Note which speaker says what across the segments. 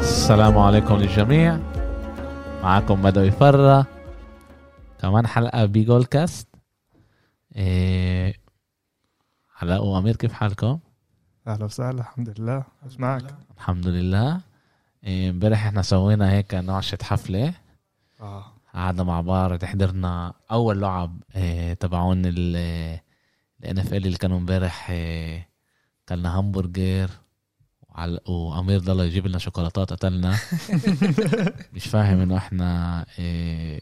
Speaker 1: السلام عليكم للجميع معاكم بدوي فرة كمان حلقة بجول كاست إيه حلقة وأمير كيف حالكم؟
Speaker 2: اهلا وسهلا الحمد لله ايش معك؟
Speaker 1: الحمد لله إيه، امبارح احنا سوينا هيك نعشة حفلة
Speaker 2: اه
Speaker 1: قعدنا مع بعض حضرنا أول لعب إيه، تبعون ال آه، ال NFL اللي كانوا امبارح إيه، كلنا همبرجر وعل- وأمير ضل يجيب لنا شوكولاتات قتلنا مش فاهم انه احنا إيه،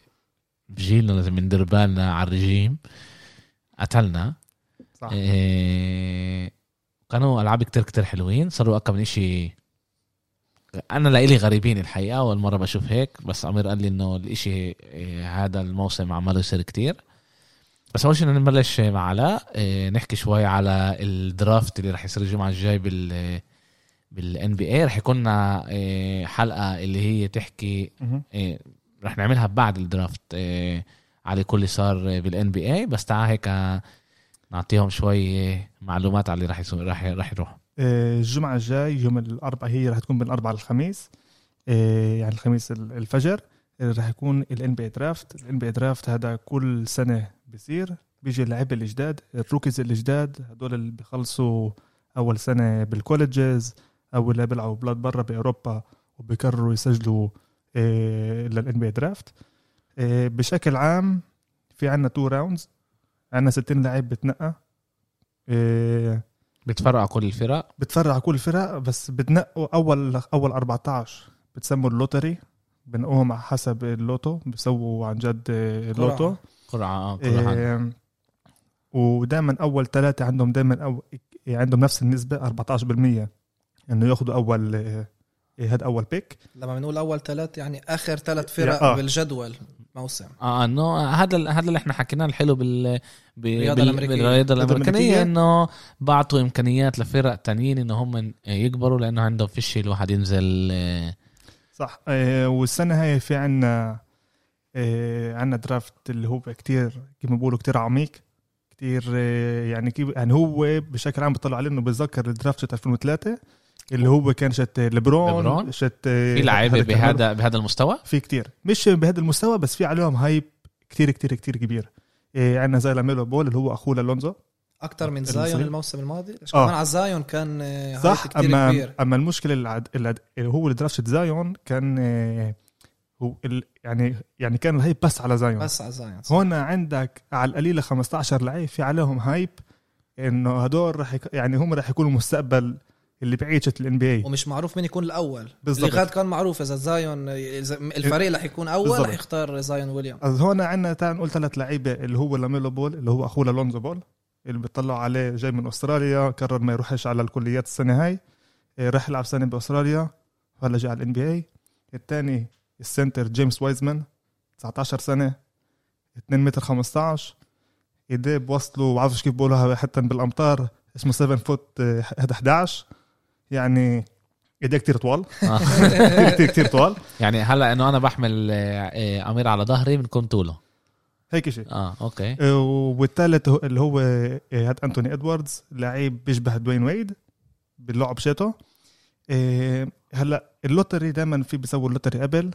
Speaker 1: بجيلنا لازم ندير بالنا على الرجيم قتلنا
Speaker 2: صح
Speaker 1: إيه، كانوا العاب كتير كتير حلوين صاروا اكم من اشي انا لإلي غريبين الحقيقه اول مره بشوف هيك بس امير قال لي انه الاشي إيه، هذا الموسم عماله يصير كتير بس اول شيء بدنا نبلش مع علاء إيه، نحكي شوي على الدرافت اللي رح يصير الجمعه الجاي بال بالان بي اي رح يكون لنا، إيه، حلقه اللي هي تحكي
Speaker 2: مهم.
Speaker 1: إيه، رح نعملها بعد الدرافت إيه، على كل اللي صار بالان بي اي بس تعال هيك آه، نعطيهم شوي إيه، معلومات على اللي رح يسو... رح رح يروح
Speaker 2: آه، الجمعة الجاي يوم الأربعاء هي رح تكون بين الأربعاء للخميس آه، يعني الخميس ال- الفجر آه، رح يكون ال NBA درافت ال NBA درافت هذا كل سنة بصير بيجي اللعيبة الجداد الروكيز الجداد هدول اللي بيخلصوا أول سنة بالكولجز أو اللي بيلعبوا بلاد برا بأوروبا وبيقرروا يسجلوا آه، لل NBA درافت آه، بشكل عام في عنا تو راوندز عنا 60 لاعب بتنقى آه،
Speaker 1: بتفرقوا كل الفرق
Speaker 2: بتفرع كل فرق بس بتنقوا اول اول 14 بتسموا اللوتري بنقوهم على حسب اللوتو بسووا عن جد آه، اللوتو إيه،
Speaker 1: قرعه آه، كل حد
Speaker 2: آم، ودائما اول ثلاثه عندهم دائما أو إيه، عندهم نفس النسبه 14% انه ياخذوا اول آه، هاد اول بيك
Speaker 3: لما بنقول اول ثلاث يعني اخر ثلاث فرق
Speaker 2: آه.
Speaker 3: آه. بالجدول موسم
Speaker 1: اه انه هذا ال- هذا اللي احنا حكيناه الحلو بال ب-
Speaker 3: الرياضة
Speaker 1: بال-
Speaker 3: الأمريكية.
Speaker 1: بالرياضه
Speaker 2: الرياضة
Speaker 1: الامريكيه
Speaker 2: الأمريكية.
Speaker 1: انه بعطوا امكانيات لفرق تانيين انه هم إيه، يكبروا لانه عندهم فيش الواحد ينزل آه،
Speaker 2: صح آه، والسنة هاي في عنا آه، عنا درافت اللي هو كتير كيف ما بيقولوا كتير عميق كتير آه، يعني كيف يعني هو بشكل عام بيطلع عليه انه بيتذكر الدرافت شت 2003 اللي هو كان شت ليبرون
Speaker 1: ليبرون؟
Speaker 2: شت آه،
Speaker 1: في لعيبه بهذا بهذا المستوى
Speaker 2: في كتير مش بهذا المستوى بس في عليهم هايب كتير كتير كتير كبير آه، عنا زي لاميلو بول اللي هو اخوه لالونزو
Speaker 3: اكثر من
Speaker 2: المصري.
Speaker 3: زايون الموسم الماضي آه.
Speaker 2: آه.
Speaker 3: كمان على زايون كان آه،
Speaker 2: صح أيوه.
Speaker 3: هايب كتير
Speaker 2: اما
Speaker 3: كبير
Speaker 2: اما المشكله اللي, عد... اللي, عد... اللي هو درافت زايون كان آه، هو ال... يعني يعني كان الهايب بس على زايون
Speaker 3: بس على زايون صح.
Speaker 2: هون عندك على القليله 15 لعيب في عليهم هايب انه هدول رح يك... يعني هم رح يكونوا المستقبل اللي بعيشه الان بي اي
Speaker 3: ومش معروف مين يكون الاول
Speaker 2: بالضبط.
Speaker 3: اللي غاد كان معروف اذا زايون إذا الفريق رح يكون اول
Speaker 2: بالضبط.
Speaker 3: رح يختار زايون ويليام
Speaker 2: אז هون عندنا تعال نقول ثلاث لعيبه اللي هو لاميلو بول اللي هو اخوه لونزو بول اللي بيطلعوا عليه جاي من استراليا قرر ما يروحش على الكليات السنه هاي إيه، راح يلعب سنه باستراليا هلا جاي على الان بي اي الثاني السنتر جيمس وايزمان 19 سنه 2 متر 15 ايديه بوصلوا بعرفش كيف بقولوها حتى بالامطار اسمه 7 فوت آه، 11 يعني ايديه كتير طوال
Speaker 1: آه.
Speaker 2: كتير كتير كتير طوال
Speaker 1: يعني هلا انه انا بحمل آه، آه، امير على ظهري بنكون طوله
Speaker 2: هيك شيء
Speaker 1: اه اوكي
Speaker 2: آه، والثالث هو- اللي هو آه، هاد انتوني ادواردز لعيب بيشبه دوين ويد باللعب شاته آه، هلا اللوتري دائما في بيسووا اللوتري قبل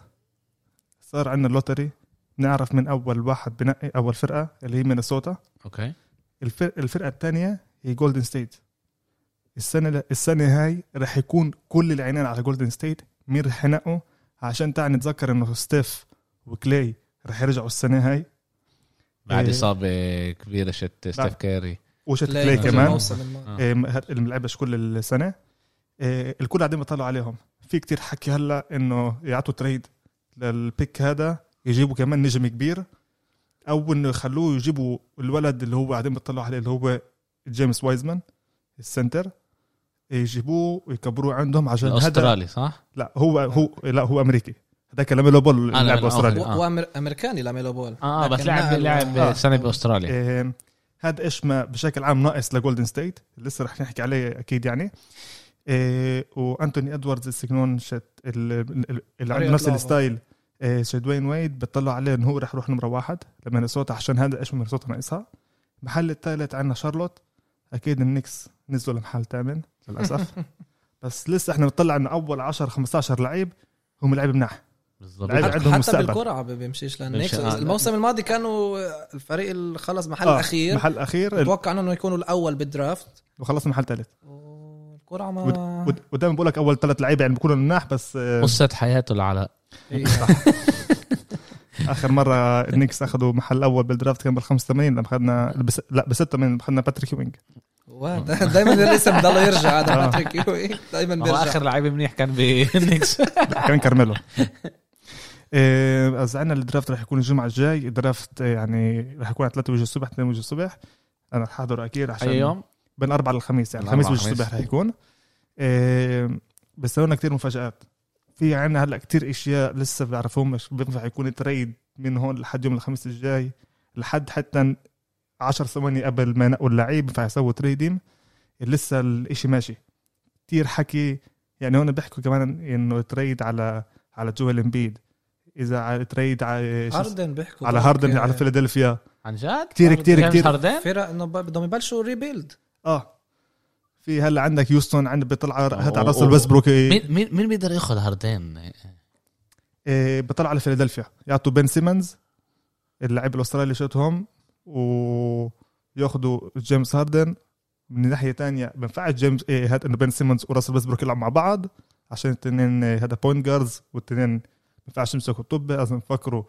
Speaker 2: صار عندنا اللوتري نعرف من اول واحد بنقي اول فرقه اللي هي مينيسوتا
Speaker 1: اوكي
Speaker 2: الفرقه, الفرقة الثانيه هي جولدن ستيت السنه السنه هاي رح يكون كل العنان على جولدن ستيت مين رح ينقوا عشان تعال نتذكر انه ستيف وكلاي رح يرجعوا السنه هاي
Speaker 1: بعد
Speaker 2: إيه.
Speaker 1: اصابه كبيره شت ستيف كيري
Speaker 2: وشت
Speaker 3: لا،
Speaker 2: كلاي
Speaker 1: يفوز
Speaker 2: كمان
Speaker 3: الموسم الماضي
Speaker 1: آه.
Speaker 2: إيه، هاد- اللي بنلعبش كل السنه إيه، الكل قاعدين بيطلعوا عليهم في كتير حكي هلا انه يعطوا تريد للبيك هذا يجيبوا كمان نجم كبير او انه يخلوه يجيبوا الولد اللي هو قاعدين بيطلعوا عليه اللي هو جيمس وايزمان السنتر يجيبوه ويكبروه عندهم عشان هذا
Speaker 1: الاسترالي صح؟
Speaker 2: لا هو هو لا هو امريكي هذا كلام اللي هو بول
Speaker 1: آه، لا،
Speaker 2: لاعب
Speaker 1: لا،
Speaker 2: استرالي
Speaker 1: آه.
Speaker 3: وامريكاني لاميلو بول
Speaker 1: اه اه
Speaker 3: لكن
Speaker 1: بس لعب
Speaker 3: نقل-
Speaker 1: لعب
Speaker 3: آه.
Speaker 1: سنه باستراليا
Speaker 2: إيه، هذا ايش ما بشكل عام ناقص لجولدن ستيت لسه رح نحكي عليه اكيد يعني إيه، وانتوني ادواردز السجنون شت ال- ال- اللي عنده
Speaker 3: طريقة
Speaker 2: نفس
Speaker 3: لعبه.
Speaker 2: الستايل إيه، شدوين ويد بتطلع عليه انه هو رح يروح نمره واحد لمينيسوتا عشان هذا ايش مينيسوتا ناقصها المحل الثالث عندنا شارلوت اكيد النكس نزلوا لمحل ثامن للاسف بس لسه احنا بنطلع انه اول 10 15 لعيب هم لعيبه مناح
Speaker 1: بالضبط
Speaker 2: لعيب
Speaker 3: حتى-
Speaker 2: عندهم
Speaker 3: حتى
Speaker 2: مستقبل.
Speaker 3: بالكره ما بيمشيش للنكس
Speaker 1: بيمشي- آه، لا.
Speaker 3: الموسم الماضي كانوا آه، الفريق اللي خلص محل
Speaker 2: آه،
Speaker 3: اخير
Speaker 2: محل اخير
Speaker 3: اتوقع انه يكونوا الاول بالدرافت
Speaker 2: وخلصنا محل ثالث
Speaker 3: والقرعه
Speaker 2: ود-
Speaker 3: ما
Speaker 2: ود- ودائما بقول لك اول ثلاث لعيبه يعني بيكونوا مناح بس آه،
Speaker 1: قصه حياته العلاء
Speaker 3: إيه.
Speaker 2: اخر مره النكس اخذوا محل اول بالدرافت كان بال 85 لما اخذنا بس لا ب 6 من اخذنا باتريك يوينج
Speaker 3: دائما الاسم بضل يرجع هذا
Speaker 2: آه.
Speaker 3: باتريك دائما
Speaker 1: هو
Speaker 3: إيه، بيرجع
Speaker 1: اخر لعيب منيح كان بالنكس
Speaker 2: لا، كان كارميلو إيه، عنا الدرافت رح يكون الجمعه الجاي الدرافت آه، يعني رح يكون على 3 وجه الصبح 2 وجه الصبح انا رح احضر اكيد عشان
Speaker 1: اي يوم
Speaker 2: بين اربعة للخميس يعني
Speaker 1: من أربعة
Speaker 2: الخميس وجه
Speaker 1: للخميس.
Speaker 2: الصبح رح يكون إيه، بس لنا كثير مفاجات في عنا هلا كثير اشياء لسه بعرفهم مش بينفع يكون تريد من هون لحد يوم الخميس الجاي لحد حتى 10 ثواني قبل ما ينقوا اللعيب بينفع يسووا تريدين لسه الاشي ماشي كثير حكي يعني هون بيحكوا كمان انه تريد على على جويل امبيد اذا على تريد على شو اسمه؟
Speaker 3: هاردن بيحكوا
Speaker 2: على
Speaker 3: برك،
Speaker 2: هاردن
Speaker 3: آه،
Speaker 2: على فيلادلفيا
Speaker 1: عن جد
Speaker 2: كثير
Speaker 3: هاردن
Speaker 2: كثير
Speaker 1: جيمس
Speaker 2: كثير
Speaker 1: هاردن
Speaker 3: فرق انه ب- بدهم يبلشوا ريبيلد
Speaker 2: اه في هلا عندك يوستون عندك بيطلع هات على
Speaker 1: أوه،
Speaker 2: راسل
Speaker 1: أوه.
Speaker 2: ويسبروك إيه،
Speaker 1: مين مين مين بيقدر ياخذ هاردين
Speaker 2: إيه، بيطلع على فيلادلفيا يعطوا بن سيمنز اللاعب الاسترالي شتهم وياخذوا جيمس هاردن من ناحيه تانية بنفعش جيمس إيه هات انه بن سيمنز وراسل ويسبروك يلعبوا مع بعض عشان الاثنين إيه، هذا بوينت جاردز والاثنين بنفعش يمسكوا الطب لازم يفكروا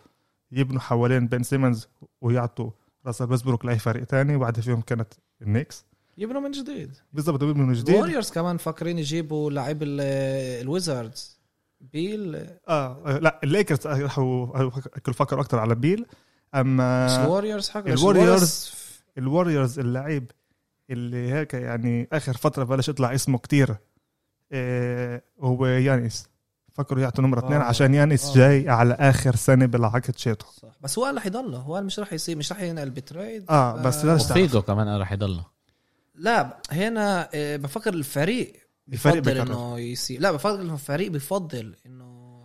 Speaker 2: يبنوا حوالين بن سيمنز ويعطوا راسل ويسبروك لاي فريق تاني واحده فيهم كانت النكس
Speaker 3: يبنوا من جديد
Speaker 2: بالضبط من جديد
Speaker 3: الوريورز كمان فاكرين يجيبوا لعيب ال- الويزاردز بيل
Speaker 2: اه لا الليكرز راحوا كل فكروا اكثر على بيل
Speaker 3: مش
Speaker 2: اما
Speaker 3: الوريورز حق
Speaker 2: الوريورز الوريورز اللعيب اللي هيك يعني اخر فتره بلش يطلع اسمه كتير آه هو يانيس فكروا يعطوا نمره اثنين
Speaker 3: آه.
Speaker 2: عشان يانيس
Speaker 3: آه.
Speaker 2: جاي على اخر سنه بلعقة شيطه
Speaker 3: صح بس هو رح يضله هو مش رح يصير مش رح ينقل بتريد
Speaker 2: اه بس
Speaker 3: آه.
Speaker 2: لا تعرف.
Speaker 1: وفيجو كمان راح يضله
Speaker 3: لا هنا آه، بفكر الفريق
Speaker 2: الفريق
Speaker 3: بفضل
Speaker 2: بيقرر.
Speaker 3: انه يصير لا بفكر انه الفريق بفضل انه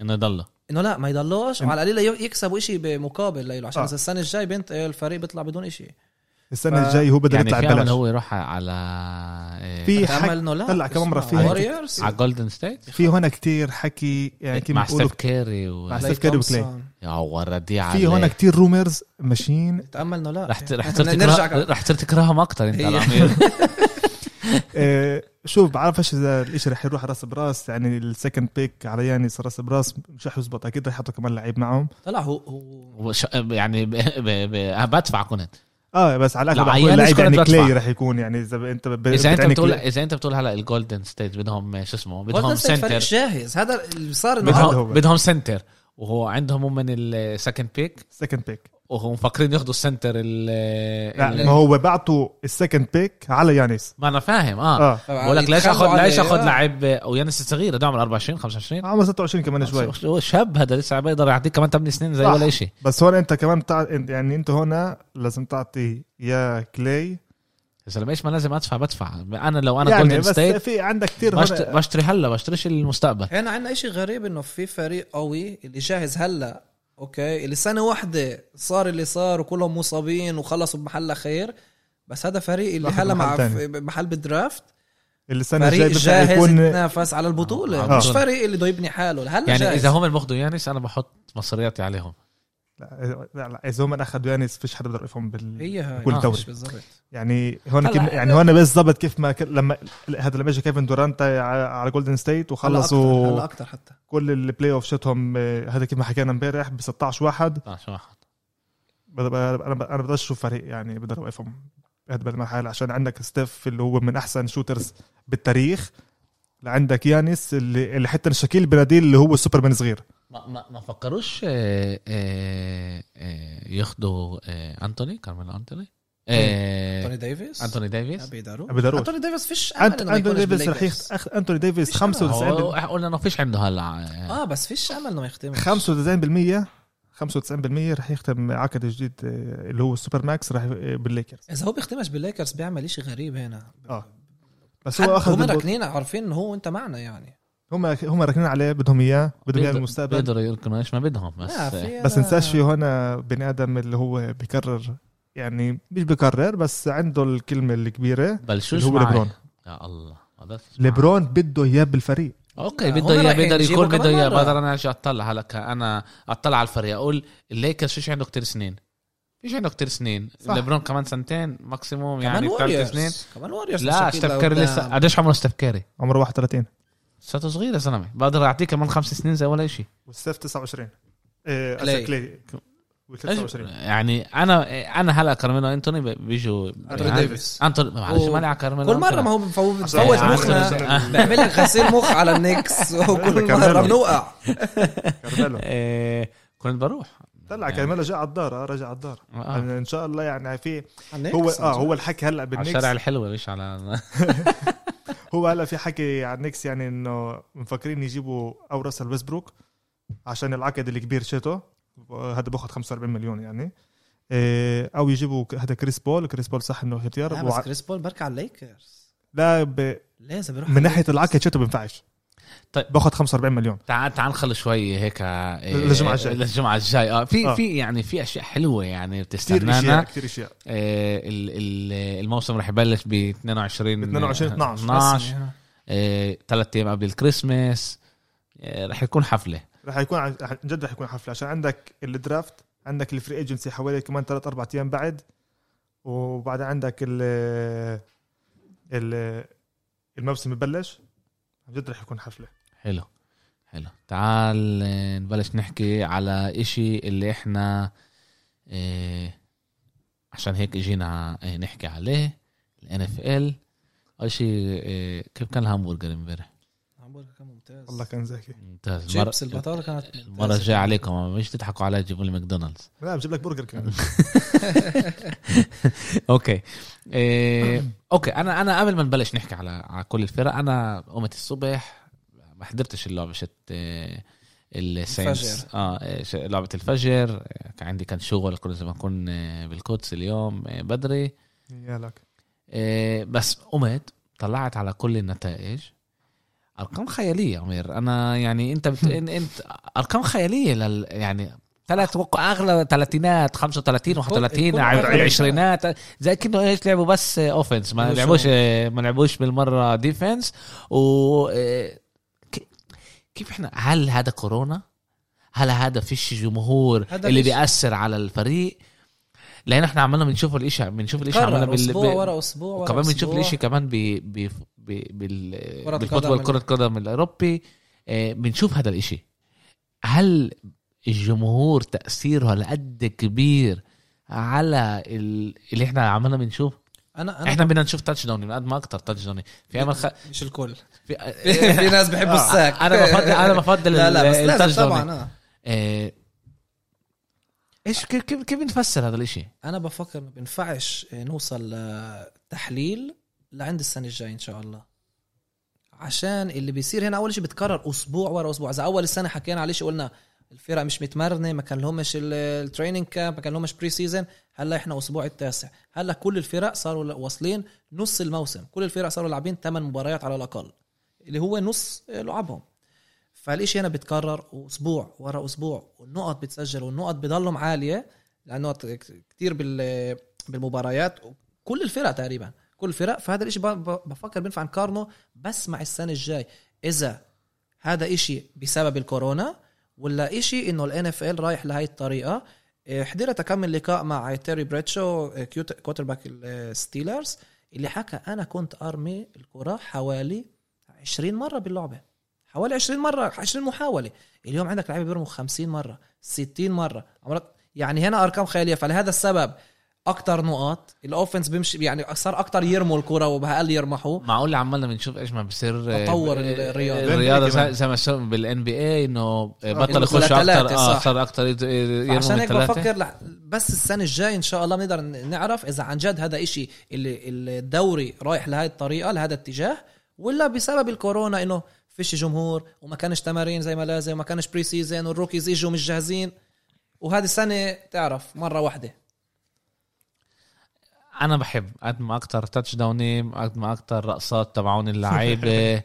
Speaker 1: انه يضله
Speaker 3: انه لا ما يضلوش
Speaker 2: إن-
Speaker 3: وعلى القليله يكسبوا شيء بمقابل له عشان
Speaker 2: آه.
Speaker 3: اذا السنه الجاي بنت إيه، الفريق بيطلع بدون شيء
Speaker 2: السنه
Speaker 3: ف-
Speaker 2: الجاي هو بده
Speaker 1: يعني
Speaker 2: يطلع
Speaker 1: في امل
Speaker 2: ببلاش
Speaker 1: هو يروح على إيه،
Speaker 2: في
Speaker 3: بتأمل
Speaker 2: حكي
Speaker 3: انه لا
Speaker 2: طلع كمان مرة فيها
Speaker 3: ووريرز
Speaker 1: على جولدن ستيت
Speaker 2: في هنا كتير حكي يعني كيف
Speaker 1: إيه، مع
Speaker 2: بيقولوا
Speaker 1: ستيف كيري و...
Speaker 2: مع ستيف كيري وكلاي.
Speaker 1: يا وردي
Speaker 2: في هنا
Speaker 1: عليك
Speaker 2: كتير رومرز ماشيين
Speaker 3: بتامل انه لا
Speaker 1: رح ت- رح
Speaker 3: يعني
Speaker 1: تصير
Speaker 3: نرجع
Speaker 1: تكره- رح تصير تكرههم اكثر انت
Speaker 2: إيه.
Speaker 3: هي.
Speaker 1: الامير
Speaker 2: آه، شوف بعرفش اذا الشيء رح يروح راس براس يعني السكند بيك على يانس راس براس مش رح يزبط اكيد رح يحطوا كمان لعيب معهم
Speaker 3: طلع هو هو
Speaker 1: وش- يعني ب... ب... ب... بدفع كنت
Speaker 2: اه بس على
Speaker 1: لا،
Speaker 2: الاغلب رح
Speaker 1: يانس كنت
Speaker 2: يكون لعيب يعني
Speaker 1: بدفع.
Speaker 2: كلاي رح يكون يعني اذا ب- انت ب-
Speaker 1: اذا انت
Speaker 2: بتعني
Speaker 1: بتقول
Speaker 2: كلاي-
Speaker 1: اذا انت بتقول هلا الجولدن ستيت بدهم شو اسمه بدهم
Speaker 3: جولدن ستيت فريق
Speaker 1: سنتر
Speaker 3: جاهز هذا اللي صار انه
Speaker 2: بدهم-
Speaker 3: هو-
Speaker 1: بدهم بدهم سنتر وهو عندهم هم من السكند بيك
Speaker 2: السكند بيك
Speaker 1: وهم مفكرين ياخذوا السنتر ال
Speaker 2: لا
Speaker 1: ال-
Speaker 2: ما هو بعتوا السكند بيك على يانس
Speaker 1: ما انا فاهم اه,
Speaker 2: اه
Speaker 1: بقول لك ليش
Speaker 3: يتخلوا
Speaker 1: اخذ ليش
Speaker 3: عليه.
Speaker 1: اخذ
Speaker 3: آه.
Speaker 1: لعيب ويانس الصغير ده عمره 24 25
Speaker 2: عمره 26
Speaker 1: آه،
Speaker 2: كمان آه، شوي
Speaker 1: هو شاب هذا لسه بيقدر يعطيك كمان 8 سنين زي
Speaker 2: صح.
Speaker 1: ولا شيء
Speaker 2: بس هون انت كمان بتاع يعني انت هنا لازم تعطي يا كلاي
Speaker 1: يا زلمه ايش ما لازم ادفع بدفع انا لو انا
Speaker 2: يعني
Speaker 1: جولدن
Speaker 2: بس
Speaker 1: ستيت
Speaker 2: في عندك كثير
Speaker 1: بشت-
Speaker 2: هون
Speaker 1: بشتري هلا بشتريش المستقبل
Speaker 3: هنا عندنا شيء غريب انه في فريق قوي اللي جاهز هلا اوكي اللي سنه واحده صار اللي صار وكلهم مصابين وخلصوا بمحل خير بس هذا فريق اللي
Speaker 2: راحوا
Speaker 3: هلا مع
Speaker 2: بمحل
Speaker 3: ف- محل بالدرافت
Speaker 2: السنه
Speaker 3: فريق
Speaker 2: الجايه بدها
Speaker 3: جاهز
Speaker 2: يكون
Speaker 3: يتنافس على البطوله
Speaker 1: آه.
Speaker 3: مش
Speaker 1: آه.
Speaker 3: فريق اللي بده يبني حاله هلا
Speaker 1: يعني
Speaker 3: جاهز.
Speaker 1: اذا هم بياخذوا يانس انا بحط مصرياتي عليهم
Speaker 2: لا لا لا، اذا هم اخذوا يانس فيش حدا بيقدر يفهم بال
Speaker 3: هي هاي
Speaker 2: كل
Speaker 3: آه،
Speaker 2: دوري.
Speaker 3: مش بالظبط
Speaker 2: يعني هون
Speaker 1: هلا-
Speaker 2: كم يعني هون بالضبط كيف ما ك... لما هذا لما اجى كيفن دورانت على- على جولدن ستيت
Speaker 3: هلا أكتر-
Speaker 2: وخلصوا
Speaker 3: هلا اكثر حتى
Speaker 1: إيه.
Speaker 2: كل البلاي اوف شتهم آه، هذا كيف ما حكينا امبارح ب 16 واحد
Speaker 1: آه، شو واحد
Speaker 2: بد- ب- انا ب- انا بقدرش اشوف فريق يعني بقدر اوقفهم بهذا بالمرحله عشان عندك ستيف اللي هو من احسن شوترز بالتاريخ لعندك يانس اللي, اللي حتى شاكيل بناديل اللي هو سوبرمان صغير
Speaker 1: ما ما ما فكروش آه، آه، آه، ياخدوا آه، انتوني كارميلو انتوني آه،
Speaker 3: انتوني ديفيس
Speaker 1: انتوني
Speaker 3: آه،
Speaker 1: ديفيس
Speaker 3: بيقدروا.
Speaker 2: بقدروش
Speaker 3: انتوني ديفيس فيش امل
Speaker 2: أنت-
Speaker 3: انه ما
Speaker 2: انتوني
Speaker 3: يكونش
Speaker 2: ديفيس رح
Speaker 3: بالليكرز.
Speaker 2: ياخذ أخ- انتوني ديفيس
Speaker 3: مش
Speaker 2: 95
Speaker 1: هو- قلنا انه فيش عنده هلا آه،
Speaker 3: اه بس فيش امل انه ما يختمش
Speaker 2: 95% 95% رح يختم عقد جديد آه، اللي هو السوبر ماكس رح آه، بالليكرز
Speaker 3: اذا هو بيختمش بالليكرز بيعمل إشي غريب هنا
Speaker 2: اه بس
Speaker 3: حد
Speaker 2: هو اخذ
Speaker 3: هم
Speaker 2: البط-
Speaker 3: راكنين عارفين انه هو انت معنا يعني
Speaker 2: هم هم راكنين عليه بدهم اياه بدهم اياه
Speaker 1: بيقدر-
Speaker 2: المستقبل
Speaker 1: بيقدروا يركنوا ايش ما بدهم بس
Speaker 3: لا،
Speaker 1: آه،
Speaker 3: في
Speaker 2: بس
Speaker 3: هذا-
Speaker 2: انساش في هنا بني ادم اللي هو بكرر يعني مش بكرر بس عنده الكلمه الكبيره
Speaker 1: بلشوش
Speaker 2: اللي هو
Speaker 1: معي.
Speaker 2: ليبرون
Speaker 1: يا الله هذا اسمع.
Speaker 2: ليبرون بده اياه بالفريق
Speaker 1: اوكي
Speaker 3: لا،
Speaker 1: بده
Speaker 3: هم
Speaker 1: اياه
Speaker 3: رايحين
Speaker 1: بقدر
Speaker 3: يجيبوا
Speaker 1: يكون بده
Speaker 3: كمان
Speaker 1: اياه
Speaker 3: مرة.
Speaker 1: بقدر انا ارجع اطلع هلا انا اطلع على الفريق اقول الليكرز فيش عنده كتير سنين فيش عنده كتير سنين
Speaker 2: صح.
Speaker 1: ليبرون كمان سنتين ماكسيموم
Speaker 3: كمان
Speaker 1: يعني ثلاث سنين
Speaker 3: واريورز كمان واريورز
Speaker 1: لا ستيف كاري لسه قديش عمره ستيف كاري؟
Speaker 2: عمره 31
Speaker 1: لساته صغير يا زلمه بقدر اعطيه كمان خمس سنين زي ولا شيء
Speaker 2: والسيف 29 ايه
Speaker 3: كلاي.
Speaker 2: أسف، كلاي و29
Speaker 1: يعني انا انا هلا كارمينو انتوني ب- بيجوا
Speaker 3: أنتوني
Speaker 1: يعني-
Speaker 3: ديفيس.
Speaker 1: انتوني معلش
Speaker 3: و-
Speaker 1: مالي على كارمينو
Speaker 3: كل مره
Speaker 1: أنتوني.
Speaker 3: ما هو بفوت
Speaker 2: عشان-
Speaker 3: بفوت
Speaker 2: عشان-
Speaker 3: أيوه. مخنا
Speaker 2: عشان-
Speaker 3: بيعمل لك غسيل مخ على النكس وكل
Speaker 2: كمان.
Speaker 3: مره بنوقع
Speaker 2: كارميلو
Speaker 1: إيه، كنت بروح
Speaker 2: طلع كارميلو جاء على الدار آه، رجع على الدار
Speaker 1: آه.
Speaker 2: يعني ان شاء الله يعني في
Speaker 3: على
Speaker 2: هو
Speaker 3: النكس.
Speaker 2: اه هو الحكي هلا
Speaker 1: على الشارع
Speaker 2: بالنكس
Speaker 1: الحلوه مش على
Speaker 2: هو هلا في حكي عن النكس يعني انه مفكرين يجيبوا او راسل ويسبروك عشان العقد الكبير شيته هذا باخذ 45 مليون يعني إيه، او يجيبوا هذا كريس بول كريس بول صح انه اختيار
Speaker 3: لا بس
Speaker 2: وع-
Speaker 3: كريس بول بركع على الليكرز
Speaker 2: لا ب...
Speaker 3: لازم يروح
Speaker 2: من ناحيه العقد شيته بينفعش
Speaker 1: طيب.
Speaker 2: باخذ 45 مليون
Speaker 1: تعال تعال نخلي شوي هيك آه،
Speaker 2: للجمعة الجاي.
Speaker 1: للجمعه الجاي اه في
Speaker 2: آه.
Speaker 1: في يعني في اشياء حلوه يعني
Speaker 2: كثير اشياء
Speaker 1: بتستنانا
Speaker 2: كثير اشياء
Speaker 1: آه، ال- ال- الموسم رح يبلش ب 22
Speaker 2: 22 12
Speaker 1: 12
Speaker 3: يعني
Speaker 2: رسمي، آه.
Speaker 1: ثلاث ايام قبل الكريسماس آه، رح يكون حفله
Speaker 2: رح يكون عن عن جد رح يكون حفله عشان عندك الدرافت عندك الفري ايجنسي حوالي كمان ثلاث اربع ايام بعد وبعد عندك ال ال الموسم ببلش عن جد رح يكون حفله
Speaker 1: حلو حلو تعال آه، نبلش نحكي على اشي اللي احنا آه، عشان هيك اجينا آه، نحكي عليه الان اف ال اول شيء آه، كيف كان الهامبرجر امبارح؟
Speaker 3: هامبورغ كان ممتاز
Speaker 2: والله كان زاكي
Speaker 1: ممتاز مرة-
Speaker 3: شيبس البطاله كانت
Speaker 1: المرة الجاية عليكم مش تضحكوا علي تجيبوا لي ماكدونالدز
Speaker 2: لا بجيب لك برجر كمان
Speaker 1: اوكي إيه اوكي انا انا قبل ما نبلش نحكي على على كل الفرق انا قمت الصبح ما حضرتش اللعبة شت إيه، الساينس
Speaker 3: الفجر.
Speaker 1: اه إيه، ش- لعبة الفجر إيه، كان عندي كان شغل كنت لازم اكون إيه، بالقدس اليوم إيه، بدري
Speaker 2: يالك
Speaker 1: إيه، بس قمت طلعت على كل النتائج ارقام خياليه يا عمير انا يعني انت بت... إن- انت ارقام خياليه لل... يعني ثلاث وقع اغلى ثلاثينات 35
Speaker 3: الكل- الكل
Speaker 1: و31
Speaker 3: أربعين.
Speaker 1: عشرينات زي كانه ايش لعبوا بس اوفنس ما
Speaker 3: هجوم.
Speaker 1: لعبوش ما لعبوش بالمره ديفنس و إيه، ك- كيف احنا هل هذا كورونا؟ هل هذا فيش جمهور
Speaker 3: هذا
Speaker 1: اللي
Speaker 3: فيش.
Speaker 1: بيأثر على الفريق؟ لان احنا عمالنا بنشوف الاشي بنشوف الاشي عمالنا
Speaker 3: كرر
Speaker 1: بال-
Speaker 3: اسبوع
Speaker 1: ب-
Speaker 3: ورا اسبوع ورا
Speaker 1: وكمان بنشوف
Speaker 3: أسبوع.
Speaker 1: الاشي كمان ب ب ب بال
Speaker 3: كرة
Speaker 1: بالفوتبول
Speaker 3: قدم.
Speaker 1: كرة قدم الاوروبي آه، بنشوف هذا الاشي هل الجمهور تأثيره هالقد كبير على ال- اللي احنا عمالنا بنشوف
Speaker 3: انا انا
Speaker 1: احنا بدنا نشوف تاتش داون من قد ما اكثر تاتش داون في امل خ...
Speaker 3: مش الكل
Speaker 1: في...
Speaker 3: في ناس بيحبوا
Speaker 1: آه،
Speaker 3: الساك
Speaker 1: انا بفضل انا بفضل
Speaker 3: لا لا بس
Speaker 1: ال-
Speaker 3: لازم
Speaker 1: التاتش داون
Speaker 3: طبعا آه.
Speaker 1: آه، ايش كيف كيف كيف بنفسر هذا الاشي
Speaker 3: انا بفكر ما بينفعش نوصل لتحليل لعند السنه الجايه ان شاء الله عشان اللي بيصير هنا اول شيء بتكرر اسبوع ورا اسبوع اذا اول السنه حكينا عليه شيء قلنا الفرق مش متمرنه ما كان لهمش التريننج كامب ما كان لهمش بري سيزون هلا احنا اسبوع التاسع هلا كل الفرق صاروا واصلين نص الموسم كل الفرق صاروا لاعبين ثمان مباريات على الاقل اللي هو نص لعبهم فالشيء هنا بيتكرر واسبوع ورا اسبوع والنقط بتسجل والنقط بضلهم عاليه لانه كثير بال بالمباريات كل الفرق تقريبا كل الفرق فهذا الاشي ب- ب- بفكر بينفع نقارنه بس مع السنه الجاي اذا هذا اشي بسبب الكورونا ولا اشي انه الان اف ال رايح لهي الطريقه إيه، حضرت كم من لقاء مع تيري بريتشو إيه، كيوت- كوتر باك الستيلرز اللي حكى انا كنت ارمي الكره حوالي 20 مره باللعبه حوالي 20 مره 20 محاوله اليوم عندك لعيبه بيرموا 50 مره 60 مره عمرك يعني هنا ارقام خياليه فلهذا السبب اكتر نقاط الاوفنس بيمشي يعني صار اكتر يرموا الكره وباقل يرمحوا
Speaker 1: معقول عمالنا بنشوف ايش ما بصير
Speaker 3: تطور
Speaker 1: آه،
Speaker 3: الرياضة.
Speaker 1: الرياضه
Speaker 2: كمان.
Speaker 1: زي- زي ما شفنا بالان بي اي انه آه،
Speaker 3: إنه
Speaker 1: بطل يخش
Speaker 3: ثلاثة،
Speaker 1: اكثر اه
Speaker 3: صح.
Speaker 1: صار اكثر يرموا
Speaker 3: عشان هيك
Speaker 1: بفكر
Speaker 3: بفكر لح- بس السنه الجاي ان شاء الله بنقدر ن- نعرف اذا عن جد هذا إشي اللي اللي الدوري رايح لهي الطريقه لهذا الاتجاه ولا بسبب الكورونا انه فيش جمهور وما كانش تمارين زي ما لازم وما كانش بري سيزون والروكيز اجوا مش جاهزين وهذه السنه تعرف مره واحده
Speaker 1: انا بحب قد ما اكثر تاتش داونين قد ما اكثر رقصات تبعون اللعيبه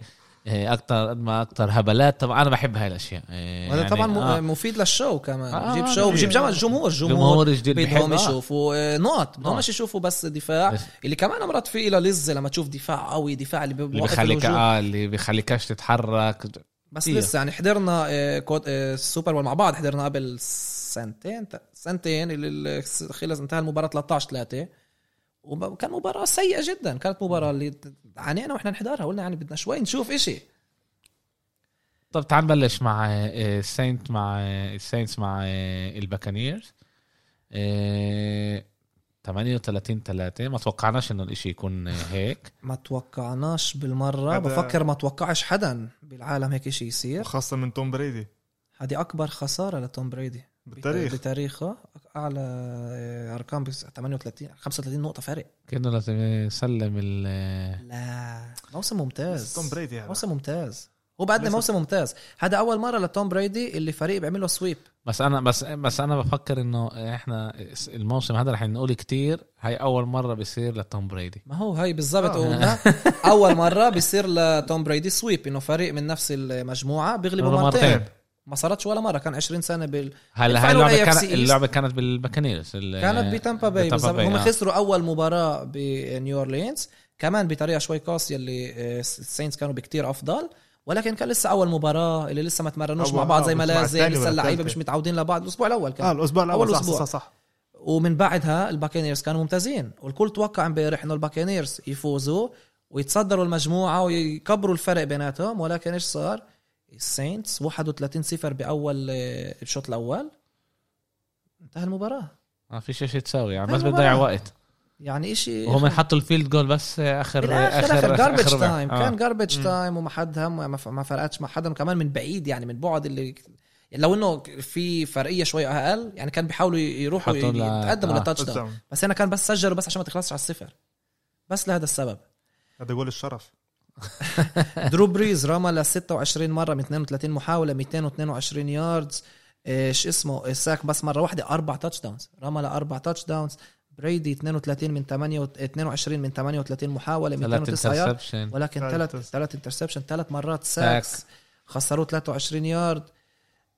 Speaker 1: اكثر آه، قد ما اكثر هبلات طبعا انا بحب هاي الاشياء
Speaker 3: وهذا
Speaker 1: يعني
Speaker 3: طبعا م-
Speaker 1: آه.
Speaker 3: مفيد للشو كمان
Speaker 1: آه،
Speaker 3: بجيب
Speaker 1: آه،
Speaker 3: شو
Speaker 1: آه.
Speaker 3: بجيب جمع جمهور جمهور
Speaker 1: جمهور جديد بحب
Speaker 3: بدهم
Speaker 1: آه.
Speaker 3: يشوفوا آه، نقط بدهم
Speaker 1: نقط.
Speaker 3: مش يشوفوا بس دفاع
Speaker 1: بس-
Speaker 3: اللي كمان مرات في إلى لزه لما تشوف دفاع قوي دفاع اللي
Speaker 1: اللي
Speaker 3: بيوقف
Speaker 1: بخليك
Speaker 3: الهجوم
Speaker 1: اه اللي بخليكش تتحرك
Speaker 3: بس
Speaker 2: إيه.
Speaker 1: فيها.
Speaker 3: لسه يعني حضرنا آه، كوت- آه، السوبر بول مع بعض حضرنا قبل سنتين ت- سنتين اللي ال- خلص انتهى المباراه 13 3 وكان مباراة سيئة جدا كانت مباراة اللي عانينا واحنا نحضرها قلنا يعني بدنا شوي نشوف اشي
Speaker 1: طب تعال نبلش مع آه، آه، ساينت مع آه، الساينتس مع آه، الباكانيرز آه، 38 3 ما توقعناش انه الاشي يكون آه، هيك
Speaker 3: ما توقعناش بالمرة
Speaker 2: هذا-
Speaker 3: بفكر ما توقعش حدا بالعالم هيك اشي يصير
Speaker 2: خاصه من توم بريدي
Speaker 3: هذه اكبر خساره لتوم بريدي
Speaker 2: بالتاريخ.
Speaker 3: بتاريخه اعلى آه، ارقام بس 38 35 نقطه فرق
Speaker 1: كانه لازم يسلم ال آه،
Speaker 3: لا موسم ممتاز
Speaker 2: بس توم بريدي يعني. هذا
Speaker 3: موسم ممتاز هو بعدنا
Speaker 2: ليس-
Speaker 3: موسم ممتاز هذا اول مره لتوم بريدي اللي فريق بيعمل له سويب
Speaker 1: بس انا بس بس انا بفكر انه احنا الموسم هذا رح نقول كتير هاي اول مره بصير لتوم بريدي
Speaker 3: ما هو هاي بالضبط
Speaker 2: آه.
Speaker 3: قلنا اول مره بيصير لتوم بريدي سويب انه فريق من نفس المجموعه بيغلبوا
Speaker 1: مرة
Speaker 3: مرتين.
Speaker 1: مرتين.
Speaker 3: ما صارتش ولا مره كان 20 سنه بال...
Speaker 1: هلا هاي
Speaker 3: فعلوا
Speaker 1: اللعبه
Speaker 3: AFC
Speaker 1: كانت
Speaker 3: East.
Speaker 1: اللعبه كانت بالباكانيرز ال-
Speaker 2: إيه،
Speaker 3: كانت بتامبا باي
Speaker 1: بتامبا
Speaker 3: بالضبط هم
Speaker 1: آه.
Speaker 3: خسروا اول مباراه بنيو اورلينز كمان بطريقه شوي قاسيه اللي آه، الساينتس كانوا بكتير افضل ولكن كان لسه اول مباراه اللي لسه ما تمرنوش
Speaker 2: أول-
Speaker 3: مع بعض
Speaker 2: آه،
Speaker 3: زي ما
Speaker 2: مع
Speaker 3: لازم
Speaker 2: الثاني
Speaker 3: لسه
Speaker 2: ولا
Speaker 3: اللعيبه
Speaker 2: الثالثة.
Speaker 3: مش متعودين لبعض الاسبوع الاول
Speaker 2: اه
Speaker 3: كان
Speaker 2: الاسبوع الاول
Speaker 3: أول
Speaker 2: صح
Speaker 3: أسبوع.
Speaker 2: صح صح
Speaker 3: ومن بعدها الباكينيرز كانوا ممتازين والكل توقع امبارح انه الباكينيرز يفوزوا ويتصدروا المجموعه ويكبروا الفرق بيناتهم ولكن ايش صار؟ الساينتس 31 0 باول آه، الشوط الاول انتهى المباراه
Speaker 1: ما في شيء تساوي يعني
Speaker 3: هاي
Speaker 1: بس بتضيع
Speaker 3: المباراة.
Speaker 1: وقت
Speaker 3: يعني اشي
Speaker 1: وهم حطوا الفيلد جول بس اخر
Speaker 3: بالاخر اخر جاربج
Speaker 1: آخر-
Speaker 3: تايم
Speaker 1: آه.
Speaker 3: كان جاربج
Speaker 2: مم.
Speaker 3: تايم وما حد هم ما ف- ما فرقتش مع حدا كمان من بعيد يعني من بعد اللي يعني لو انه في فرقيه شوي اقل يعني كان بيحاولوا يروحوا
Speaker 1: حطوا ل-
Speaker 3: يتقدموا
Speaker 1: آه.
Speaker 3: لتاتش داون بس هنا كان بس سجلوا بس عشان ما تخلصش على الصفر بس لهذا السبب
Speaker 2: هذا جول الشرف
Speaker 3: درو بريز رمى ل 26 مره من 32 محاوله 222 ياردز ايش اسمه الساك بس مره واحده اربع تاتش داونز رمى لاربع تاتش داونز بريدي 32 من 8 و- 22 من 38 محاوله
Speaker 1: 3
Speaker 3: 209 يارد
Speaker 1: انترسبشن
Speaker 3: ولكن
Speaker 2: ثلاث
Speaker 3: ثلاث ثلاث انترسبشن ثلاث مرات ساكس خسروه 23 يارد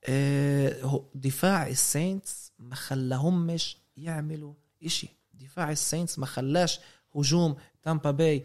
Speaker 3: آه، هو- دفاع الساينتس ما خلاهمش يعملوا إشي دفاع الساينتس ما خلاش هجوم تامبا باي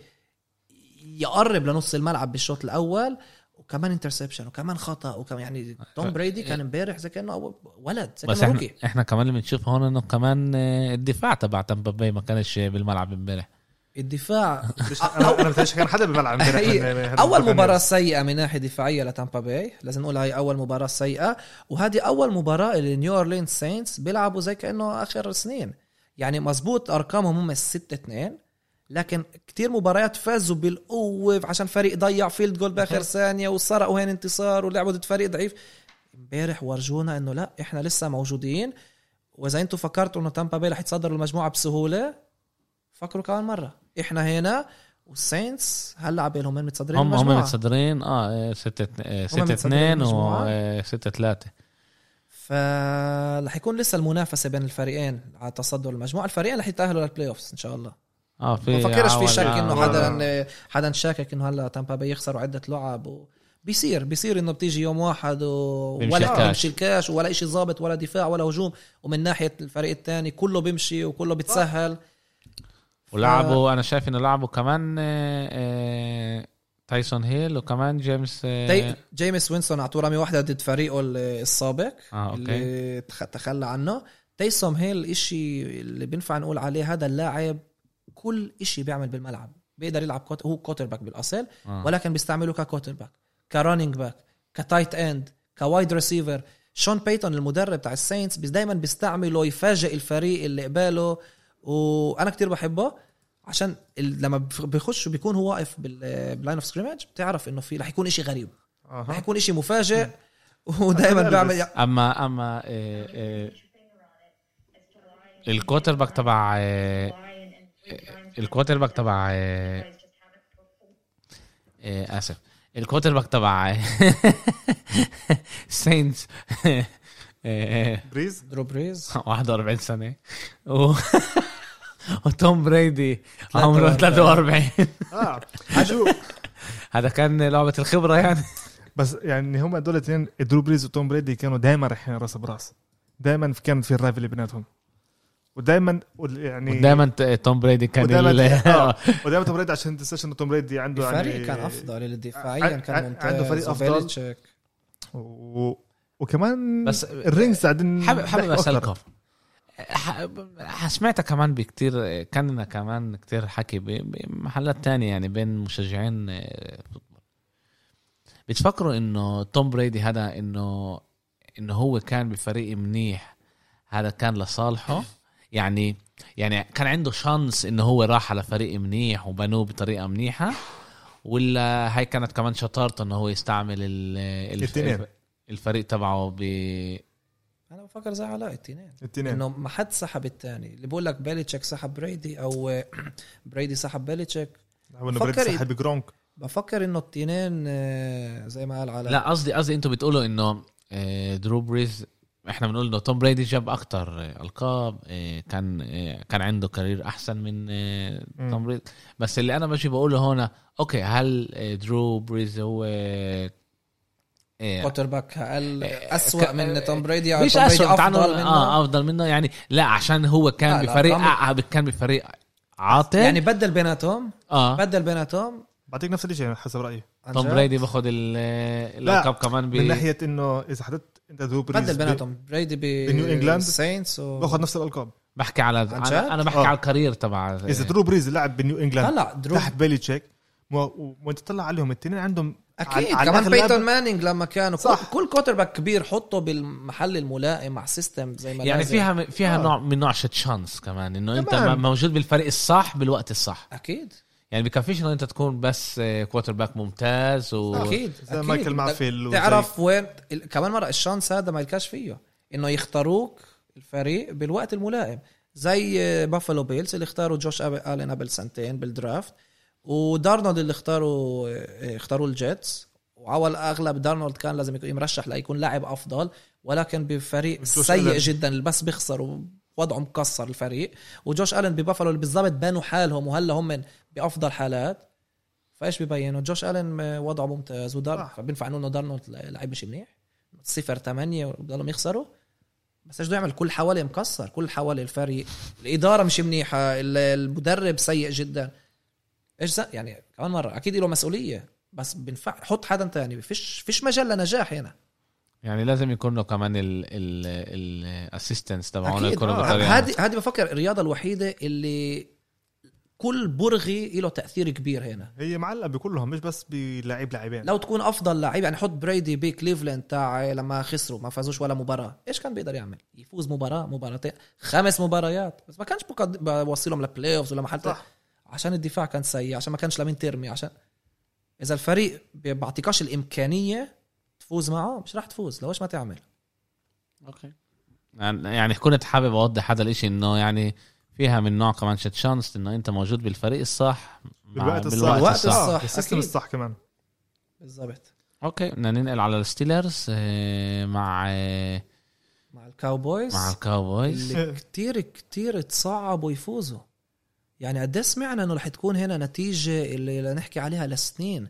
Speaker 3: يقرب لنص الملعب بالشوط الاول وكمان انترسبشن وكمان خطا وكمان يعني توم بريدي كان امبارح زي كانه أول- ولد زي
Speaker 1: بس
Speaker 3: كانه
Speaker 1: احنا
Speaker 3: روكي
Speaker 1: احنا كمان اللي بنشوف هون انه كمان آه، الدفاع تبع تامبا باي ما كانش بالملعب امبارح
Speaker 3: الدفاع
Speaker 2: بديش- انا أنا بديش كان حدا ببلع امبارح
Speaker 3: هي-
Speaker 2: من- من- من-
Speaker 3: اول
Speaker 2: من-
Speaker 3: مباراه سيئه من ناحيه دفاعيه لتامبا باي لازم نقول هاي اول مباراه سيئه وهذه اول مباراه اللي نيو اورلينز ساينتس بيلعبوا زي كانه اخر سنين يعني مزبوط ارقامهم هم 6 2 لكن كتير مباريات فازوا بالقوه عشان فريق ضيع فيلد جول باخر ثانيه وسرقوا هين انتصار ولعبوا ضد فريق ضعيف امبارح ورجونا انه لا احنا لسه موجودين واذا انتم فكرتوا انه تامبا باي رح يتصدروا المجموعه بسهوله فكروا كمان مره احنا هنا والساينتس هلا عبالهم من متصدرين
Speaker 1: هم هم
Speaker 3: المجموعه
Speaker 1: متصدرين اه 6 6
Speaker 3: متصدرين
Speaker 1: 2
Speaker 3: المجموعة.
Speaker 1: و آه، 6 3
Speaker 3: فرح يكون لسه المنافسه بين الفريقين على تصدر المجموعه الفريقين رح يتاهلوا للبلاي اوفز ان شاء الله
Speaker 1: اه في
Speaker 3: ما فكرش في
Speaker 1: عوض-
Speaker 3: شك انه
Speaker 1: آه.
Speaker 3: حدا حدا شاكك انه هلا تامبا باي يخسروا عده لعب و... بيصير بيصير انه بتيجي يوم واحد و...
Speaker 1: بيمشي
Speaker 3: ولا
Speaker 1: الكاش.
Speaker 3: بيمشي الكاش ولا شيء ظابط ولا دفاع ولا هجوم ومن ناحيه الفريق الثاني كله بيمشي وكله بتسهل
Speaker 1: ولعبوا انا شايف انه لعبوا كمان آه، آه، تايسون هيل وكمان جيمس آه،
Speaker 3: تي... طيب، جيمس وينسون اعطوه رمي واحده ضد فريقه ال- السابق
Speaker 1: آه، أوكي.
Speaker 3: اللي تخ- تخلى عنه تيسوم هيل الشيء اللي بينفع نقول عليه هذا اللاعب كل إشي بيعمل بالملعب بيقدر يلعب كوت... هو كوتر باك بالاصل
Speaker 1: آه.
Speaker 3: ولكن بيستعملوه ككوتر باك كرانينج باك كتايت اند كوايد ريسيفر شون بيتون المدرب تاع الساينتس بس دايما بيستعمله يفاجئ الفريق اللي قباله وانا كتير بحبه عشان ال- لما بف- بيخش بيكون هو واقف بال- باللاين اوف سكريمج بتعرف انه في رح يكون إشي غريب رح
Speaker 2: أها.
Speaker 3: يكون إشي مفاجئ ودائما بيعمل
Speaker 1: اما اما آه، آه، الكوتر باك تبع آه، آه، الكوتر باك تبع آه، آه، اسف الكوتر باك تبع آه، سينز آه،
Speaker 2: بريز
Speaker 3: درو بريز
Speaker 1: 41 سنه و وتوم بريدي عمره
Speaker 3: 43.
Speaker 2: آه.
Speaker 1: 43
Speaker 2: اه شو
Speaker 1: هذا كان لعبه الخبره يعني
Speaker 2: بس يعني هم هدول الاثنين درو بريز وتوم بريدي كانوا دائما رايحين راس براس دائما كان في الرايفل بيناتهم ودائما يعني
Speaker 1: دائما توم بريدي كان
Speaker 2: ودائما
Speaker 1: ال-
Speaker 2: آه، ودائما توم بريدي عشان تنساش انه توم بريدي عنده
Speaker 3: الفريق
Speaker 2: يعني-
Speaker 3: كان افضل دفاعيا
Speaker 2: عن- عن-
Speaker 3: كان ممتاز
Speaker 2: عنده فريق أفضل.
Speaker 3: وفيلتشيك.
Speaker 2: و... وكمان
Speaker 1: بس-
Speaker 2: بس الرينجز قاعدين
Speaker 1: حابب حابب
Speaker 2: نحكي أكتر.
Speaker 1: اسالكم ح- سمعت كمان بكتير كان لنا كمان كتير حكي ب- بمحلات تانية يعني بين مشجعين آه، فوتبول بتفكروا انه توم بريدي هذا انه انه هو كان بفريق منيح هذا كان لصالحه يعني يعني كان عنده شانس انه هو راح على فريق منيح وبنوه بطريقه منيحه ولا هاي كانت كمان شطارته انه هو يستعمل ال-
Speaker 2: الاتنين.
Speaker 1: الف الفريق تبعه ب
Speaker 3: انا بفكر زي علاء التنين
Speaker 2: التنين
Speaker 1: نعم.
Speaker 3: انه ما حد سحب الثاني اللي بقول لك بيليتشيك سحب بريدي او بريدي سحب بيليتشيك
Speaker 2: هو انه بريد
Speaker 3: فكر-
Speaker 2: سحب جرونك
Speaker 3: بفكر انه التنين آه، زي ما قال علاء
Speaker 1: لا قصدي قصدي انتم بتقولوا انه آه، درو بريز احنا بنقول انه توم بريدي جاب اكتر آه، القاب آه، كان آه، كان عنده كارير احسن من آه،
Speaker 2: مم.
Speaker 1: توم بريدي بس اللي انا ماشي بقوله هنا اوكي هل آه، درو بريز هو آه، آه،
Speaker 3: كوتر باك اقل
Speaker 1: آه،
Speaker 3: اسوء
Speaker 1: ك- آه،
Speaker 3: من توم بريدي او
Speaker 1: مش
Speaker 3: توم بريدي
Speaker 1: اسوء افضل
Speaker 3: افضل
Speaker 1: منه
Speaker 3: منه
Speaker 1: اه افضل منه يعني لا عشان هو كان
Speaker 3: لا، لا،
Speaker 1: بفريق
Speaker 3: طم-
Speaker 1: آه، آه، كان بفريق عاطل
Speaker 3: يعني
Speaker 1: يعني
Speaker 3: بدل بيناتهم
Speaker 1: اه
Speaker 3: بدل بيناتهم
Speaker 2: بعطيك نفس الشيء حسب رايي
Speaker 3: عن
Speaker 1: توم
Speaker 3: جد.
Speaker 1: بريدي باخذ ال- آه،
Speaker 2: لا،
Speaker 1: الالقاب كمان ب-
Speaker 2: من ناحيه انه اذا حددت انت درو بريز
Speaker 3: بدل
Speaker 2: ب-
Speaker 3: بيناتهم بريدي ب
Speaker 2: بنيو إنجلاند؟
Speaker 3: ساينتس
Speaker 2: باخذ نفس الالقاب
Speaker 1: بحكي على
Speaker 3: عن جد؟
Speaker 1: انا أنا بحكي
Speaker 2: آه.
Speaker 1: على الكارير تبع
Speaker 2: اذا درو بريز لعب بنيو انجلاند
Speaker 3: هلا درو
Speaker 2: تحت بيليتشيك وانت تطلع عليهم التنين عندهم
Speaker 3: اكيد
Speaker 2: على
Speaker 3: كمان
Speaker 2: الأغلب-
Speaker 3: بيتون مانينج لما كانوا
Speaker 2: صح.
Speaker 3: صح. كل كوتر باك كبير حطه بالمحل الملائم مع سيستم زي ما
Speaker 1: يعني
Speaker 3: لازم.
Speaker 1: فيها فيها
Speaker 2: آه.
Speaker 1: نوع من نوع شانس كمان انه انت
Speaker 2: كمان.
Speaker 1: م- موجود بالفريق الصح بالوقت الصح
Speaker 3: اكيد
Speaker 1: يعني بكفيش انه انت تكون بس كوارتر باك ممتاز و
Speaker 3: اكيد
Speaker 2: زي
Speaker 3: أكيد.
Speaker 2: مايكل معفيل وزي-
Speaker 3: تعرف وين ال- كمان مره الشانس هذا ما يلكاش فيه انه يختاروك الفريق بالوقت الملائم زي آه، بافالو بيلز اللي اختاروا جوش أب- الين قبل سنتين بالدرافت ودارنولد اللي اختاروا آه، اختاروا الجيتس وعول اغلب دارنولد كان لازم يكون مرشح ليكون لاعب افضل ولكن بفريق
Speaker 2: جوش
Speaker 3: سيء
Speaker 2: ألين.
Speaker 3: جدا اللي بس بيخسر ووضعه مكسر الفريق وجوش الين ببافالو اللي بالضبط بانوا حالهم وهلا هم من بافضل حالات فايش ببينوا جوش الين وضعه ممتاز ودار
Speaker 2: صح.
Speaker 3: فبينفع نقول انه دارنولد لعيب مش منيح صفر 8 وبضلهم يخسروا بس ايش بده يعمل كل حوالي مكسر كل حوالي الفريق الاداره مش منيحه ال- المدرب سيء جدا ايش ز- يعني كمان مره اكيد له مسؤوليه بس بينفع حط حدا تاني فيش فيش مجال لنجاح هنا
Speaker 1: يعني لازم يكون له كمان ال ال الاسيستنس تبعهم
Speaker 3: اكيد
Speaker 1: يكونوا
Speaker 2: آه.
Speaker 1: بطريقه
Speaker 3: هذه هذه بفكر الرياضه الوحيده اللي كل برغي له تاثير كبير هنا
Speaker 2: هي معلقه بكلهم مش بس بلاعب لاعبين
Speaker 3: لو تكون افضل لعيب يعني حط بريدي بكليفلاند تاع لما خسروا ما فازوش ولا مباراه ايش كان بيقدر يعمل يفوز مباراه مباراتين خمس مباريات بس ما كانش بقد- بوصلهم لبلاي اوفز ولا محل
Speaker 2: صح.
Speaker 3: عشان الدفاع كان سيء عشان ما كانش لمين ترمي عشان اذا الفريق ب- بعطيكاش الامكانيه تفوز معه مش راح تفوز لو ايش ما تعمل
Speaker 1: اوكي يعني يعني كنت حابب اوضح هذا الاشي انه يعني فيها من نوع كمان شت شانس انه انت موجود بالفريق الصح مع-
Speaker 2: بالوقت الصح
Speaker 1: بالوقت الصح
Speaker 3: الصح.
Speaker 2: آه، السيستم
Speaker 3: أكيد.
Speaker 2: الصح كمان
Speaker 3: بالضبط
Speaker 1: اوكي بدنا ننقل على الستيلرز آه، مع آه،
Speaker 3: مع الكاوبويز
Speaker 1: مع الكاوبويز
Speaker 3: اللي كتير كتير تصعبوا يفوزوا يعني قد إيه سمعنا انه رح تكون هنا نتيجه اللي نحكي عليها لسنين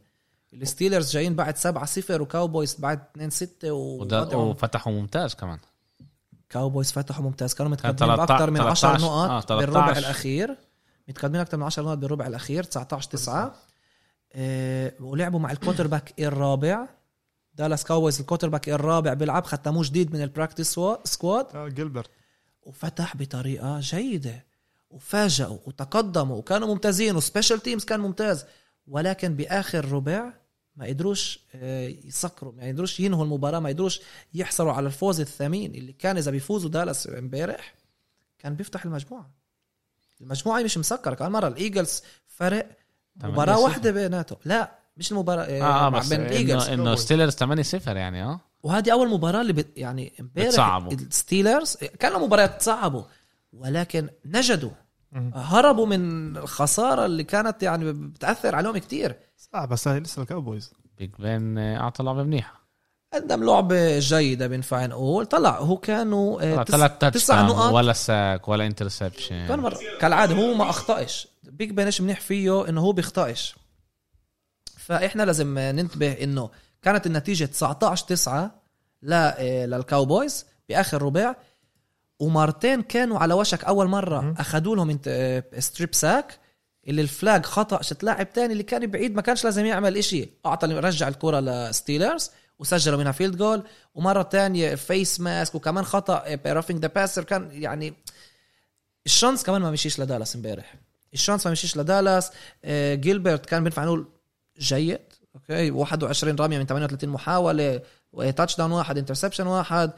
Speaker 3: الستيلرز جايين بعد 7 0 وكاوبويز بعد 2 6
Speaker 1: وده-
Speaker 3: و
Speaker 1: وفتحوا ممتاز كمان
Speaker 3: كاوبويز فتحوا ممتاز كانوا
Speaker 1: كان
Speaker 3: متقدمين باكثر من
Speaker 1: 13
Speaker 3: 10
Speaker 1: آه،
Speaker 3: نقط
Speaker 1: 13
Speaker 3: بالربع الاخير متقدمين اكثر من 10 نقط بالربع الاخير 19 9 إيه ولعبوا مع الكوتر باك الرابع دالاس كاوبويز الكوتر باك الرابع بيلعب ختموه جديد من البراكتس سكواد
Speaker 2: آه، جيلبرت
Speaker 3: وفتح بطريقه جيده وفاجئوا وتقدموا وكانوا ممتازين وسبيشال تيمز كان ممتاز ولكن باخر ربع ما قدروش آه، يسكروا ما قدروش ينهوا المباراه ما قدروش يحصلوا على الفوز الثمين اللي كان اذا بيفوزوا دالاس امبارح كان بيفتح المجموعه المجموعه مش مسكره كمان مره الايجلز فرق
Speaker 1: تمانية
Speaker 3: مباراه
Speaker 1: صفر.
Speaker 3: واحده بيناتهم لا مش المباراه
Speaker 1: اه
Speaker 3: آه
Speaker 1: آه،
Speaker 3: مع
Speaker 1: بس
Speaker 3: بين الايجلز
Speaker 1: انه انه ستيلرز 8 0 يعني اه
Speaker 3: وهذه اول مباراه اللي بت يعني امبارح
Speaker 1: بتصعبوا.
Speaker 3: الستيلرز كانوا مباريات صعبوا ولكن نجدوا
Speaker 2: مم.
Speaker 3: هربوا من الخساره اللي كانت يعني بتاثر عليهم كتير
Speaker 2: صح آه، بس هاي لسه الكاوبويز
Speaker 1: بيج بان آه، اعطى لعبه منيحه
Speaker 3: قدم لعبه جيده بينفع نقول طلع هو كانوا آه، تس-
Speaker 1: ثلاث تاتش
Speaker 3: تسع نقط
Speaker 1: ولا ساك ولا
Speaker 3: كان
Speaker 1: انترسبشن
Speaker 3: مرة كالعاده هو ما اخطاش بيج بانش منيح فيه انه هو بيخطاش فاحنا لازم ننتبه انه كانت النتيجه 19 9 للكاوبويز باخر آه، ربع ومرتين كانوا على وشك اول مره
Speaker 2: مم.
Speaker 3: اخذوا لهم انت- ستريب ساك اللي الفلاج خطا شت لاعب تاني اللي كان بعيد ما كانش لازم يعمل إشي اعطى رجع الكره لستيلرز وسجلوا منها فيلد جول ومره تانية فيس ماسك وكمان آه، خطا رافينج ذا باسر كان يعني الشانس كمان ما مشيش لدالاس امبارح الشانس ما مشيش لدالاس آه، جيلبرت كان بينفع نقول جيد اوكي 21 رميه من 38 محاوله تاتش داون واحد انترسبشن واحد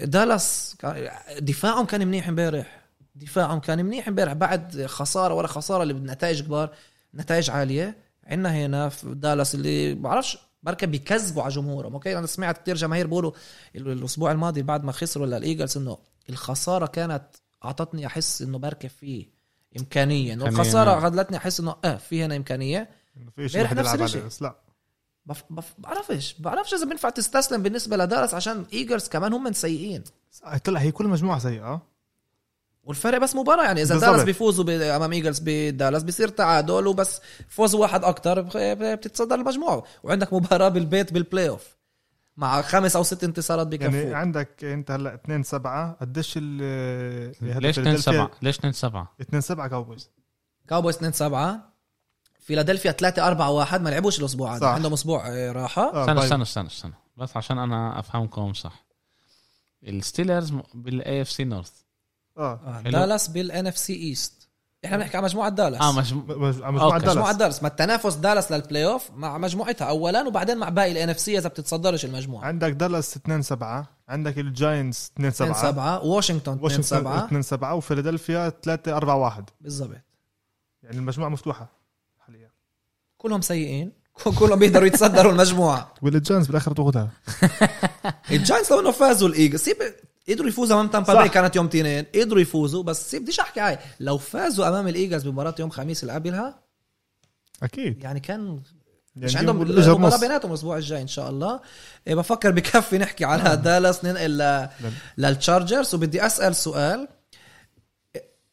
Speaker 3: دالاس كان- دفاعهم كان منيح امبارح دفاعهم كان منيح امبارح بعد خساره ورا خساره اللي بنتائج كبار نتائج عاليه عندنا هنا في دالاس اللي بعرفش بركة بيكذبوا على جمهورهم اوكي انا سمعت كتير جماهير بيقولوا ال- الاسبوع الماضي بعد ما خسروا للايجلز انه الخساره كانت اعطتني احس انه بركة في امكانيه انه
Speaker 1: خلينا-
Speaker 3: الخساره خلتني احس انه اه في هنا امكانيه
Speaker 2: انه في شيء
Speaker 3: امبارح
Speaker 2: حد
Speaker 3: نفس
Speaker 2: يلعب
Speaker 3: الشيء.
Speaker 2: عليه بس لا
Speaker 3: بف... بف... بعرفش بعرفش اذا بينفع تستسلم بالنسبه لدالاس عشان ايجرز كمان هم سيئين
Speaker 2: طلع هي آه، كل آه. مجموعه سيئه
Speaker 3: والفرق بس مباراه يعني اذا
Speaker 2: بالضبط.
Speaker 3: دالاس بيفوزوا ب- امام ايجلز بدالاس بصير تعادل وبس فوز واحد اكثر بتتصدر المجموعه وعندك مباراه بالبيت بالبلاي اوف مع خمس او ست انتصارات بكفوا
Speaker 2: يعني
Speaker 3: يعني
Speaker 2: عندك انت هلا 2 7 قديش ال آه،
Speaker 1: ليش 2 7 ليش 2 7
Speaker 2: 2 7 كاوبويز
Speaker 3: كاوبويز 2 7 فيلادلفيا 3 4 1 ما لعبوش الاسبوع هذا
Speaker 2: صح.
Speaker 3: عندهم اسبوع آه، راحه
Speaker 2: آه،
Speaker 1: استنى
Speaker 2: طيب.
Speaker 1: استنى استنى استنى بس عشان انا افهمكم صح الستيلرز بالاي اف سي نورث
Speaker 2: اه
Speaker 3: آه،
Speaker 1: حلو.
Speaker 3: دالاس بالان اف سي ايست احنا بنحكي على مجموعه دالاس
Speaker 1: اه مش
Speaker 2: مجموعه
Speaker 1: أوكي.
Speaker 3: مجموعه
Speaker 2: دالاس
Speaker 3: دالاس ما التنافس دالاس للبلاي اوف مع مجموعتها اولا وبعدين مع باقي الان اف سي اذا بتتصدرش المجموعه
Speaker 2: عندك دالاس 2 7 عندك الجاينتس 2
Speaker 3: 2
Speaker 2: 7
Speaker 3: 7 واشنطن 2
Speaker 2: واشنطن
Speaker 3: 7
Speaker 2: 2 7 وفيلادلفيا 3 4 1
Speaker 3: بالضبط
Speaker 2: يعني المجموعه مفتوحه حاليا
Speaker 3: كلهم سيئين كلهم بيقدروا يتصدروا المجموعه
Speaker 2: والجاينتس بالاخر تاخذها
Speaker 3: الجاينتس لو انه فازوا الايجلز سيب قدروا يفوزوا امام تامبا
Speaker 2: صح.
Speaker 3: باي كانت يوم تنين قدروا يفوزوا بس سيب بديش احكي هاي لو فازوا امام الايجلز بمباراه يوم خميس اللي قبلها
Speaker 2: اكيد
Speaker 3: يعني كان
Speaker 2: يعني
Speaker 3: مش عندهم
Speaker 2: الإجر
Speaker 3: المباراه
Speaker 2: نص.
Speaker 3: بيناتهم الاسبوع الجاي ان شاء الله إيه، بفكر بكفي نحكي على دالاس ننقل ل- للتشارجرز وبدي اسال سؤال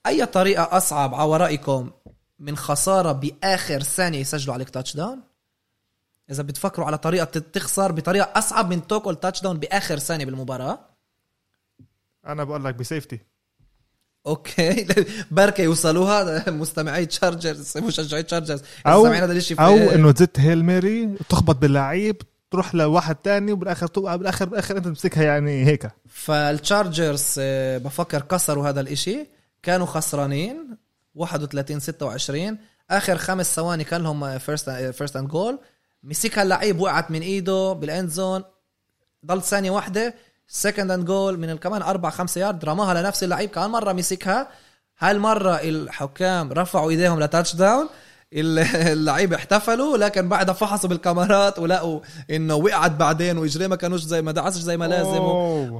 Speaker 3: اي طريقه اصعب على رايكم من خساره باخر ثانيه يسجلوا عليك تاتش داون اذا بتفكروا على طريقه تت- تخسر بطريقه اصعب من تاكل تاتش داون باخر ثانيه بالمباراه
Speaker 2: انا بقول لك بسيفتي
Speaker 3: اوكي بركه يوصلوها مستمعي تشارجرز مشجعي تشارجرز
Speaker 2: او
Speaker 3: سامعين هذا الشيء
Speaker 2: او انه تزت هيل ميري تخبط باللعيب تروح لواحد تاني وبالاخر توقع بالاخر بالاخر انت تمسكها يعني هيك
Speaker 3: فالتشارجرز آه، بفكر كسروا هذا الاشي كانوا خسرانين 31 26 اخر خمس ثواني كان لهم آه، فيرست فيرست اند جول مسكها اللعيب وقعت من ايده بالاند زون ضل ثانيه واحده سكند اند جول من كمان اربع خمسة يارد رماها لنفس اللعيب كمان مره مسكها هالمره الحكام رفعوا ايديهم لتاتش داون ال- اللعيبه احتفلوا لكن بعدها فحصوا بالكاميرات ولقوا انه وقعت بعدين واجريه ما كانوش زي ما دعسش زي ما لازم و...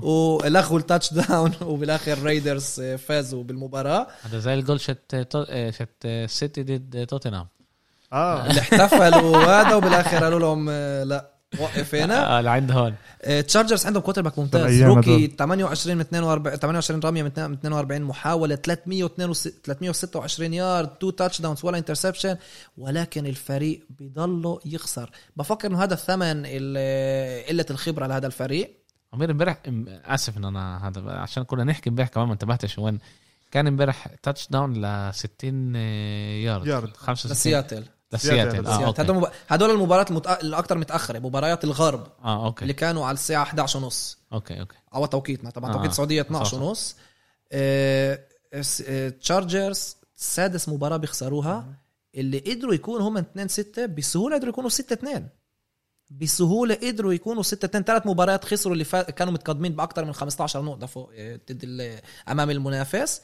Speaker 2: أوه.
Speaker 3: ولغوا التاتش داون وبالاخر ريدرز آه، فازوا بالمباراه
Speaker 1: هذا زي الجول شت تو- آه، شت آه، سيتي ضد توتنهام
Speaker 2: اه
Speaker 3: اللي احتفلوا هذا وبالاخر قالوا لهم آه، لا وقف هنا
Speaker 1: آه، لعند هون
Speaker 3: تشارجرز عندهم كوتر باك ممتاز
Speaker 2: الأيام
Speaker 3: روكي
Speaker 2: هدول.
Speaker 3: 28 من 42 28 رميه من 42 محاوله 326 326 يارد تو تاتش داونز ولا انترسبشن ولكن الفريق بضله يخسر بفكر انه هذا الثمن ال- قله الخبره لهذا الفريق
Speaker 1: عمير امبارح ام- اسف ان انا هذا بقى، عشان كنا نحكي امبارح كمان ما انتبهتش وين كان امبارح آه، تاتش داون ل 60 يارد
Speaker 2: يارد.
Speaker 1: 65
Speaker 3: لسياتل
Speaker 1: لسياتل اه
Speaker 3: سياتل.
Speaker 1: اوكي
Speaker 3: هدول مب- هدول المباريات المتأ... الاكثر متاخره مباريات الغرب
Speaker 1: اه
Speaker 3: اللي
Speaker 1: اوكي
Speaker 3: كانوا على الساعه 11 ونص
Speaker 1: اوكي اوكي
Speaker 3: على توقيتنا طبعا
Speaker 1: آه.
Speaker 3: توقيت السعوديه
Speaker 1: صح،
Speaker 3: 12
Speaker 1: صح.
Speaker 3: ونص آه، الس- آه، تشارجرز سادس مباراه
Speaker 1: آه.
Speaker 3: بيخسروها اللي قدروا يكونوا هم 2 6 بسهوله قدروا يكونوا 6 2 بسهوله قدروا يكونوا 6 2 ثلاث مباريات خسروا اللي فا... كانوا متقدمين باكثر من 15 نقطه فوق آه، ضد ال- امام المنافس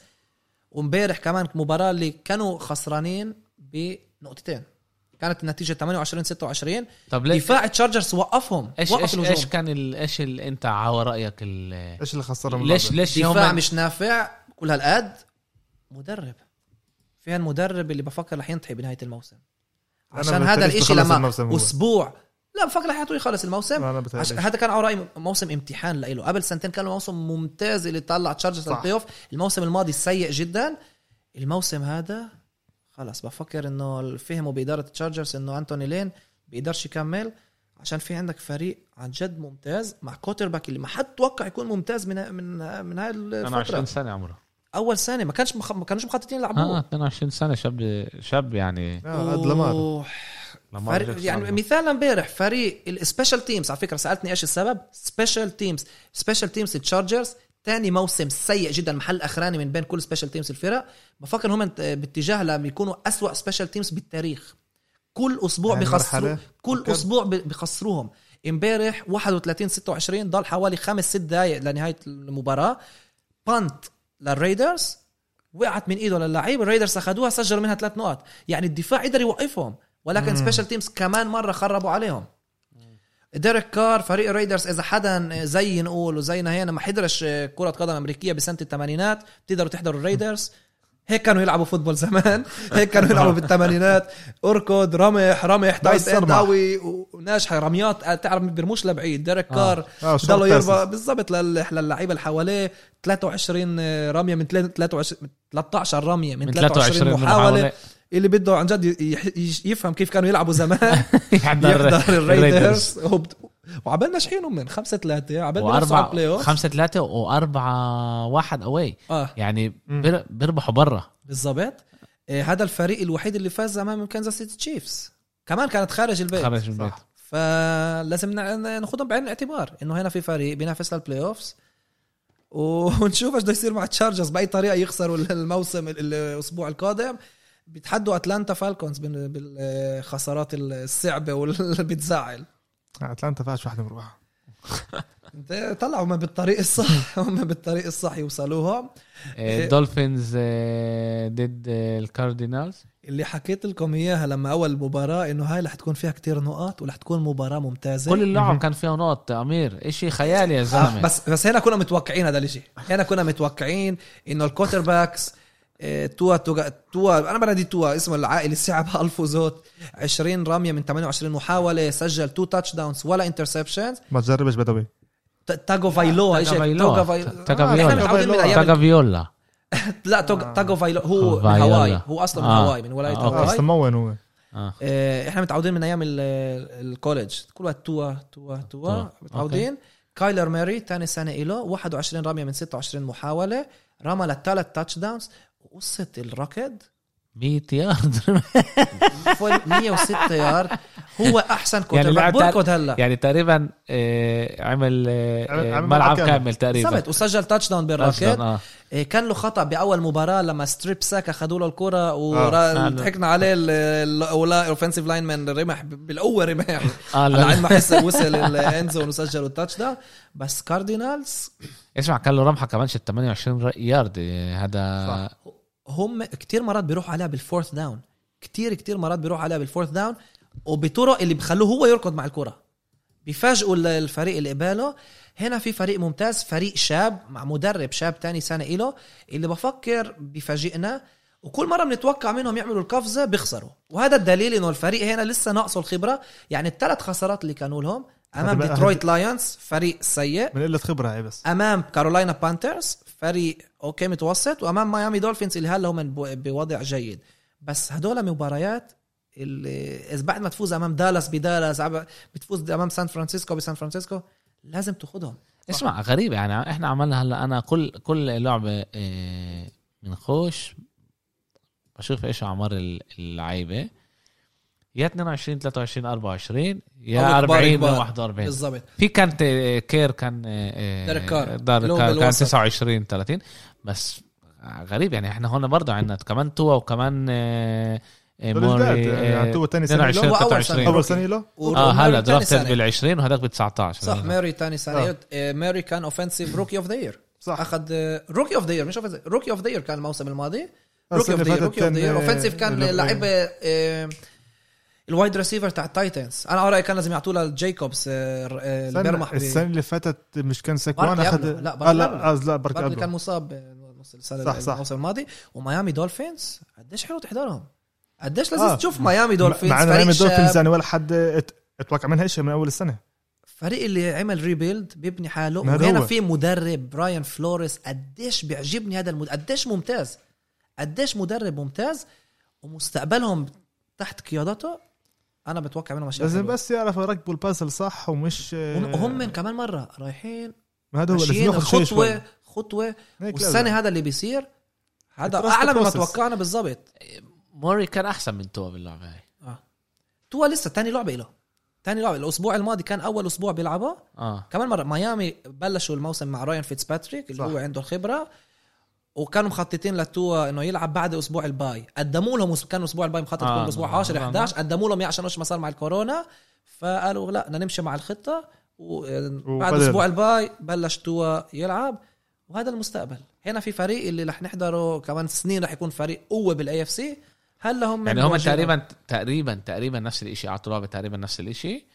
Speaker 3: وامبارح كمان مباراه اللي كانوا خسرانين بنقطتين كانت النتيجه 28 26
Speaker 1: طب ليه
Speaker 3: دفاع تشارجرز وقفهم
Speaker 1: ايش
Speaker 3: وقف
Speaker 1: ايش
Speaker 3: الهجوم.
Speaker 1: ايش كان ال- ايش ال- انت على رايك ال-
Speaker 2: ايش اللي خسرها من
Speaker 1: ليش
Speaker 2: الأرض؟
Speaker 1: ليش
Speaker 3: دفاع
Speaker 1: يوم
Speaker 3: مش نافع كل هالقد مدرب فيها المدرب اللي بفكر رح ينتهي بنهايه الموسم
Speaker 2: أنا
Speaker 3: عشان
Speaker 2: بتخلص
Speaker 3: هذا الاشي
Speaker 2: بخلص
Speaker 3: لما
Speaker 2: الموسم هو.
Speaker 3: اسبوع لا بفكر رح يعطوه يخلص الموسم
Speaker 2: انا بتهيألي.
Speaker 3: عش... هذا كان على رايي موسم امتحان لإله قبل سنتين كان موسم ممتاز اللي طلع تشارجرز
Speaker 2: صح.
Speaker 3: للبلاي اوف الموسم الماضي سيء جدا الموسم هذا خلص بفكر انه فهموا باداره تشارجرز انه انتوني لين بيقدرش يكمل عشان في عندك فريق عن جد ممتاز مع كوتر باك اللي ما حد توقع يكون ممتاز من من من
Speaker 1: انا
Speaker 3: هاي الفتره
Speaker 1: 20 سنه عمره
Speaker 3: اول سنه ما كانش مخ... ما كانوش مخططين
Speaker 1: اه
Speaker 3: يلعبوه
Speaker 1: 22 سنه شاب شاب يعني
Speaker 2: آه، قد لمار
Speaker 3: أوه.
Speaker 1: لامار
Speaker 3: فريق
Speaker 1: جاكسون
Speaker 3: يعني
Speaker 1: عمره.
Speaker 3: مثال امبارح فريق السبيشال تيمز على فكره سالتني ايش السبب سبيشال تيمز سبيشال تيمز التشارجرز تاني موسم سيء جدا محل اخراني من بين كل سبيشال تيمز الفرق بفكر هم انت- باتجاه لما يكونوا أسوأ سبيشال تيمز بالتاريخ كل اسبوع
Speaker 2: يعني
Speaker 3: بيخسروا
Speaker 2: مرحلة.
Speaker 3: كل
Speaker 2: أوكي.
Speaker 3: اسبوع بي- بيخسروهم امبارح 31 26 ضل حوالي خمس ست دقائق لنهايه المباراه بانت للريدرز وقعت من ايده للاعيب الريدرز اخذوها سجلوا منها ثلاث نقط يعني الدفاع قدر يوقفهم ولكن سبيشال تيمز كمان مره خربوا عليهم ديريك كار فريق الريدرز اذا حدا زي نقول وزينا هنا ما حضرش كره قدم امريكيه بسنه الثمانينات بتقدروا تحضروا الريدرز هيك كانوا يلعبوا فوتبول زمان هيك كانوا يلعبوا بالثمانينات اركض رمح رمح تايت اند
Speaker 2: صرمح.
Speaker 3: قوي وناجحه رميات تعرف بيرموش لبعيد ديريك كار
Speaker 2: آه، short
Speaker 3: ضلوا يربى
Speaker 2: passes.
Speaker 3: بالضبط لل- للعيبه اللي حواليه 23 رميه من 23 من 13 رميه من,
Speaker 1: من
Speaker 3: 23
Speaker 1: 23
Speaker 3: محاوله
Speaker 1: محاوله
Speaker 3: اللي بده عن جد يح- يش- يفهم كيف كانوا يلعبوا زمان
Speaker 1: يحضر الريدرز
Speaker 3: يحضر الريدرز وبد- وعبال ناجحينهم من 5 3 عبال بينافسوا على البلاي
Speaker 1: واربعة
Speaker 3: اوف
Speaker 1: خمسة ثلاثة واربعة واحد اواي
Speaker 3: اه
Speaker 1: يعني
Speaker 2: مم.
Speaker 1: بير- بيربحوا برا
Speaker 3: بالضبط آه، هذا الفريق الوحيد اللي فاز امام كانزاس سيتي تشيفز كمان كانت خارج البيت
Speaker 1: خارج من البيت
Speaker 2: صح.
Speaker 3: فلازم نع- ناخذهم بعين الاعتبار انه هنا في فريق بينافس للبلاي اوفز و- ونشوف ايش بده يصير مع التشارجرز باي طريقه يخسروا الموسم ال- الاسبوع القادم بيتحدوا اتلانتا فالكونز بال- بالخسارات الصعبه واللي بتزعل
Speaker 2: اتلانتا فاش واحده مروحه
Speaker 3: انت طلعوا هم بالطريق الصح هم بالطريق الصح يوصلوهم
Speaker 1: دولفينز آه، ضد آه، الكاردينالز
Speaker 3: اللي حكيت لكم اياها لما اول مباراه انه هاي رح تكون فيها كتير نقاط ورح تكون مباراه ممتازه
Speaker 1: كل اللعب كان فيها نقط امير اشي خيالي يا
Speaker 3: آه،
Speaker 1: زلمه
Speaker 3: بس بس هنا كنا متوقعين هذا الشيء هنا كنا متوقعين انه الكوتر باكس آه، توا توا توا انا بنادي توا اسمه العائلي الصعب الفو زوت 20 رميه من 28 محاوله سجل 2 تاتش داونز ولا انترسبشنز
Speaker 2: ما تجربش بدوي
Speaker 3: تاجو فايلو ايش هيك؟ توغا فايلو. آه،
Speaker 1: تاغافيولا
Speaker 3: نحن متعودين من ايام
Speaker 1: تاغافيولا
Speaker 3: لا توغ- تاجو فايلو آه. هو
Speaker 1: فايولا.
Speaker 3: هواي هو اصلا من
Speaker 1: آه.
Speaker 3: هواي من ولايه
Speaker 1: آه،
Speaker 2: آه،
Speaker 3: هواي
Speaker 2: اصلا موين هو
Speaker 1: آه.
Speaker 3: آه، احنا متعودين من ايام ال- الكوليدج كل وقت توا توا توا
Speaker 1: توا.
Speaker 3: متعودين كايلر ماري ثاني سنه له 21 رميه من 26 محاوله رمى للثلاث تاتش داونز قصه الركض
Speaker 1: 100 يارد
Speaker 3: فوق 106 يارد هو احسن كوتر
Speaker 1: يعني
Speaker 3: يعني
Speaker 1: لعب
Speaker 3: بركض هلا
Speaker 1: يعني تقريبا آه، عمل
Speaker 2: عمل-
Speaker 1: آه،
Speaker 2: عمل
Speaker 1: ملعب
Speaker 2: ملعب
Speaker 1: كامل
Speaker 2: كامل.
Speaker 1: تقريبا
Speaker 3: بالضبط وسجل تاتش داون بالركض
Speaker 1: أصلاً، آه.
Speaker 3: إيه، كان له خطا باول مباراه لما ستريب ساك اخذوا له الكره
Speaker 1: آه.
Speaker 3: وضحكنا عليه الاوفنسيف لاين مان رمح بالقوه رمح
Speaker 1: آه، لا.
Speaker 3: على عين ما حس وصل الاند زون وسجلوا التاتش داون بس كاردينالز
Speaker 1: اسمع كان له رمحه كمان 28 ر- يارد آه، هذا
Speaker 3: هم كتير مرات بيروحوا عليها بالفورث داون كتير كتير مرات بيروحوا عليها بالفورث داون وبطرق اللي بخلوه هو يركض مع الكره بيفاجئوا ال- الفريق اللي قباله هنا في فريق ممتاز فريق شاب مع مدرب شاب تاني سنة إله اللي بفكر بيفاجئنا وكل مرة بنتوقع منهم يعملوا القفزة بيخسروا وهذا الدليل انه الفريق هنا لسه ناقصه الخبرة يعني الثلاث خسارات اللي كانوا لهم أمام
Speaker 2: هذا بقى-
Speaker 3: ديترويت لايونز فريق سيء
Speaker 2: من قله خبره هي بس
Speaker 3: امام كارولاينا بانترز فريق اوكي متوسط وامام ميامي دولفينز اللي هلا هم بو- بوضع جيد بس هدول مباريات اللي اذا بعد ما تفوز امام دالاس بدالاس عب- بتفوز امام سان فرانسيسكو بسان فرانسيسكو لازم تاخذهم
Speaker 1: اسمع غريب يعني احنا عملنا هلا انا كل كل لعبه آه، بنخش بشوف ايش اعمار ال- اللعيبه يا 22 23 24 يا
Speaker 3: أو كبار
Speaker 1: 40
Speaker 3: كبار.
Speaker 1: 41
Speaker 3: بالضبط
Speaker 1: في كان ت- كير كان آه،
Speaker 3: ديريك كار.
Speaker 1: دار
Speaker 3: اللي هو
Speaker 1: كار كان
Speaker 3: بالوسط.
Speaker 1: 29 30 بس غريب يعني احنا هون برضه عندنا كمان توا وكمان آه، آه،
Speaker 2: دول جداد،
Speaker 1: موري
Speaker 2: يعني
Speaker 1: آه،
Speaker 2: عطوه تاني سنه له
Speaker 1: 22
Speaker 3: هو أول سنة.
Speaker 1: 23
Speaker 2: اول سنه له
Speaker 1: اه هلا
Speaker 3: وماري تاني
Speaker 1: درافتد
Speaker 3: سنة.
Speaker 1: بال 20 وهذاك بال 19
Speaker 3: صح ماري تاني سنة
Speaker 2: آه.
Speaker 3: آه، ماري كان اوفنسيف روكي اوف ذا يير
Speaker 2: صح
Speaker 3: اخذ روكي اوف ذا يير مش روكي اوف ذا يير كان الموسم الماضي
Speaker 2: آه،
Speaker 3: روكي اوف
Speaker 2: السنة
Speaker 3: ذا
Speaker 2: اللي
Speaker 3: يير روكي اوف ذا
Speaker 2: فاتت
Speaker 3: يير
Speaker 2: كان-
Speaker 3: اوفنسيف كان
Speaker 2: آه،
Speaker 3: لعيب آه، الوايد ريسيفر تاع التايتنز انا على رايي كان لازم يعطوه لجيكوبس آه،
Speaker 2: السنة-
Speaker 3: البرمح
Speaker 2: السنه اللي فاتت مش كان ساكوان
Speaker 3: برك
Speaker 2: اخذ
Speaker 3: قبله. لا، برك
Speaker 2: آه، لا
Speaker 3: قبله.
Speaker 2: آه، لا برك
Speaker 3: برضه كان
Speaker 2: قبله.
Speaker 3: مصاب آه، نص السنه
Speaker 2: صح، صح.
Speaker 3: الموسم الماضي وميامي دولفينز قديش حلو تحضرهم قديش لازم
Speaker 2: آه.
Speaker 3: تشوف ميامي دولفينز
Speaker 2: مع انه
Speaker 3: فريق
Speaker 2: ايام الدولفينز
Speaker 3: شاب
Speaker 2: يعني ولا حد ات- اتوقع منها شيء من اول السنه
Speaker 3: فريق اللي عمل ريبيلد بيبني حاله
Speaker 2: ما هذا
Speaker 3: وهنا
Speaker 2: هو.
Speaker 3: في مدرب براين فلوريس قديش بيعجبني هذا المدرب قديش ممتاز قديش مدرب ممتاز ومستقبلهم تحت قيادته انا بتوقع منهم اشياء
Speaker 2: لازم
Speaker 3: حلوة.
Speaker 2: بس يعرفوا يركبوا البازل صح ومش آه،
Speaker 3: ون- وهم كمان مره رايحين
Speaker 2: ما هذا هو لازم
Speaker 3: ماشيين
Speaker 2: ياخذ شوي شوي
Speaker 3: خطوه خطوه
Speaker 2: هيك لازم.
Speaker 3: والسنه هذا اللي بيصير هذا
Speaker 2: Trust the
Speaker 3: اعلى مما
Speaker 2: process.
Speaker 3: توقعنا بالضبط
Speaker 1: موري كان احسن من توا باللعبه هاي
Speaker 3: اه توا لسه تاني لعبه له تاني لعبه الاسبوع الماضي كان اول اسبوع بيلعبها
Speaker 1: اه
Speaker 3: كمان مره ميامي بلشوا الموسم مع رايان فيتس باتريك اللي
Speaker 2: صح.
Speaker 3: هو عنده الخبره وكانوا مخططين لتوا انه يلعب بعد اسبوع الباي قدموا لهم كان اسبوع الباي مخطط
Speaker 1: آه،
Speaker 3: يكون اسبوع
Speaker 1: نعم،
Speaker 3: 10
Speaker 1: نعم.
Speaker 3: 11 قدموا لهم إياه عشان وش ما صار مع الكورونا فقالوا لا بدنا نمشي مع الخطه وبعد
Speaker 2: وبدل.
Speaker 3: اسبوع الباي بلش توا يلعب وهذا المستقبل هنا في فريق اللي رح نحضره كمان سنين رح يكون فريق قوه بالاي اف سي هلا هم
Speaker 1: يعني هم
Speaker 3: مواجهين-
Speaker 1: تقريبا تقريبا تقريبا نفس الاشي اعطوا لعبه تقريبا نفس الاشي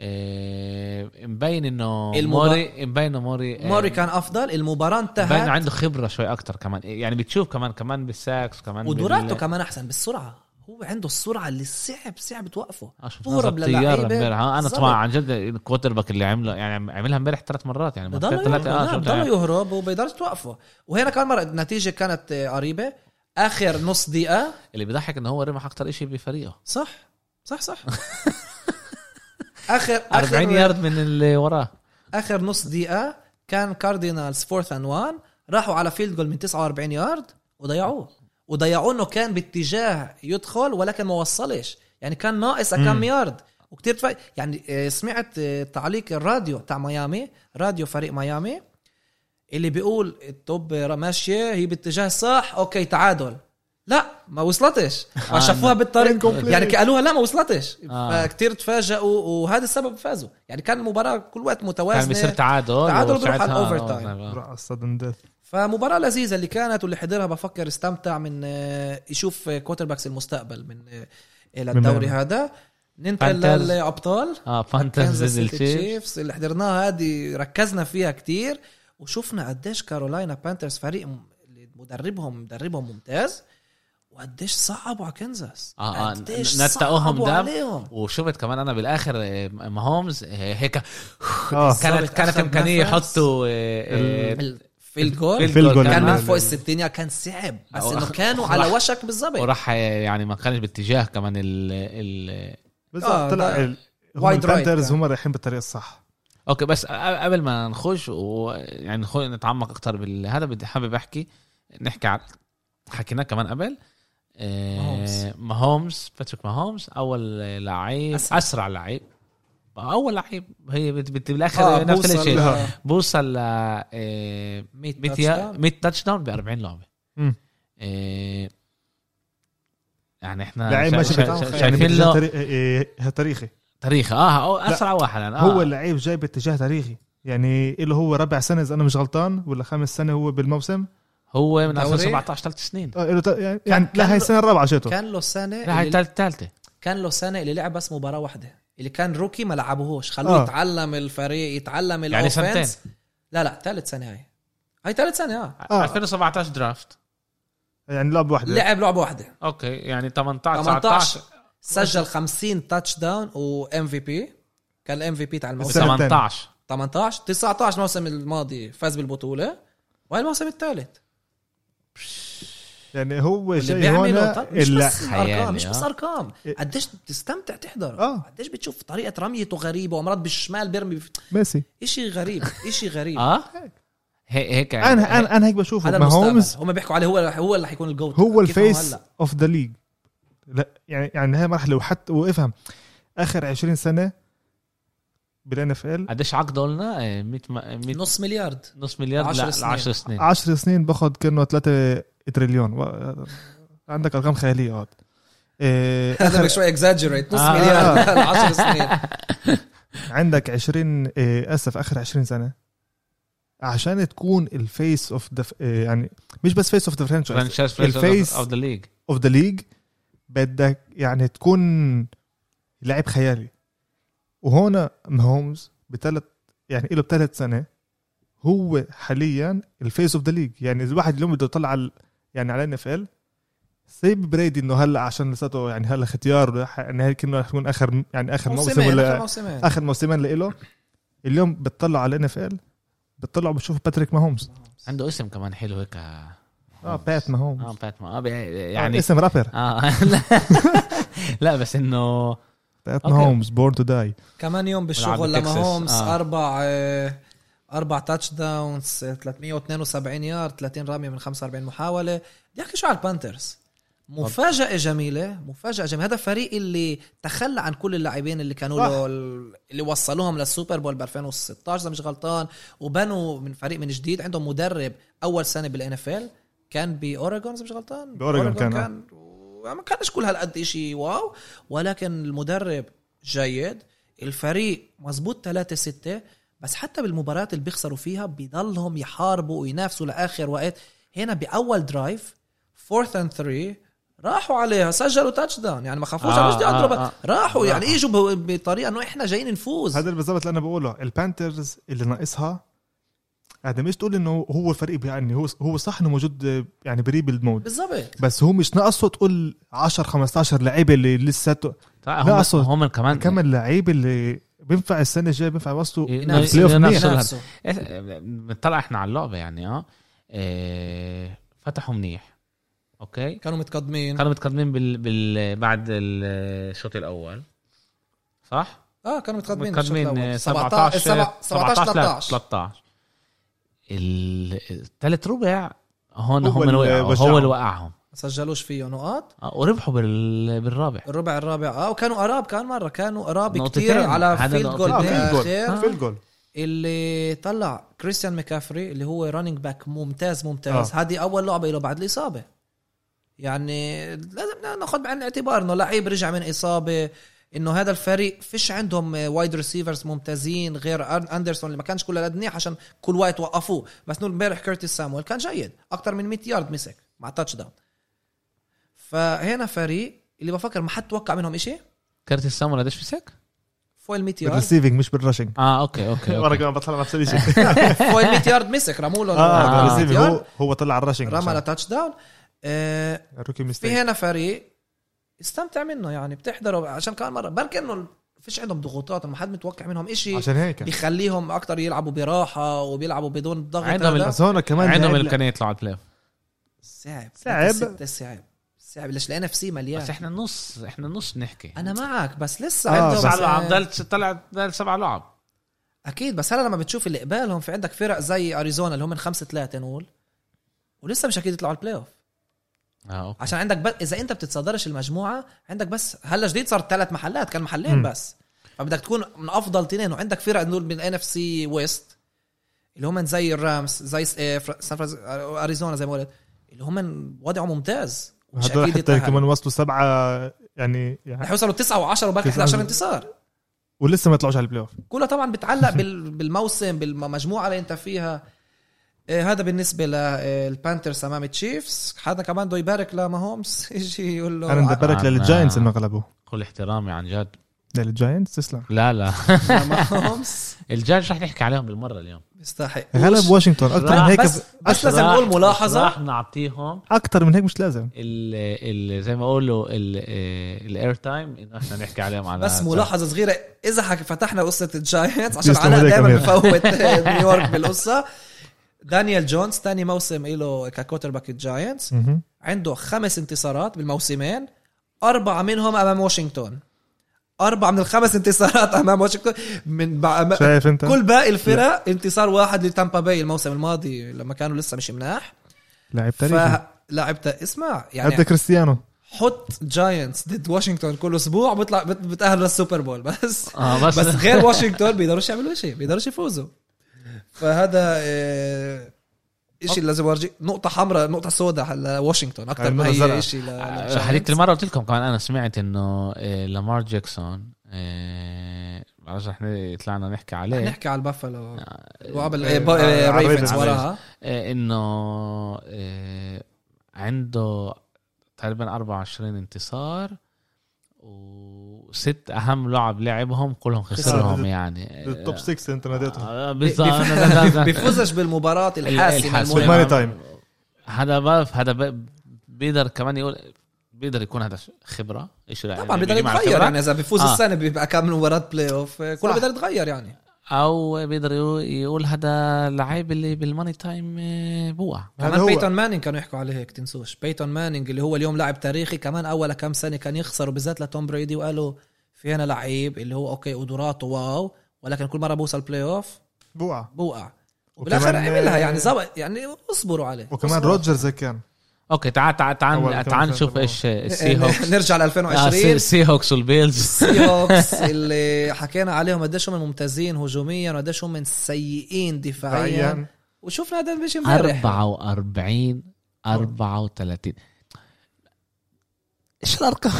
Speaker 1: إيه، مبين انه
Speaker 3: المبا-
Speaker 1: موري مبين انه موري إيه،
Speaker 3: موري كان افضل المباراه
Speaker 1: مبين إنه
Speaker 3: انتهت
Speaker 1: عنده خبره شوي اكتر كمان إيه، يعني بتشوف كمان كمان بالساكس كمان
Speaker 3: ودوراتو
Speaker 1: بال-
Speaker 3: كمان احسن بالسرعه هو عنده السرعه اللي صعب صعب توقفه
Speaker 1: آه، شفناها
Speaker 3: تهرب
Speaker 1: زي الطيارة
Speaker 3: للعيبة.
Speaker 1: امبارح آه، انا
Speaker 3: بالظبط.
Speaker 1: طبعا عن جد الكوتر باك اللي عمله يعني عملها امبارح ثلاث مرات يعني
Speaker 3: بضل يهرب
Speaker 1: ثلاثة، آه،
Speaker 3: نعم،
Speaker 1: شفتها.
Speaker 3: بضل يهرب وبيقدرش توقفه وهنا كمان مره النتيجه كانت آه، قريبه اخر نص دقيقه
Speaker 1: اللي بيضحك انه هو رمح اكتر شيء بفريقه
Speaker 3: صح صح صح اخر
Speaker 1: 40
Speaker 3: اخر
Speaker 1: يارد من اللي وراه
Speaker 3: اخر نص دقيقه كان كاردينالز فورث اند وان راحوا على فيلد جول من 49 يارد وضيعوه وضيعوه انه كان باتجاه يدخل ولكن ما وصلش يعني كان ناقص كم
Speaker 2: مم.
Speaker 3: يارد وكتير تف... يعني آه، سمعت آه، تعليق الراديو تاع ميامي راديو فريق ميامي اللي بيقول التوب ماشيه هي باتجاه صح اوكي تعادل لا ما وصلتش ما
Speaker 1: آه،
Speaker 3: شافوها بالطريق
Speaker 2: incomplete.
Speaker 3: يعني قالوها لا ما وصلتش
Speaker 1: آه.
Speaker 3: فكتير تفاجئوا وهذا السبب فازوا يعني كان المباراه كل وقت
Speaker 1: كان بيصير
Speaker 3: متوازنه
Speaker 1: تعادل
Speaker 3: تعادل بروح
Speaker 1: وساعتها-
Speaker 3: على الأوفر تايم.
Speaker 1: آه، آه.
Speaker 2: السدن ديث
Speaker 3: فمباراة لذيذة اللي كانت واللي حضرها بفكر استمتع من آه، يشوف كوتر باكس المستقبل من آه، للدوري
Speaker 2: من-
Speaker 3: هذا ننتقل
Speaker 1: Panthers.
Speaker 3: للابطال
Speaker 1: اه بانترز
Speaker 3: كانزاس
Speaker 1: ضد
Speaker 3: سيتي
Speaker 1: التشيفز
Speaker 3: تشيفز اللي حضرناها هذه ركزنا فيها كتير وشفنا قديش كارولاينا بانترز فريق م- اللي مدربهم مدربهم ممتاز وقديش صعبوا على كنزاس
Speaker 1: آه، آه،
Speaker 3: قديش
Speaker 1: نتقوهم
Speaker 3: صعبوا
Speaker 1: دم.
Speaker 3: عليهم
Speaker 1: وشفت كمان انا بالاخر آه، ماهومز آه، هيك
Speaker 2: اه
Speaker 1: كانت كانت
Speaker 3: أخذ
Speaker 1: امكانيه
Speaker 3: نفس.
Speaker 1: يحطوا آه،
Speaker 3: في الجول
Speaker 2: في الجول
Speaker 3: كان
Speaker 2: كمان.
Speaker 3: من فوق ال 60 يا كان صعب بس
Speaker 1: أو
Speaker 3: انه
Speaker 1: أخ-
Speaker 3: كانوا
Speaker 1: أخ-
Speaker 3: على
Speaker 1: راح-
Speaker 3: وشك بالظبط
Speaker 1: وراح آه، يعني ما كانش باتجاه كمان ال ال
Speaker 2: بس
Speaker 3: آه،
Speaker 2: طلع
Speaker 3: ده
Speaker 2: ال- هم
Speaker 3: wide right
Speaker 2: البانترز
Speaker 3: كان.
Speaker 2: هم رايحين بالطريق الصح
Speaker 1: اوكي بس أ- قبل ما نخش ويعني نخ- نتعمق اكتر بالهذا بدي حابب احكي نحكي عن حكيناه كمان قبل آه،
Speaker 3: ماهومز.
Speaker 1: ماهومز باتريك ماهومز اول لعيب
Speaker 3: أسرع.
Speaker 1: اسرع, أسرع لعيب اول لعيب هي بت- بت- بالاخر
Speaker 3: آه،
Speaker 1: نفس
Speaker 3: بوصل
Speaker 1: الشيء
Speaker 3: ل-
Speaker 1: بوصل ل آه، 100
Speaker 3: touch down.
Speaker 1: 100 تاتش داون ب 40 لعبه
Speaker 2: مم.
Speaker 1: آه، يعني احنا
Speaker 2: لعيب
Speaker 1: شا-
Speaker 2: ماشي
Speaker 1: شا-
Speaker 2: بتاعه،
Speaker 1: شا-
Speaker 2: يعني
Speaker 1: شايفين
Speaker 2: باتجاه
Speaker 1: له
Speaker 2: طريق- إيه، إيه، تاريخي
Speaker 1: تاريخه اه هو اسرع واحد الآن. آه.
Speaker 2: هو اللعيب جاي باتجاه تاريخي يعني اللي هو ربع سنه اذا انا مش غلطان ولا خامس سنه هو بالموسم
Speaker 1: هو من
Speaker 3: دوري.
Speaker 1: 2017 ثلاث سنين
Speaker 2: آه، إله تا- يعني- يعني لا هاي السنه الرابعه جاته
Speaker 3: كان له سنه
Speaker 2: آه،
Speaker 1: لا هاي
Speaker 3: اللي
Speaker 1: الثالثه
Speaker 3: كان له سنه اللي لعب بس مباراه واحده اللي كان روكي ما لعبوهوش خلوه
Speaker 2: آه.
Speaker 3: يتعلم الفريق يتعلم
Speaker 1: يعني
Speaker 3: الأوفنس.
Speaker 1: سنتين.
Speaker 3: لا لا ثالث سنه هاي هاي ثالث سنه اه
Speaker 2: آه.
Speaker 1: 2017 درافت
Speaker 2: يعني لعب واحده
Speaker 3: لعب لعبه واحده
Speaker 1: اوكي يعني 18
Speaker 3: 18
Speaker 1: 19
Speaker 3: سجل 50 تاتش داون وام في بي كان الام في بي تاع الموسم
Speaker 2: السنة التانية.
Speaker 1: 18
Speaker 3: 18 19 الموسم الماضي فاز بالبطوله وهي الموسم الثالث
Speaker 2: يعني هو
Speaker 3: اللي
Speaker 2: جاي هون
Speaker 3: بيعمله طب مش
Speaker 2: اللع-
Speaker 3: بس
Speaker 1: خيالي،
Speaker 3: الارقام مش بس
Speaker 1: آه.
Speaker 3: ارقام
Speaker 2: إيه.
Speaker 3: قديش بتستمتع تحضر
Speaker 2: آه.
Speaker 3: قديش بتشوف طريقه رميته غريبه ومرات بالشمال بيرمي بف-
Speaker 2: ميسي
Speaker 3: اشي غريب اشي غريب
Speaker 1: اه هي- هيك يعني.
Speaker 2: انا انا انا هيك بشوفه
Speaker 3: يعني هذا
Speaker 2: ما هومز
Speaker 3: المستقبل هم بيحكوا عليه هو هو اللي حيكون الجوت
Speaker 2: هو
Speaker 3: كيف
Speaker 2: الفيس
Speaker 3: هلا؟
Speaker 2: اوف ذا ليج لا يعني يعني هاي مرحله وحتى وافهم اخر 20 سنه بالان اف ال
Speaker 1: قديش عقده قلنا إيه، 100 ما- 100
Speaker 3: نص مليار
Speaker 1: نص مليار
Speaker 3: عشر
Speaker 1: ل
Speaker 3: سنين.
Speaker 1: 10 سنين
Speaker 2: 10 سنين باخذ كانه 3 تريليون و- عندك ارقام خياليه هاد إيه،
Speaker 3: هذا
Speaker 2: اخر
Speaker 3: شوي اكزاجريت نص
Speaker 1: آه.
Speaker 3: مليار 10 سنين
Speaker 2: عندك 20 إيه، اسف اخر 20 سنه عشان تكون الفيس اوف ذا يعني مش بس فيس اوف ذا فرانشايز
Speaker 1: فرانشايز
Speaker 2: الفيس.
Speaker 1: اوف ذا ليج
Speaker 2: اوف ذا ليج بدك يعني تكون لاعب خيالي وهنا هومز بثلاث يعني له بثلاث سنه هو حاليا الفيس اوف ذا ليج يعني الواحد اليوم بده يطلع على يعني على ان اف ال سيب بريدي انه هلا عشان لساته يعني هلا ختيار ولا ح- يعني هي كنا رح تكون اخر يعني اخر موسم
Speaker 3: موسمين آخر
Speaker 2: ولا
Speaker 3: موسمين
Speaker 2: اخر موسمين لإله اليوم بتطلع على ان اف ال بتطلع بتشوف باتريك ماهومز
Speaker 1: عنده اسم كمان حلو هيك
Speaker 2: اه بات ماهومز
Speaker 1: اه
Speaker 2: آه
Speaker 1: فات ما يعني آه، بي- يعني
Speaker 2: يعني اسم رابر
Speaker 1: اه لا لا بس انه
Speaker 2: بتاعتنا
Speaker 1: أوكي.
Speaker 2: هومز بورن تو داي
Speaker 3: كمان يوم بالشغل لما
Speaker 1: بتكساس.
Speaker 3: هومس
Speaker 1: آه.
Speaker 3: آه. اربع آه، اربع تاتش داونز آه، 372 يارد 30 رميه من 45 محاوله بدي احكي شو على البانترز مفاجأة جميلة مفاجأة جميلة هذا فريق اللي تخلى عن كل اللاعبين اللي كانوا
Speaker 2: صح.
Speaker 3: له اللي وصلوهم للسوبر بول ب 2016 اذا مش غلطان وبنوا من فريق من جديد عندهم مدرب اول سنة بالان اف ال كان باوريجون اذا مش غلطان
Speaker 2: بأوريغون
Speaker 3: أوريغون
Speaker 2: كان، آه.
Speaker 3: كان ما كانش كل هالقد شيء واو ولكن المدرب جيد الفريق مزبوط 3 6 بس حتى بالمباريات اللي بيخسروا فيها بيضلهم يحاربوا وينافسوا لاخر وقت هنا باول درايف فورث اند 3 راحوا عليها سجلوا تاتش داون يعني ما خافوش
Speaker 1: آه،
Speaker 3: آه مش بدي اضرب
Speaker 1: آه، آه.
Speaker 3: راحوا يعني
Speaker 1: راحوا.
Speaker 3: اجوا ب- بطريقه انه احنا جايين نفوز
Speaker 2: هذا اللي بالضبط اللي انا بقوله البانترز اللي ناقصها هذا مش تقول انه هو الفريق بيعني هو هو صح انه موجود آه، يعني بريبيلد مود
Speaker 3: بالضبط
Speaker 2: بس هو مش ناقصه تقول 10 15 لعيبه اللي لساته
Speaker 1: لا هم
Speaker 2: أصل
Speaker 1: هم كمان
Speaker 2: كم اللعيب اللي بينفع السنه الجايه بينفع يوصلوا
Speaker 1: إيه،
Speaker 3: نفس-
Speaker 2: بلاي أوف
Speaker 1: نفس-
Speaker 2: منيح.
Speaker 1: نفس-
Speaker 3: نفسه.
Speaker 1: إيه، بنطلع احنا على اللعبه يعني اه إيه، فتحوا منيح اوكي
Speaker 3: كانوا متقدمين
Speaker 1: كانوا متقدمين بال... بال... بعد الشوط الاول صح؟
Speaker 3: اه كانوا متقدمين بالشوط
Speaker 1: متقدمين
Speaker 3: الأول.
Speaker 1: 17
Speaker 3: 17 13
Speaker 1: 13 الثالث ربع هون
Speaker 2: هو
Speaker 1: هم
Speaker 2: اللي
Speaker 1: وقعوا هو
Speaker 2: وجعهم.
Speaker 1: اللي وقعهم
Speaker 3: سجلوش فيه نقاط
Speaker 1: آه، وربحوا بال... بالرابع
Speaker 3: الربع الرابع اه وكانوا قراب كان مره كانوا قراب
Speaker 1: نقطتين.
Speaker 3: كتير على
Speaker 1: هذا
Speaker 3: فيلد جول
Speaker 1: نقطتين.
Speaker 2: آه، field goal.
Speaker 3: بالاخير
Speaker 2: في الجول
Speaker 3: اللي طلع كريستيان ميكافري اللي هو رانينج باك ممتاز ممتاز
Speaker 2: آه.
Speaker 3: هذه اول لعبه له بعد الاصابه يعني لازم ناخذ بعين الاعتبار انه لعيب رجع من اصابه انه هذا الفريق فيش عندهم وايد ريسيفرز ممتازين غير أر- اندرسون اللي ما كانش كل قد منيح عشان كل وقت وقفوه بس نقول امبارح كيرتيس سامويل كان جيد اكثر من 100 يارد مسك مع تاتش داون فهنا فريق اللي بفكر ما حد توقع منهم شيء
Speaker 1: كارت السامون قديش مسك؟
Speaker 3: فوق ال 100 يارد
Speaker 2: بالريسيفنج مش بالرشنج
Speaker 1: اه اوكي اوكي,
Speaker 2: وانا
Speaker 1: أوكي.
Speaker 2: كمان بطلع نفس الشيء آه،
Speaker 3: فوق ال 100 يارد مسك رموا له
Speaker 2: اه
Speaker 1: آه.
Speaker 2: بالريسيفنج
Speaker 3: يارد.
Speaker 2: هو هو طلع الرشنج
Speaker 3: رمى لتاتش داون آه،
Speaker 2: روكي
Speaker 3: في
Speaker 2: ميستيك
Speaker 3: هنا فريق استمتع منه يعني بتحضره عشان كان مره بركي انه فيش عندهم ضغوطات ما حد متوقع منهم إشي
Speaker 2: عشان هيك
Speaker 3: بيخليهم اكتر يلعبوا براحه وبيلعبوا بدون الضغط
Speaker 1: عندهم
Speaker 3: هذا.
Speaker 2: بس هون كمان يعني
Speaker 1: عندهم
Speaker 2: لعب-
Speaker 1: الامكانيه يطلعوا على البلاي أوف.
Speaker 3: صعب
Speaker 2: صعب.
Speaker 3: ستة صعب صعب ليش الان اف سي
Speaker 1: بس
Speaker 3: مليان
Speaker 1: احنا نص احنا نص نحكي
Speaker 3: انا معك بس لسه
Speaker 2: آه،
Speaker 1: سبع
Speaker 2: بس-
Speaker 1: لعب ضلت طلعت ضلت سبع لعب
Speaker 3: اكيد بس هلا لما بتشوف اللي قبالهم في عندك فرق زي اريزونا اللي هم من خمسة ثلاثة نقول ولسه مش اكيد يطلعوا البلاي اوف
Speaker 1: اه اوكي
Speaker 3: عشان عندك بس اذا انت بتتصدرش المجموعه عندك بس هلا جديد صار ثلاث محلات كان محلين
Speaker 2: مم.
Speaker 3: بس فبدك تكون من افضل اثنين وعندك فرق نقول من ان اف سي ويست اللي هم زي الرامس زي س- آه، فر- سان فرانس آه، اريزونا زي ما قلت اللي هم وضعهم ممتاز ومش
Speaker 2: هدول
Speaker 3: اكيد
Speaker 2: حتى
Speaker 3: يتأهل.
Speaker 2: كمان وصلوا سبعه يعني, يعني
Speaker 3: رح يوصلوا 9 و10 وبركي
Speaker 2: تسعة.
Speaker 3: 11 انتصار
Speaker 2: ولسه ما طلعوش على البلاي اوف
Speaker 3: كلها طبعا بتعلق بال- بالموسم بالمجموعه اللي انت فيها آه، هذا إيه، بالنسبه للبانترز امام التشيفز حدا كمان بده يبارك لماهومز يجي يقول له آه،
Speaker 2: انا
Speaker 3: ع-
Speaker 2: مدبرك
Speaker 1: أنا-
Speaker 2: للجاينتس انه غلبوا
Speaker 1: كل احترامي عن جد
Speaker 2: للجاينتس تسلم
Speaker 1: لا لا
Speaker 3: لماهومز
Speaker 1: الجاج رح نحكي عليهم بالمره اليوم
Speaker 3: بيستحق
Speaker 2: غلب واشنطن اكثر من
Speaker 3: لا،
Speaker 2: هيك
Speaker 3: بس بس لازم
Speaker 1: راح-
Speaker 3: نقول ملاحظه
Speaker 1: راح نعطيهم
Speaker 2: اكثر من هيك مش لازم
Speaker 1: ال ال زي ما اقولوا الاير تايم انه احنا نحكي عليهم على
Speaker 3: بس
Speaker 1: هذا.
Speaker 3: ملاحظه صغيره اذا حك- فتحنا قصه الجاينتس عشان
Speaker 2: يسلم
Speaker 3: علاء
Speaker 2: عليك
Speaker 3: دائما
Speaker 2: أمير.
Speaker 3: بفوت نيويورك بالقصه دانيال جونز ثاني موسم له ككوتر باك الجاينتس
Speaker 2: مهم.
Speaker 3: عنده خمس انتصارات بالموسمين أربعة منهم أمام واشنطن أربعة من الخمس انتصارات أمام واشنطن من بع...
Speaker 2: شايف انت
Speaker 3: كل باقي الفرق انتصار واحد لتامبا باي الموسم الماضي لما كانوا لسه مش مناح
Speaker 2: لاعب
Speaker 3: يعني-
Speaker 2: تاريخي
Speaker 3: فلعبت اسمع يعني
Speaker 2: قد كريستيانو
Speaker 3: حط جاينتس ضد واشنطن كل اسبوع بيطلع بت- بتاهلوا للسوبر بول بس
Speaker 1: اه
Speaker 3: بس
Speaker 1: بس,
Speaker 3: غير واشنطن بيقدروش يعملوا شيء بيقدروش يفوزوا فهذا آه، إشي اللي لازم اورجي نقطة حمراء نقطة سوداء على واشنطن أكثر ما
Speaker 2: النقطة
Speaker 3: هي
Speaker 2: الزرقاء.
Speaker 3: شيء
Speaker 1: هذيك المره قلت لكم كمان انا سمعت انه آه، لامار جاكسون آه، بعرفش رح ن- طلعنا نحكي عليه
Speaker 3: نحكي على البافلو
Speaker 1: آه،
Speaker 3: وقبل
Speaker 2: آه،
Speaker 3: ريفنز
Speaker 2: Ravens.
Speaker 3: وراها
Speaker 1: آه، انه آه، عنده تقريبا 24 انتصار وست اهم لعب لعبهم كلهم خسرهم
Speaker 2: ضد-
Speaker 1: يعني آه،
Speaker 2: التوب 6 انت ناديته
Speaker 1: آه،
Speaker 3: بي-
Speaker 1: بالظبط
Speaker 3: بي- بيفوزش بالمباراة الحاسمة
Speaker 1: الحاسمة.
Speaker 3: المهمة
Speaker 2: بالماني تايم
Speaker 1: هذا بعرف هذا ب- بيقدر كمان يقول بيقدر يكون هذا خبره ايش رأيك؟
Speaker 3: طبعا بيقدر
Speaker 1: بيجي مع
Speaker 3: يتغير
Speaker 1: خبرة.
Speaker 3: يعني إذا بيفوز
Speaker 1: آه.
Speaker 3: السنة بيبقى كامل مباراة بلاي أوف آه، كله
Speaker 1: صح.
Speaker 3: بيقدر يتغير يعني
Speaker 1: او بيقدر يقول- يقول هذا لعيب اللي بالماني تايم آه، بوقع
Speaker 2: هذا
Speaker 3: كمان بيتون
Speaker 2: هو
Speaker 3: مانينج كانوا يحكوا عليه هيك تنسوش بيتون مانينج اللي هو اليوم لاعب تاريخي كمان اول كم سنه كان يخسروا بالذات لتوم بريدي وقالوا في في هنا لعيب اللي هو اوكي قدراته واو ولكن كل مره بوصل بلاي اوف
Speaker 2: بوقع
Speaker 3: بوقع وبالاخر عملها يعني زبط يعني اصبروا عليه
Speaker 2: آه، وكمان
Speaker 3: اصبروا.
Speaker 2: روجرز هيك كان
Speaker 1: اوكي تعال تعال تعال
Speaker 2: أول كمان
Speaker 1: تعال
Speaker 2: شوط
Speaker 1: نشوف
Speaker 2: بالأول.
Speaker 1: ايش السي هوكس
Speaker 3: إيه، نرجع ل
Speaker 1: آه،
Speaker 3: 2020
Speaker 1: السي- السي هوكس والبيلز
Speaker 3: السي هوكس اللي حكينا عليهم قديش هم ممتازين هجوميا وقديش هم سيئين دفاعيا
Speaker 2: فعليا
Speaker 3: وشفنا هذا مش امبارح
Speaker 1: 44 34 ايش الارقام؟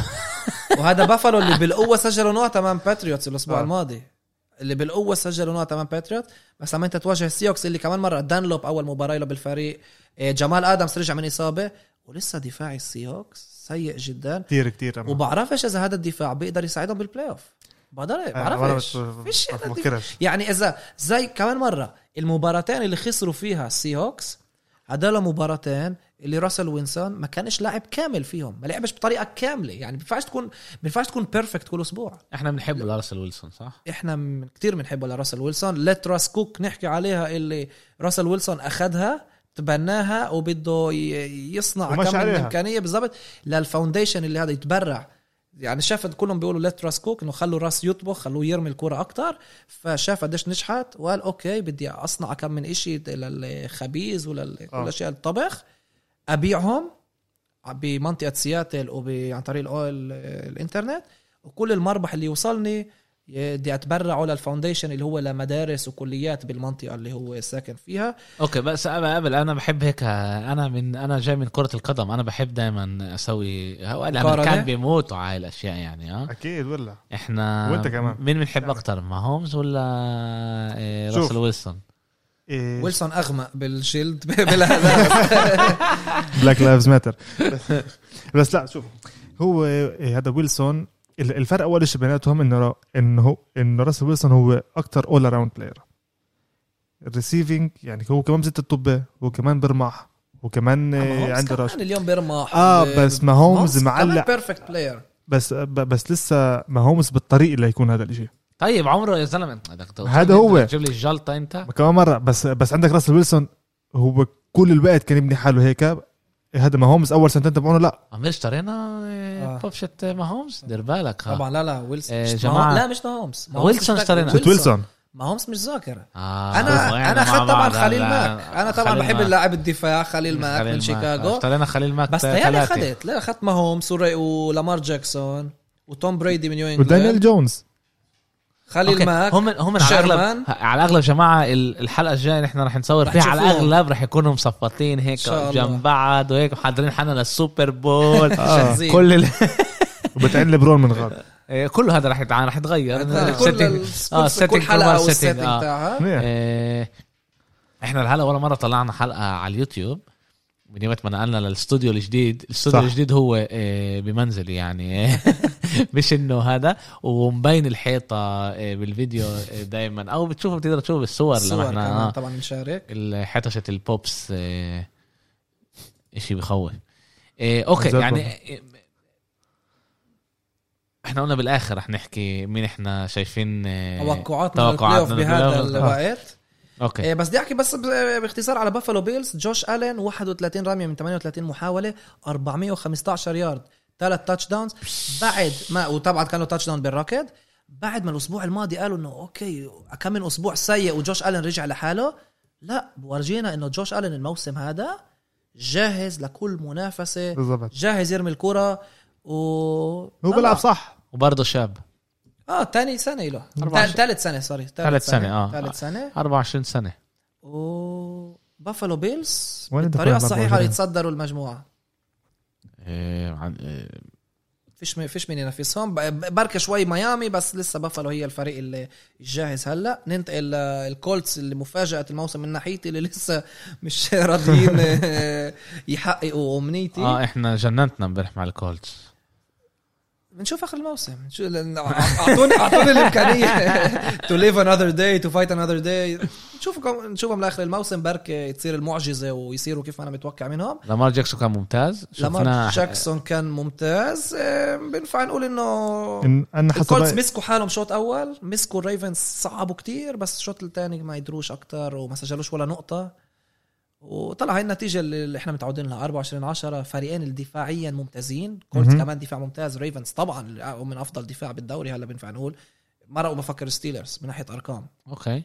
Speaker 3: وهذا بافالو اللي بالقوه سجلوا نقطه تمام باتريوتس الاسبوع
Speaker 2: آه.
Speaker 3: الماضي اللي بالقوه سجلوا نقطه تمام باتريوت بس لما انت تواجه السيوكس اللي كمان مره دانلوب اول مباراه له بالفريق إيه، جمال ادمز رجع من اصابه ولسه دفاع السيوكس سيء جدا
Speaker 2: كثير كثير أنا-
Speaker 3: وبعرفش اذا هذا الدفاع بيقدر يساعدهم بالبلاي اوف بقدر
Speaker 2: أنا- أنا
Speaker 3: بعرفش
Speaker 2: بت-
Speaker 3: فيش
Speaker 2: آه، ما
Speaker 3: هذا الدفاع.
Speaker 2: بفكرش
Speaker 3: يعني اذا زي كمان مره المباراتين اللي خسروا فيها السي هوكس هدول مباراتين اللي راسل وينسون ما كانش لاعب كامل فيهم ما لعبش بطريقه كامله يعني ما بينفعش تكون ما بينفعش تكون بيرفكت كل اسبوع
Speaker 1: احنا بنحب لارسل ويلسون صح؟
Speaker 3: احنا من كتير بنحبه لراسل ويلسون ليت راس كوك نحكي عليها اللي راسل ويلسون اخذها تبناها وبده ي- يصنع
Speaker 2: ومشى
Speaker 3: كم من
Speaker 2: عليها.
Speaker 3: امكانيه بالضبط للفاونديشن اللي هذا يتبرع يعني شاف كلهم بيقولوا ليت راس كوك انه خلوا راس يطبخ خلوه يرمي الكرة اكتر فشاف قديش نجحت وقال اوكي بدي اصنع كم من إشي للخبيز
Speaker 2: آه.
Speaker 3: وللاشياء الطبخ ابيعهم بمنطقه سياتل وعن طريق الأو- ال- الانترنت وكل المربح اللي يوصلني بدي اتبرعه للفاونديشن اللي هو لمدارس وكليات بالمنطقه اللي هو ساكن فيها
Speaker 1: اوكي بس قبل قبل انا بحب هيك انا من انا جاي من كره القدم انا بحب دائما اسوي هو الامريكان
Speaker 3: مقارنة؟
Speaker 1: بيموتوا على الاشياء يعني اه
Speaker 2: اكيد ولا
Speaker 1: احنا
Speaker 2: وأنت كمان.
Speaker 1: مين بنحب
Speaker 2: يعني.
Speaker 1: اكتر ما هومز ولا إيه،
Speaker 2: شوف.
Speaker 1: راسل ويلسون
Speaker 2: إيه
Speaker 3: ويلسون اغمق بالجلد بالهذا
Speaker 2: بلاك لايفز ماتر بس لا شوف هو إيه، هذا ويلسون ال- الفرق اول شيء بيناتهم انه را- انه هو- انه راسل ويلسون هو اكثر اول اراوند بلاير الريسيفينج يعني هو كمان بزت الطبه هو كمان برمح وكمان إيه، عنده رش
Speaker 3: كمان إيه، اليوم بيرمح
Speaker 2: اه بس ما هومز معلق
Speaker 3: بيرفكت بلاير
Speaker 2: بس ب- بس لسه ما هومز بالطريق ليكون هذا الشيء
Speaker 1: طيب عمره يا زلمه بدك تقول-
Speaker 2: هذا هو.
Speaker 1: تجيب لي الجلطه انت
Speaker 2: كمان مره بس بس عندك راسل ويلسون هو كل الوقت كان يبني حاله هيك إيه، هذا ما هومز اول سنتين تبعونه لا
Speaker 1: عمير اشترينا إيه،
Speaker 3: آه.
Speaker 1: بوب شت ما هومز دير بالك ها
Speaker 3: طبعا لا لا ويلسون
Speaker 1: آه،
Speaker 3: مش- ما هو-
Speaker 1: جماعة.
Speaker 3: لا مش ما هومز ما هومز
Speaker 1: ويلسون
Speaker 3: مش-
Speaker 1: اشترينا.
Speaker 2: شت ويلسون
Speaker 3: ما هومز مش ذاكره
Speaker 1: آه،
Speaker 3: انا
Speaker 1: وقعنا مع
Speaker 3: انا اخذت طبعا
Speaker 1: بعض.
Speaker 3: خليل
Speaker 1: لا،
Speaker 3: ماك انا طبعا
Speaker 1: خليل
Speaker 3: بحب
Speaker 1: ماك. آه،
Speaker 3: اللاعب الدفاع خليل ماك
Speaker 1: خليل
Speaker 3: من
Speaker 1: ماك.
Speaker 3: شيكاغو
Speaker 1: اشترينا خليل ماك
Speaker 3: بس تهيألي
Speaker 1: ثلاثة.
Speaker 3: اخذت لا اخذت ما هومز وري- ولامار جاكسون وتوم بريدي من نيو
Speaker 2: ودانيال
Speaker 3: انجلاند
Speaker 2: جونز
Speaker 1: أوكي،
Speaker 3: خليل ماك آه،
Speaker 1: هم هم على
Speaker 3: شيرمان.
Speaker 1: الاغلب على الاغلب جماعه ال- الحلقه الجايه اللي احنا رح نصور
Speaker 3: رح
Speaker 1: فيها على
Speaker 3: تشوفوهم.
Speaker 1: الاغلب رح يكونوا مصفطين هيك
Speaker 3: إن شاء الله.
Speaker 1: جنب بعض وهيك محضرين حالنا للسوبر بول
Speaker 3: شاذين.
Speaker 1: كل ال...
Speaker 2: وبتعين لبرون من غاد
Speaker 1: إيه، كله هذا رح يتع- رح يتغير
Speaker 3: كل
Speaker 1: الsetting- آه،
Speaker 3: السبونس- كل
Speaker 1: setting
Speaker 3: حلقه
Speaker 1: كمان
Speaker 3: او
Speaker 1: setting،
Speaker 3: السيتنج
Speaker 1: آه.
Speaker 3: تاعها
Speaker 2: منيح.
Speaker 1: إيه، احنا الهلا ولا مره طلعنا حلقه على اليوتيوب من يوم ما نقلنا للاستوديو الجديد الاستوديو
Speaker 2: صح.
Speaker 1: الجديد هو إيه، بمنزلي يعني مش انه هذا ومبين الحيطه إيه، بالفيديو دائما او بتشوفه بتقدر تشوف الصور لما
Speaker 3: الصور
Speaker 1: احنا
Speaker 3: كمان
Speaker 1: آه،
Speaker 3: طبعا نشارك
Speaker 1: حتشة البوبس إيه، اشي بخوف إيه، اوكي
Speaker 2: بالظبط.
Speaker 1: يعني إيه، احنا قلنا بالاخر رح نحكي مين احنا شايفين إيه، آه.
Speaker 3: توقعاتنا للبلاي اوف بهذا
Speaker 1: للبلاي أوف.
Speaker 3: الوقت
Speaker 1: اوكي
Speaker 3: إيه، بس بدي احكي بس ب- باختصار على بافالو بيلز جوش الين 31 رميه من 38 محاوله 415 يارد ثلاث تاتش داونز بعد ما وطبعا كانوا تاتش داون بالراكد بعد ما الاسبوع الماضي قالوا انه اوكي كم من اسبوع سيء وجوش الين رجع لحاله لا ورجينا انه جوش الين الموسم هذا جاهز لكل منافسه
Speaker 2: بالضبط
Speaker 3: جاهز يرمي الكرة و
Speaker 2: هو بيلعب صح
Speaker 1: وبرضه شاب
Speaker 3: اه تاني سنة له
Speaker 1: أربعة-
Speaker 3: ثالث سنة سوري
Speaker 1: تالت سنة، آه.
Speaker 3: ثالث سنة
Speaker 1: 24 سنه
Speaker 3: وبافالو بيلز
Speaker 2: وين انت
Speaker 3: بالطريقه
Speaker 2: فاهم
Speaker 3: الصحيحه
Speaker 2: أربعة
Speaker 3: اللي
Speaker 2: وعشرين؟
Speaker 3: يتصدروا المجموعه
Speaker 1: إيه، عن- إيه،
Speaker 3: فيش م- فيش مين ينافسهم ب- ب- بركة شوي ميامي بس لسه بافالو هي الفريق اللي جاهز هلا ننتقل للكولتس اللي مفاجاه الموسم من ناحيتي اللي لسه مش راضيين آه، يحققوا امنيتي
Speaker 1: اه احنا جننتنا امبارح مع الكولتس
Speaker 3: بنشوف اخر الموسم شو- لأن- اعطوني اعطوني الامكانيه تو ليف انذر داي تو فايت انذر داي نشوفكم نشوفهم لاخر الموسم بركة تصير المعجزه ويصيروا كيف ما انا متوقع منهم
Speaker 1: لامار جاكسون كان ممتاز
Speaker 3: لامار
Speaker 1: شفناه
Speaker 3: جاكسون كان ممتاز آه، بينفع نقول انه
Speaker 2: إن انا
Speaker 3: الكولتس
Speaker 2: حسب
Speaker 3: مسكوا حالهم شوط اول مسكوا الريفنز صعبوا كتير بس الشوط الثاني ما يدروش اكتر وما سجلوش ولا نقطه وطلع هاي النتيجه اللي احنا متعودين لها 24 10 فريقين اللي دفاعيا ممتازين كولتس
Speaker 2: مهم.
Speaker 3: كمان دفاع ممتاز ريفنز طبعا من افضل دفاع بالدوري هلا بينفع نقول مرقوا بفكر ستيلرز من ناحيه ارقام
Speaker 1: اوكي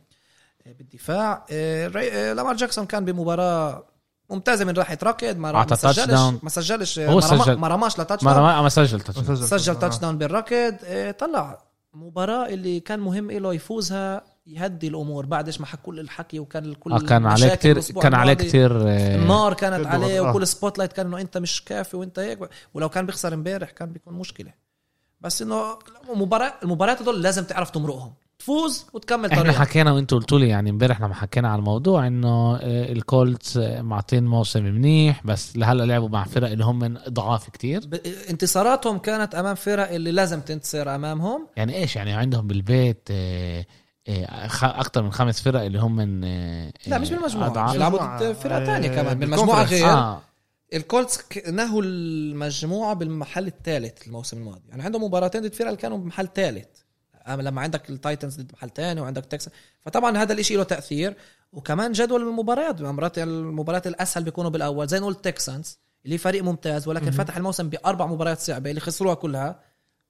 Speaker 3: بالدفاع آه، ري- آه، لامار جاكسون كان بمباراه ممتازه من راحه ركض ما
Speaker 1: أعطى
Speaker 3: ما
Speaker 1: touch down.
Speaker 3: سجلش ما سجلش آه،
Speaker 1: هو
Speaker 3: ما رما-
Speaker 1: سجل.
Speaker 3: ما رماش لتاتش
Speaker 1: ما
Speaker 3: داون
Speaker 1: ما ما سجلت touch down.
Speaker 3: سجل تاتش داون بالركض آه، طلع مباراة اللي كان مهم له يفوزها يهدي الامور بعدش ما حكى كل الحكي وكان كل
Speaker 1: آه، كان عليه
Speaker 3: المشاكل
Speaker 1: كثير
Speaker 3: الأسبوع
Speaker 1: كان عليه
Speaker 3: الماضي.
Speaker 1: كثير آه،
Speaker 3: النار كانت
Speaker 2: كله
Speaker 3: عليه
Speaker 2: غلط. آه.
Speaker 3: وكل سبوت لايت كان انه انت مش كافي وانت هيك ولو كان بيخسر امبارح كان بيكون مشكله بس انه مباراه المباريات هدول لازم تعرف تمرقهم تفوز وتكمل
Speaker 1: احنا
Speaker 3: طريقك
Speaker 1: حكينا وانتوا قلتوا لي يعني امبارح لما حكينا على الموضوع انه آه، الكولتس آه، معطين موسم منيح بس لهلا لعبوا مع فرق اللي هم من ضعاف كتير
Speaker 3: ب- انتصاراتهم كانت امام فرق اللي لازم تنتصر امامهم
Speaker 1: يعني ايش يعني عندهم بالبيت آه، آه، خ- اكتر من خمس فرق اللي هم من آه،
Speaker 3: لا مش يعني
Speaker 1: آه،
Speaker 3: بالمجموعه
Speaker 1: أضعاف.
Speaker 3: بيلعبوا
Speaker 2: مجموعة.
Speaker 3: ضد فرقه
Speaker 2: إيه، آه،
Speaker 3: ثانيه كمان بالمجموعه
Speaker 2: بالكونفرنس.
Speaker 3: غير
Speaker 1: اه
Speaker 3: الكولتس ك- نهوا المجموعه بالمحل الثالث الموسم الماضي يعني عندهم مباراتين ضد فرق اللي كانوا بمحل ثالث أما لما عندك التايتنز ضد محل ثاني وعندك تكساس فطبعا هذا الاشي له تاثير وكمان جدول المباريات مرات المباريات الاسهل بيكونوا بالاول زي نقول تكسانز اللي فريق ممتاز ولكن فتح الموسم باربع مباريات صعبه اللي خسروها كلها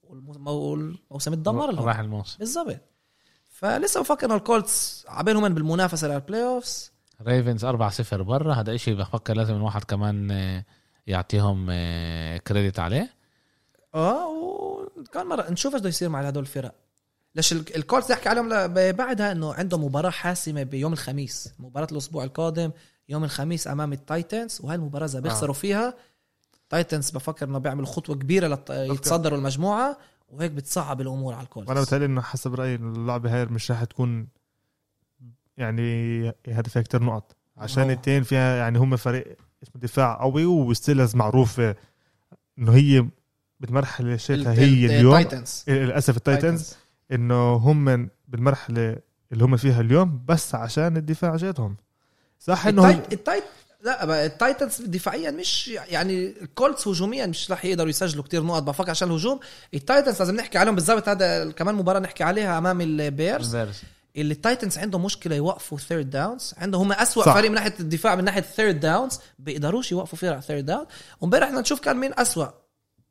Speaker 3: والمو- والموسم اتدمر لهم
Speaker 1: راح الموسم
Speaker 3: بالظبط فلسه بفكر انه الكولتس عبالهم هن بالمنافسه للبلاي اوفز
Speaker 1: ريفنز 4-0 برا هذا إشي بفكر لازم الواحد كمان آه، يعطيهم آه، كريدت عليه
Speaker 3: اه وكان مره نشوف ايش بده يصير مع هدول الفرق ليش ال- الكولتس يحكي عليهم ل- ب- بعدها انه عندهم مباراه حاسمه بيوم الخميس مباراه الاسبوع القادم يوم الخميس امام التايتنز وهي المباراه اذا
Speaker 2: آه.
Speaker 3: بيخسروا فيها تايتنز بفكر انه بيعمل خطوه كبيره لت... يتصدروا المجموعه وهيك بتصعب الامور على
Speaker 2: وانا
Speaker 3: الكولتس
Speaker 2: آه. بتهيألي انه حسب رايي اللعبه هاي مش رح تكون يعني هدفها كتير نقط عشان
Speaker 3: أوه.
Speaker 2: التين فيها يعني هم فريق اسمه دفاع قوي وستيلز معروفة انه هي بالمرحلة شايفها هي اليوم
Speaker 3: التايتنز
Speaker 2: للاسف التايتنز انه هم بالمرحله اللي هم فيها اليوم بس عشان الدفاع جاتهم صح انه
Speaker 3: التايت التايت لا بقى التايتنز دفاعيا مش يعني الكولتس هجوميا مش رح يقدروا يسجلوا كتير نقط بفكر عشان الهجوم التايتنز لازم نحكي عليهم بالضبط هذا كمان مباراه نحكي عليها امام البيرز اللي التايتنز عندهم مشكله يوقفوا ثيرد داونز عندهم هم اسوء
Speaker 2: صح.
Speaker 3: فريق من ناحيه الدفاع من ناحيه الثيرد داونز بيقدروش يوقفوا فرق ثيرد داون وامبارح احنا نشوف كان مين اسوء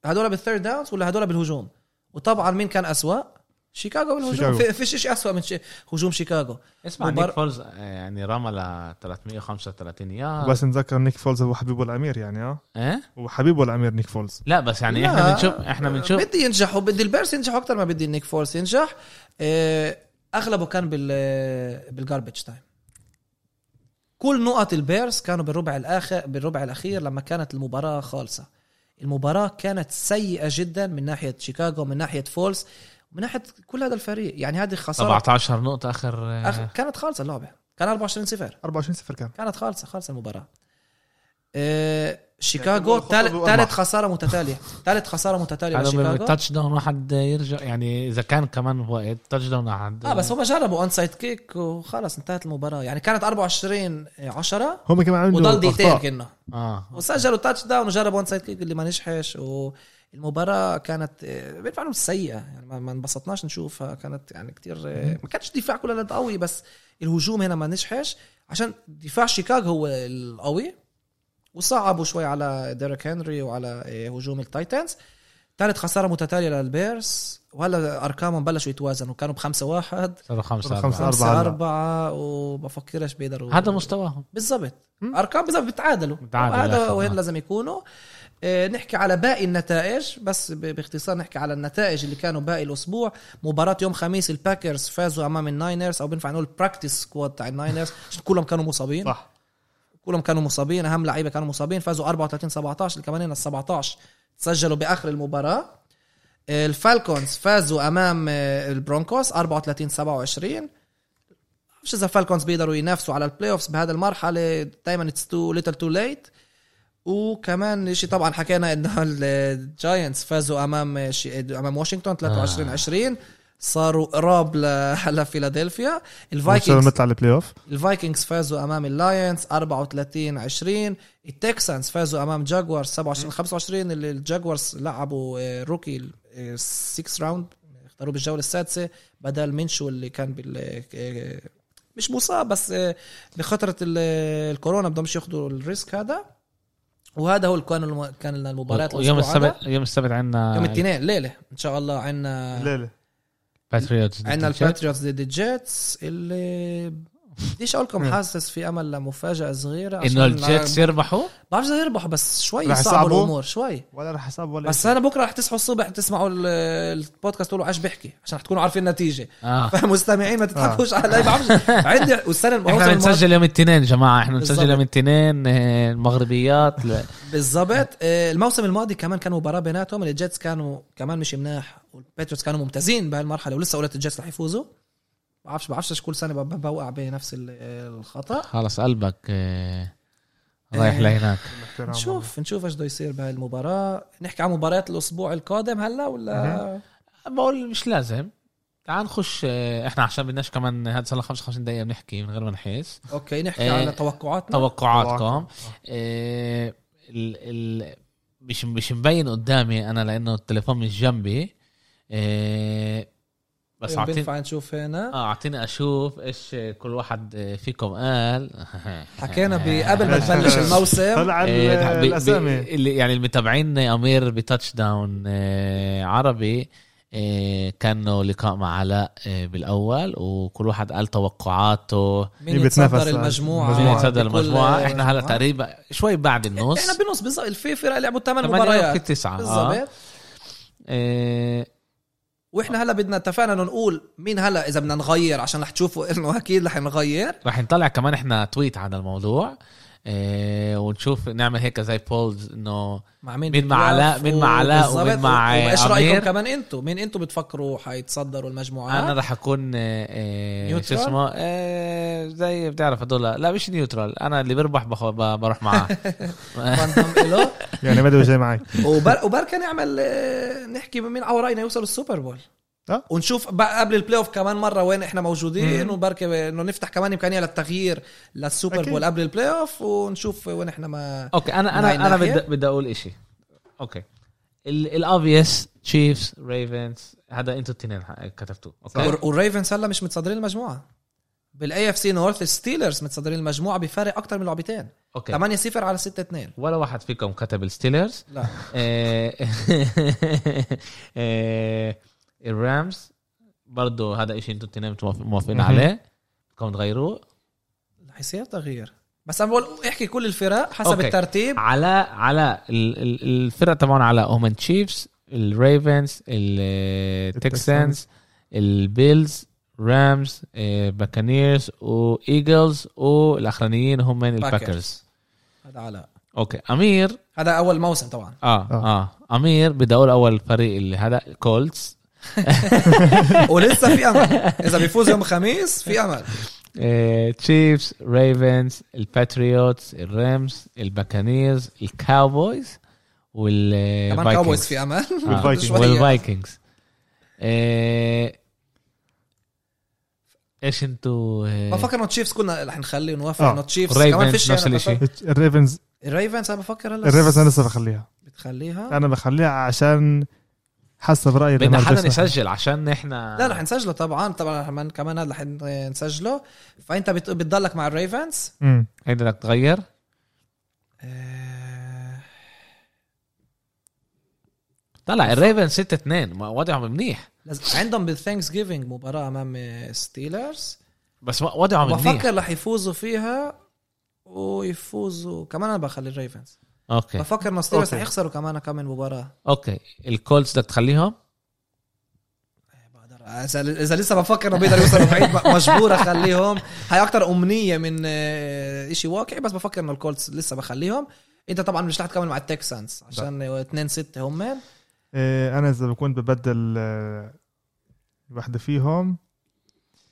Speaker 3: هدول بالثيرد داونز ولا هدول بالهجوم وطبعا مين كان اسوء شيكاغو بالهجوم
Speaker 2: شيكاغو.
Speaker 3: في- فيش شيء اسوء من شي- هجوم شيكاغو
Speaker 1: اسمع
Speaker 3: وبر-
Speaker 1: نيك فولز آه، يعني رمى ل 335 يارد
Speaker 2: بس نذكر نيك فولز هو حبيبه الامير يعني اه
Speaker 1: ايه
Speaker 2: هو حبيبه الامير نيك فولز
Speaker 1: لا بس يعني
Speaker 3: لا.
Speaker 1: احنا بنشوف احنا بنشوف
Speaker 3: بدي ينجحوا بدي البيرس ينجحوا اكثر ما بدي النيك فورس ينجح آه، اغلبه كان بال بالجاربج تايم كل نقط البيرس كانوا بالربع الاخر بالربع الاخير لما كانت المباراه خالصه المباراه كانت سيئه جدا من ناحيه شيكاغو من ناحيه فولس من ناحيه كل هذا الفريق يعني هذه خساره
Speaker 1: 17 نقطه اخر آه،
Speaker 3: أخ... كانت خالصه اللعبه كان 24 0
Speaker 2: 24 صفر كان
Speaker 3: كانت خالصه خالصه المباراه آه، شيكاغو
Speaker 2: كانوا خطأ بيوقع.
Speaker 3: ثالث خساره متتاليه ثالث خساره متتاليه
Speaker 1: هذا
Speaker 3: لشيكاغو
Speaker 1: التاتش داون واحد يرجع يعني اذا كان كمان وقت تاتش داون واحد
Speaker 3: اه بس هم جربوا اون سايد كيك وخلص انتهت المباراه يعني كانت 24 10
Speaker 2: هم كمان عنده
Speaker 3: وضل دقيقتين
Speaker 2: اخطاء
Speaker 3: كنا
Speaker 1: اه
Speaker 3: وسجلوا تاتش داون وجربوا اون سايد كيك اللي ما نجحش والمباراه كانت آه، بينفع نقول سيئه يعني ما ما انبسطناش نشوفها كانت يعني كتير آه، ما كانش دفاع كل هالقد قوي بس الهجوم هنا ما نجحش عشان دفاع شيكاغو هو القوي وصعبوا شوي على ديريك هنري وعلى آه، هجوم التايتنز ثالث خساره متتاليه للبيرس وهلا ارقامهم بلشوا يتوازنوا كانوا بخمسة واحد
Speaker 1: صاروا خمسة
Speaker 2: خمسة.
Speaker 1: أربعة.
Speaker 3: خمسة
Speaker 2: أربعة.
Speaker 3: أربعة وبفكرش بيقدروا
Speaker 1: هذا مستواهم
Speaker 3: بالضبط أرقام بالضبط بتعادلوا
Speaker 1: بتعادلوا
Speaker 3: هذا
Speaker 1: بالآخر،
Speaker 3: وين
Speaker 1: آه.
Speaker 3: لازم يكونوا آه، نحكي على باقي النتائج بس ب- باختصار نحكي على النتائج اللي كانوا باقي الأسبوع مباراة يوم خميس الباكرز فازوا أمام الناينرز أو بينفع نقول براكتس سكواد تاع الناينرز عشان كلهم كانوا مصابين
Speaker 2: صح
Speaker 3: كلهم كانوا مصابين اهم لعيبه كانوا مصابين فازوا 34 17 اللي كمان هنا ال 17 تسجلوا باخر المباراه الفالكونز فازوا امام آه، البرونكوس 34 27 مش اذا الفالكونز بيقدروا ينافسوا على البلاي اوفز بهذا المرحله دائما اتس تو ليتل تو ليت وكمان شيء طبعا حكينا انه الجاينتس فازوا امام شي- آه، امام واشنطن 23 20 صاروا قراب لفيلادلفيا
Speaker 2: عشان
Speaker 3: الفايكنجز
Speaker 2: نطلع البلاي اوف
Speaker 3: الفايكنجز فازوا امام اللاينز 34 20 التكسانز فازوا امام جاكوارز 27 25 اللي الجاكوارز لعبوا آه، روكي 6 راوند اختاروه بالجوله السادسه بدل منشو اللي كان بال آه، مش مصاب بس آه، بخطره ال- آه، الكورونا بدهمش ياخذوا الريسك هذا وهذا هو كان الم- كان لنا المباريات
Speaker 1: يوم
Speaker 3: الأسبوع هذا.
Speaker 1: السبت آه. يوم السبت عندنا
Speaker 3: يوم الاثنين ليله ان شاء الله عندنا
Speaker 2: الليله
Speaker 1: الباتريوتس
Speaker 3: عندنا الباتريوتس ضد الجيتس اللي بديش اقول لكم حاسس في امل لمفاجاه صغيره عشان
Speaker 1: انه الجيتس يربحوا
Speaker 3: بعرفش اذا يربحوا بس شوي
Speaker 2: رح
Speaker 3: صعبوا
Speaker 2: يصعبوا؟
Speaker 3: الامور شوي
Speaker 2: ولا رح حساب ولا
Speaker 3: بس
Speaker 2: إشي.
Speaker 3: انا بكره رح تصحوا الصبح تسمعوا ال- البودكاست تقولوا عش بحكي عشان رح تكونوا عارفين النتيجه
Speaker 1: اه
Speaker 3: فمستمعين ما تضحكوش علي بعرفش عندي والسنه
Speaker 1: احنا بنسجل يوم الاثنين يا جماعه احنا بنسجل
Speaker 3: بالضبط.
Speaker 1: يوم الاثنين آه، المغربيات ل-
Speaker 3: بالضبط آه، الموسم الماضي كمان كان مباراه بيناتهم الجيتس كانوا كمان مش مناح والباتريوتس كانوا ممتازين بهالمرحله ولسه قلت الجيتس رح يفوزوا بعرفش بعرفش كل سنه ب- بوقع بنفس ال- الخطا
Speaker 1: خلص قلبك آه، رايح
Speaker 3: آه.
Speaker 1: لهناك
Speaker 2: باحترام والله.
Speaker 3: نشوف نشوف ايش بده يصير بهالمباراه نحكي عن مباريات الاسبوع القادم هلا ولا
Speaker 1: بقول مش لازم تعال نخش آه، احنا عشان بدناش كمان هذا صار لنا 55 دقيقه بنحكي من غير ما نحس
Speaker 3: اوكي نحكي
Speaker 1: آه،
Speaker 3: على توقعاتنا
Speaker 1: توقعاتكم آه، ال ال مش مش مبين قدامي انا لانه التليفون مش جنبي آه، بس
Speaker 3: بس
Speaker 1: اعطيني
Speaker 3: بينفع نشوف هنا
Speaker 1: اه اعطيني اشوف ايش كل واحد آه، فيكم قال آه،
Speaker 3: حكينا قبل ما نبلش الموسم
Speaker 2: طلع ال-
Speaker 1: إيه، ب- ب-
Speaker 2: الاسامي
Speaker 1: اللي- يعني المتابعين امير بتاتش داون آه، عربي آه، كانوا لقاء مع علاء آه، بالاول وكل واحد قال توقعاته يعني
Speaker 2: مين
Speaker 3: مين يتصدر
Speaker 2: بيتنافس على
Speaker 3: المجموعه
Speaker 1: مين
Speaker 2: المجموعة.
Speaker 1: يتصدر
Speaker 3: بكل
Speaker 1: المجموعه احنا هلا
Speaker 3: مجموعة.
Speaker 1: تقريبا شوي بعد
Speaker 3: احنا
Speaker 1: النص
Speaker 3: بالنص بالظبط في فرق لعبوا ثمان
Speaker 1: ثمانية
Speaker 3: مباريات
Speaker 1: وفي تسعة آه.
Speaker 3: بالظبط
Speaker 1: آه،
Speaker 3: واحنا هلا بدنا اتفقنا انه نقول مين هلا اذا بدنا نغير عشان رح تشوفوا انه اكيد رح نغير
Speaker 1: رح نطلع كمان احنا تويت عن الموضوع آه، ونشوف نعمل هيك زي بولز انه
Speaker 3: مع مين
Speaker 1: مين مع
Speaker 3: بتوافقوا
Speaker 1: علاء، مين مع علاء،
Speaker 3: بالظبط.
Speaker 1: ومين مع
Speaker 3: وايش
Speaker 1: أمير.
Speaker 3: رايكم كمان انتم مين انتم بتفكروا حيتصدروا
Speaker 1: انا
Speaker 3: المجموعات
Speaker 1: رح اكون آه، آه، شو
Speaker 3: نيوترال؟
Speaker 1: اسمه آه، زي بتعرف هدول لا مش نيوترال انا اللي بيربح بخ- ب- بروح معاه آه،
Speaker 3: بنضم إله.
Speaker 2: يعني مدوي جاي معي
Speaker 3: وبر- وبركة نعمل آه، نحكي مين على راينا يوصل السوبر بول
Speaker 2: آه.
Speaker 3: ونشوف بقى قبل البلاي اوف كمان مره وين احنا موجودين
Speaker 2: مم.
Speaker 3: وبركة انه نفتح كمان امكانيه للتغيير للسوبر
Speaker 2: أكيد.
Speaker 3: بول قبل البلاي اوف ونشوف وين احنا ما
Speaker 1: اوكي انا
Speaker 3: من هاي
Speaker 1: انا انا
Speaker 3: الناحية؟
Speaker 1: بدي بدي اقول إشي اوكي الاوبيس تشيفز ريفنز هذا انتوا الاثنين كتبتوه اوكي
Speaker 3: وال- والريفنز هلا مش متصدرين المجموعه بالاي اف سي نورث ستيلرز متصدرين المجموعه بفارق اكثر من لعبتين
Speaker 1: اوكي
Speaker 3: 8 0 على 6 2
Speaker 1: ولا واحد فيكم كتب الستيلرز
Speaker 3: لا
Speaker 1: آه، آه، الرامز برضو هذا إشي انتوا الاثنين متوافق- موافقين
Speaker 2: مهم.
Speaker 1: عليه بدكم تغيروه
Speaker 3: رح يصير تغيير بس انا بقول احكي كل الفرق حسب
Speaker 1: أوكي.
Speaker 3: أوكي. الترتيب
Speaker 1: على على ال- ال- الفرق تبعهم على هم تشيفز الريفنز التكسانز البيلز رامز باكانيرز وايجلز والاخرانيين هم الباكرز
Speaker 3: باكرز. هذا علاء
Speaker 1: اوكي امير
Speaker 3: هذا اول موسم طبعا
Speaker 1: اه اه
Speaker 2: آه.
Speaker 1: امير بدي اقول اول فريق اللي هذا كولتس
Speaker 3: ولسه في امل اذا بيفوز يوم الخميس في امل
Speaker 1: آه، تشيفز ريفنز الباتريوتس الرامز الباكانيرز الكاوبويز وال آه،
Speaker 3: كمان كاوبويز في امل
Speaker 1: Ah,
Speaker 2: والفايكنجز.
Speaker 3: شوية.
Speaker 1: والفايكنجز آه، ايش انتوا آه،
Speaker 3: بفكر انه تشيفز كنا رح نخلي ونوافق
Speaker 2: آه.
Speaker 3: انه تشيفز كمان
Speaker 1: والريفنز
Speaker 3: فيش
Speaker 1: نفس
Speaker 3: أنا
Speaker 1: الإشي.
Speaker 3: بفكر-
Speaker 2: الريفنز
Speaker 3: الريفنز انا بفكر هلا
Speaker 2: الريفنز انا لسه بخليها
Speaker 3: بتخليها
Speaker 2: انا بخليها عشان حسب رايي
Speaker 1: بدنا
Speaker 2: لما
Speaker 1: حدا
Speaker 2: بدي أسمع.
Speaker 1: نسجل عشان احنا
Speaker 3: لا رح نسجله طبعا طبعا كمان- كمان هذا رح آه، نسجله فانت بت- بتضلك مع الريفنز
Speaker 2: أمم.
Speaker 1: هيدا بدك تغير
Speaker 3: آه،
Speaker 1: طلع الريفنز 6 2 ما وضعهم منيح
Speaker 3: لازم- عندهم بالثانكس جيفينج مباراه امام ستيلرز
Speaker 1: بس ما- وضعهم منيح
Speaker 3: آه، بفكر رح يفوزوا فيها ويفوزوا كمان انا بخلي الريفنز
Speaker 1: اوكي
Speaker 3: بفكر انه ستيلرز
Speaker 2: أوكي.
Speaker 3: رح يخسروا كمان كم من مباراه
Speaker 1: اوكي الكولتس بدك تخليهم
Speaker 3: بقدر- اذا اذا لسه بفكر انه بيقدر يوصل بعيد ب- مجبور اخليهم هاي اكتر امنيه من آه، إشي واقعي بس بفكر انه الكولتس لسه بخليهم انت طبعا مش رح تكمل مع التكسانز عشان 2 6 هم
Speaker 2: إيه، انا اذا بكون ببدل آه، واحده فيهم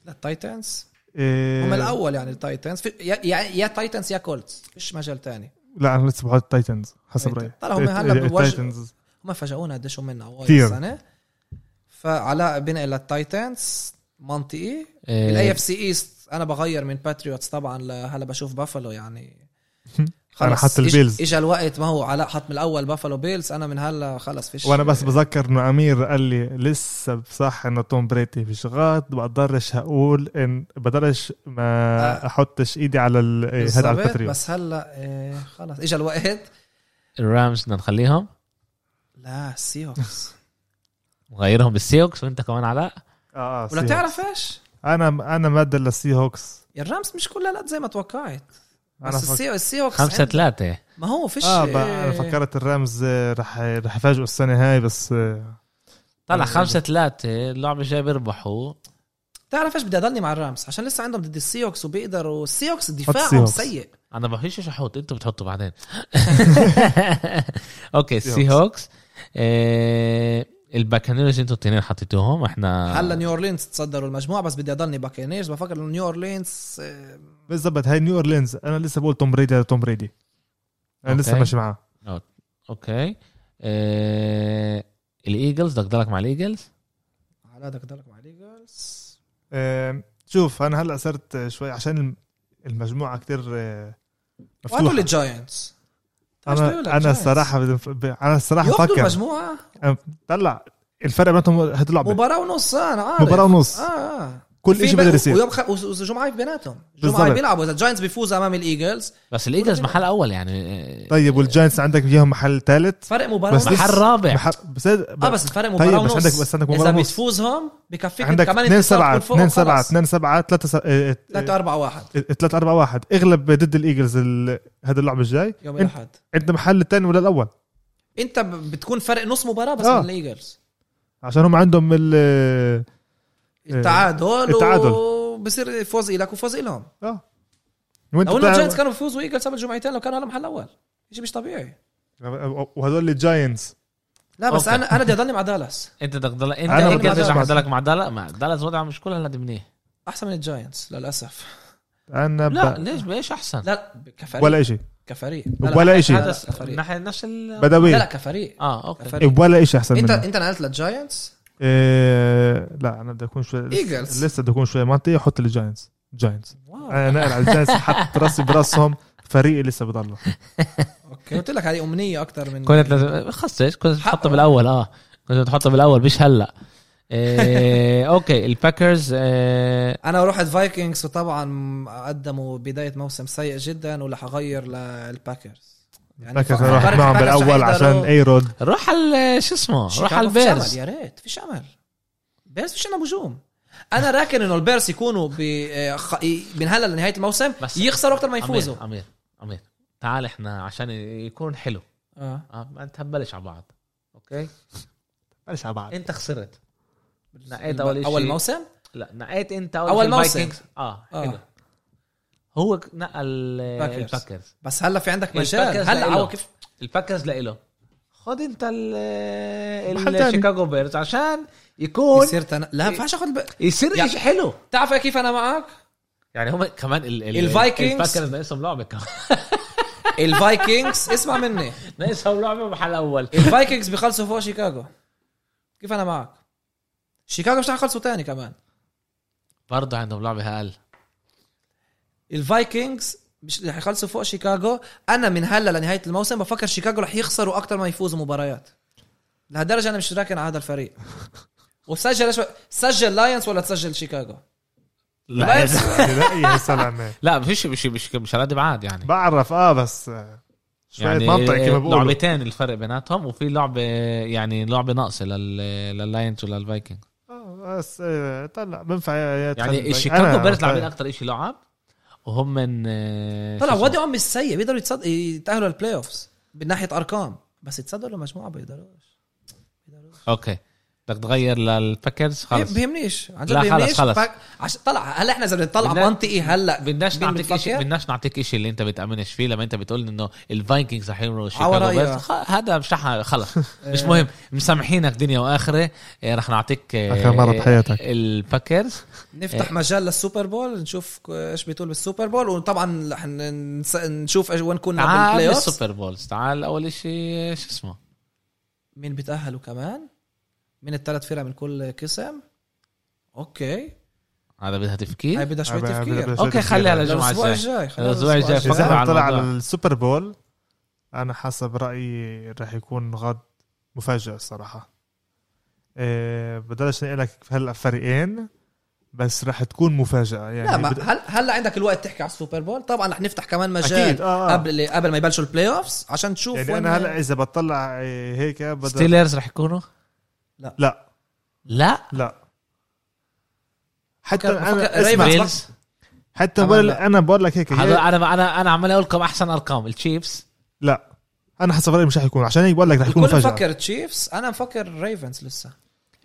Speaker 3: للتايتنز
Speaker 2: إيه،
Speaker 3: هم الاول يعني التايتنز في- يا يا, يا تايتنز يا كولتس فيش مجال تاني
Speaker 2: لا انا لسه بحط التايتنز حسب
Speaker 3: طيب،
Speaker 2: رايي
Speaker 3: طلع هم هلا
Speaker 2: إيه،
Speaker 3: بوجه-
Speaker 2: التايتنز
Speaker 3: هم فاجئونا قديش هم من اوائل
Speaker 2: كتير.
Speaker 3: السنه فعلاء بنقل للتايتنز منطقي
Speaker 1: آه،
Speaker 2: إيه.
Speaker 3: بالاي اف سي ايست انا بغير من باتريوتس طبعا لهلا بشوف بافلو يعني
Speaker 2: أنا
Speaker 3: خلص
Speaker 2: حاطط
Speaker 3: إج-
Speaker 2: البيلز.
Speaker 3: اجى الوقت ما هو علاء حط من الاول بافالو بيلز انا من هلا خلص فيش
Speaker 2: وانا بس بذكر انه امير قال لي لسه بصح انه توم بريتي مش غلط بقدرش هقول ان بقدرش ما
Speaker 3: آه.
Speaker 2: احطش ايدي على ال- إيه، هذا على
Speaker 3: بالظبط،
Speaker 2: الباتريوت
Speaker 3: بس هلا إيه خلص اجى الوقت
Speaker 1: الرامز بدنا نخليهم
Speaker 3: لا سيوكس
Speaker 1: نغيرهم بالسيوكس وانت كمان علاء
Speaker 2: اه اه
Speaker 3: ولا
Speaker 2: سي
Speaker 3: بتعرف ايش؟
Speaker 2: هوكس. انا انا ماده للسي هوكس
Speaker 3: الرامز مش كلها لا زي ما توقعت
Speaker 2: انا
Speaker 3: بس
Speaker 2: فك...
Speaker 3: السيو السيوكس
Speaker 1: خمسة
Speaker 3: عند-
Speaker 1: ثلاثة
Speaker 3: ما هو فيش
Speaker 2: اه بقى انا
Speaker 3: إيه،
Speaker 2: فكرت الرامز آه، رح رح يفاجئوا السنه هاي بس آه،
Speaker 1: طلع
Speaker 2: آه،
Speaker 1: خمسة ثلاثة اللعبة الجايه بيربحوا
Speaker 3: بتعرف ايش بدي اضلني مع الرامز عشان لسه عندهم ضد السيوكس وبيقدروا السيوكس دفاعهم
Speaker 2: السيوكس.
Speaker 3: سيء
Speaker 1: انا بحيش ايش احط انتوا بتحطوا بعدين اوكي السي
Speaker 2: سي
Speaker 1: هوكس آه، الباكانيرز انتوا التنين حطيتوهم احنا
Speaker 3: هلا نيو اورلينز تصدروا المجموعه بس بدي اضلني باكينيرز بفكر انه نيو اورلينز آه،
Speaker 2: بالضبط هاي نيو اورلينز انا لسه بقول توم بريدي توم بريدي انا لسه
Speaker 1: أوكي.
Speaker 2: ماشي معاه
Speaker 1: اوكي آه، الايجلز بدك تضلك مع الايجلز
Speaker 3: على بدك تضلك مع ليجرز
Speaker 2: آه، شوف انا هلا صرت آه، شوي عشان الم- المجموعه كتير آه،
Speaker 3: وهدول
Speaker 2: مفتوحه
Speaker 3: الجاينتس
Speaker 2: انا انا الصراحه بدي ف- ب- انا الصراحه
Speaker 3: ياخذوا
Speaker 2: بفكر
Speaker 3: المجموعه
Speaker 2: طلع الفرق بيناتهم هدول لعبه
Speaker 3: مباراه ونص آه، انا عارف
Speaker 2: مباراه ونص
Speaker 3: اه اه
Speaker 2: كل
Speaker 3: في
Speaker 2: شيء
Speaker 3: بي-
Speaker 2: بقدر يصير
Speaker 3: ويوم خ... وجمعه بيناتهم جمعه
Speaker 2: بالضبط.
Speaker 3: بيلعبوا اذا الجاينتس بيفوزوا امام الايجلز
Speaker 1: بس الايجلز محل اول يعني آه،
Speaker 2: طيب والجاينتس عندك اياهم محل ثالث
Speaker 3: فرق مباراه
Speaker 2: بس
Speaker 3: ونص
Speaker 1: محل رابع
Speaker 2: محل- بس هاد-
Speaker 3: اه بس الفرق مباراه
Speaker 2: طيب
Speaker 3: ونص
Speaker 2: بس عندك بس عندك
Speaker 3: اذا
Speaker 2: مباراه ونص
Speaker 3: بتفوزهم بكفيك
Speaker 2: عندك
Speaker 3: كمان
Speaker 2: 2
Speaker 3: انتصار
Speaker 2: 7
Speaker 3: تكون
Speaker 2: 2
Speaker 3: فوق
Speaker 2: 7
Speaker 3: وخلص.
Speaker 2: 2 7
Speaker 3: 3
Speaker 2: 3
Speaker 3: 4 1
Speaker 2: 3 4 1 اغلب ضد الايجلز ال- هذا اللعبه الجاي
Speaker 3: يوم
Speaker 2: انت
Speaker 3: الاحد
Speaker 2: انت محل الثاني ولا الاول
Speaker 3: انت ب- بتكون فرق نص مباراه بس
Speaker 2: آه.
Speaker 3: من الايجلز
Speaker 2: عشان هم عندهم ال
Speaker 3: التعادل
Speaker 2: إيه. التعادل.
Speaker 3: بصير فوز الك وفوز الهم
Speaker 2: اه وانت
Speaker 3: لو انه الجاينتس
Speaker 2: بتاع...
Speaker 3: كانوا بيفوزوا ايجلز قبل جمعتين لو كانوا هلا محل اول شيء مش طبيعي
Speaker 2: وهذول الجاينتس
Speaker 3: لا بس
Speaker 1: أوكي.
Speaker 3: انا انا بدي اضلني مع دالاس
Speaker 1: انت بدك تضل انت
Speaker 2: أنا
Speaker 3: بدي
Speaker 1: الايجلز
Speaker 3: أضل
Speaker 1: رح
Speaker 2: مع-
Speaker 1: تضلك مع دالا مع دالاس وضعه مش كلها هلا منيح
Speaker 3: احسن من الجاينتس للاسف
Speaker 2: انا
Speaker 1: لا
Speaker 2: ب...
Speaker 1: ليش بايش احسن
Speaker 3: لا كفريق
Speaker 2: ولا شيء
Speaker 3: كفريق
Speaker 2: ولا
Speaker 3: لا
Speaker 2: إشي.
Speaker 3: لا،
Speaker 1: هذا
Speaker 3: لا، كفريق
Speaker 1: ناحية نفس ال
Speaker 3: لا لا
Speaker 2: بدوي
Speaker 3: كفريق
Speaker 1: اه اوكي
Speaker 3: فريق.
Speaker 2: إيه، ولا شيء احسن
Speaker 3: انت
Speaker 2: منه
Speaker 3: انت نقلت للجاينتس
Speaker 2: إيه... لا انا بدي اكون شوي
Speaker 3: Eagles.
Speaker 2: لسه, لسه بدي اكون شوي منطقي احط الجاينتس جاينتس
Speaker 3: واو
Speaker 2: انا نقل على الجاينتس حط راسي براسهم فريقي لسه بضله
Speaker 3: اوكي قلت لك هذه امنيه اكثر من
Speaker 1: كنت لازم خصش كنت
Speaker 3: حقه.
Speaker 1: تحطه بالاول اه كنت تحطه بالاول مش هلا إيه اوكي الباكرز إيه
Speaker 3: انا رحت فايكنجز وطبعا قدموا بدايه موسم سيء جدا ولا حغير للباكرز يعني
Speaker 2: فاكر
Speaker 3: فكرت
Speaker 2: أنا رحت معهم
Speaker 3: الباكرز
Speaker 2: بالاول
Speaker 3: رح
Speaker 2: عشان
Speaker 3: يقدروا-
Speaker 2: ايرود
Speaker 1: روح على شو اسمه روح على
Speaker 3: شيكاغو فيش
Speaker 1: البيرز
Speaker 3: امل يا ريت فيش امل بيرز فيش عندهم هجوم انا راكن انه البيرز يكونوا ب... آه، خ- من هلا لنهايه الموسم
Speaker 1: بس-
Speaker 3: يخسروا اكثر ما
Speaker 1: أمير،
Speaker 3: يفوزوا
Speaker 1: امير امير تعال احنا عشان يكون حلو
Speaker 3: اه
Speaker 1: آه، ما انت هبلش على بعض اوكي
Speaker 2: بلش على بعض
Speaker 1: انت خسرت نقيت اول شيء
Speaker 3: اول موسم
Speaker 1: لا نقيت انت اول,
Speaker 3: أول
Speaker 1: شي
Speaker 3: موسم.
Speaker 1: الفايكنجز. اه حلو
Speaker 3: آه.
Speaker 1: هو ك- نقى ال-
Speaker 3: باكرز.
Speaker 1: الباكرز
Speaker 3: بس هلا في
Speaker 1: إيه،
Speaker 3: عندك مجال
Speaker 1: الباكرز
Speaker 3: هلا
Speaker 1: لإله.
Speaker 3: عو- كيف
Speaker 1: الباكرز لإله خد انت ال
Speaker 2: محل
Speaker 1: ال-
Speaker 2: تاني.
Speaker 1: شيكاغو بيرز عشان يكون
Speaker 3: يصير تنا... لا ما ينفعش اخذ الب...
Speaker 1: يصير
Speaker 3: يعني-
Speaker 1: شيء حلو
Speaker 3: تعرف كيف انا معك
Speaker 1: يعني هم كمان ال ال
Speaker 3: الفايكنجز.
Speaker 1: الباكرز ناقصهم لعبه كمان
Speaker 3: الفايكنجز اسمع مني
Speaker 1: ناقصهم لعبه محل اول
Speaker 3: الفايكنجز بيخلصوا فوق شيكاغو كيف انا معك شيكاغو مش رح يخلصوا تاني كمان
Speaker 1: برضه عندهم لعبه اقل
Speaker 3: الفايكنجز مش رح يخلصوا فوق شيكاغو انا من هلا لنهايه الموسم بفكر شيكاغو رح يخسروا اكتر ما يفوزوا مباريات لهالدرجه انا مش راكن على هذا الفريق وسجل شو... سجل لاينز ولا تسجل شيكاغو
Speaker 1: لا
Speaker 3: Lions.
Speaker 2: لا يا سلامه
Speaker 1: لا مفيش مش مش مش على قد بعاد يعني
Speaker 2: بعرف اه بس آه، شوية منطقي كما بقولوا
Speaker 1: لعبتين الفرق بيناتهم وفي لعبه يعني لعبه ناقصه لل لللاينز وللفايكنج
Speaker 2: آه، بس آه، طلع بينفع يا- يدخل
Speaker 1: يعني
Speaker 2: البنك.
Speaker 1: الشيكاغو
Speaker 2: أنا-
Speaker 1: بيرز لاعبين
Speaker 2: طيب.
Speaker 1: اكثر شيء لعب وهم من آه،
Speaker 3: طلع
Speaker 1: شو اسمه؟
Speaker 3: وضعهم مش سيء بيقدروا يتصد... يتاهلوا للبلاي اوفز من ناحيه ارقام بس يتصدروا لمجموعه بيقدروش بيقدروش
Speaker 1: اوكي بدك تغير للباكرز خلص
Speaker 3: بيهمنيش عن جد
Speaker 1: لا، خلص،
Speaker 3: بيهمنيش
Speaker 1: خلص.
Speaker 3: فك- عش... طلع هلا احنا اذا بدنا نطلع
Speaker 1: بدنا-
Speaker 3: منطقي هلا
Speaker 1: بدناش
Speaker 3: مين
Speaker 1: نعطيك
Speaker 3: بنفكر؟
Speaker 1: شيء بدناش نعطيك شيء اللي انت بتامنش فيه لما انت بتقول انه الفايكنجز رح يمروا شيكاغو
Speaker 3: رأيك.
Speaker 1: بيرز خ- هذا مش رح- خلص مش
Speaker 2: آه.
Speaker 1: مهم مسامحينك دنيا واخره آه، رح نعطيك آه،
Speaker 2: آخر مرة بحياتك.
Speaker 1: الباكرز إيه.
Speaker 3: نفتح مجال للسوبر بول نشوف ك- ايش بيطول بالسوبر بول وطبعا رح ن- نس- نشوف إيش- وين كنا
Speaker 1: تعال
Speaker 3: بالبلاي اوف
Speaker 1: السوبر بولز تعال اول شيء شو اسمه
Speaker 3: مين
Speaker 1: إيه؟
Speaker 3: بيتاهلوا كمان من الثلاث فرق من كل قسم اوكي
Speaker 1: هذا بدها
Speaker 3: هاي
Speaker 1: تفكير
Speaker 3: بدها شوي
Speaker 2: بدها- بدها-
Speaker 3: تفكير
Speaker 2: بدها-
Speaker 1: اوكي خليها للجمعه
Speaker 3: الاسبوع
Speaker 1: الجاي
Speaker 3: الجاي خلينا
Speaker 1: الأسبوع الجاي
Speaker 2: اذا
Speaker 1: فكر
Speaker 2: احنا
Speaker 1: على
Speaker 2: طلع على
Speaker 1: الموضوع.
Speaker 2: السوبر بول انا حسب رايي رح يكون غد مفاجاه الصراحه إيه بدلش اقول لك هلا فريقين بس رح تكون مفاجاه يعني
Speaker 3: لا ما
Speaker 2: بد-
Speaker 3: هل هلا عندك الوقت تحكي على السوبر بول طبعا رح نفتح كمان
Speaker 2: اكيد
Speaker 3: مجال
Speaker 2: اه, آه.
Speaker 3: قبل قبل ما يبلشوا البلاي اوفز عشان تشوف
Speaker 2: يعني
Speaker 3: وين-
Speaker 2: انا هلا اذا بطلع إيه، هيك بدل
Speaker 1: ستيلرز رح يكونوا
Speaker 2: لا
Speaker 1: لا
Speaker 2: لا حتى
Speaker 3: فكر-
Speaker 2: انا
Speaker 3: فكر-
Speaker 2: اسمع
Speaker 3: ريفنز.
Speaker 1: بيلز
Speaker 2: حتى
Speaker 3: كمان
Speaker 2: بقول
Speaker 3: لا.
Speaker 2: انا بقول لك هيك هي-
Speaker 1: هذا انا انا انا عمال اقول لكم احسن ارقام التشيفز
Speaker 2: لا انا حسب رايي مش رح يكون عشان هيك بقول لك رح يكون
Speaker 3: الكل
Speaker 2: مفاجاه
Speaker 3: مفكر تشيفز انا مفكر ريفنز لسه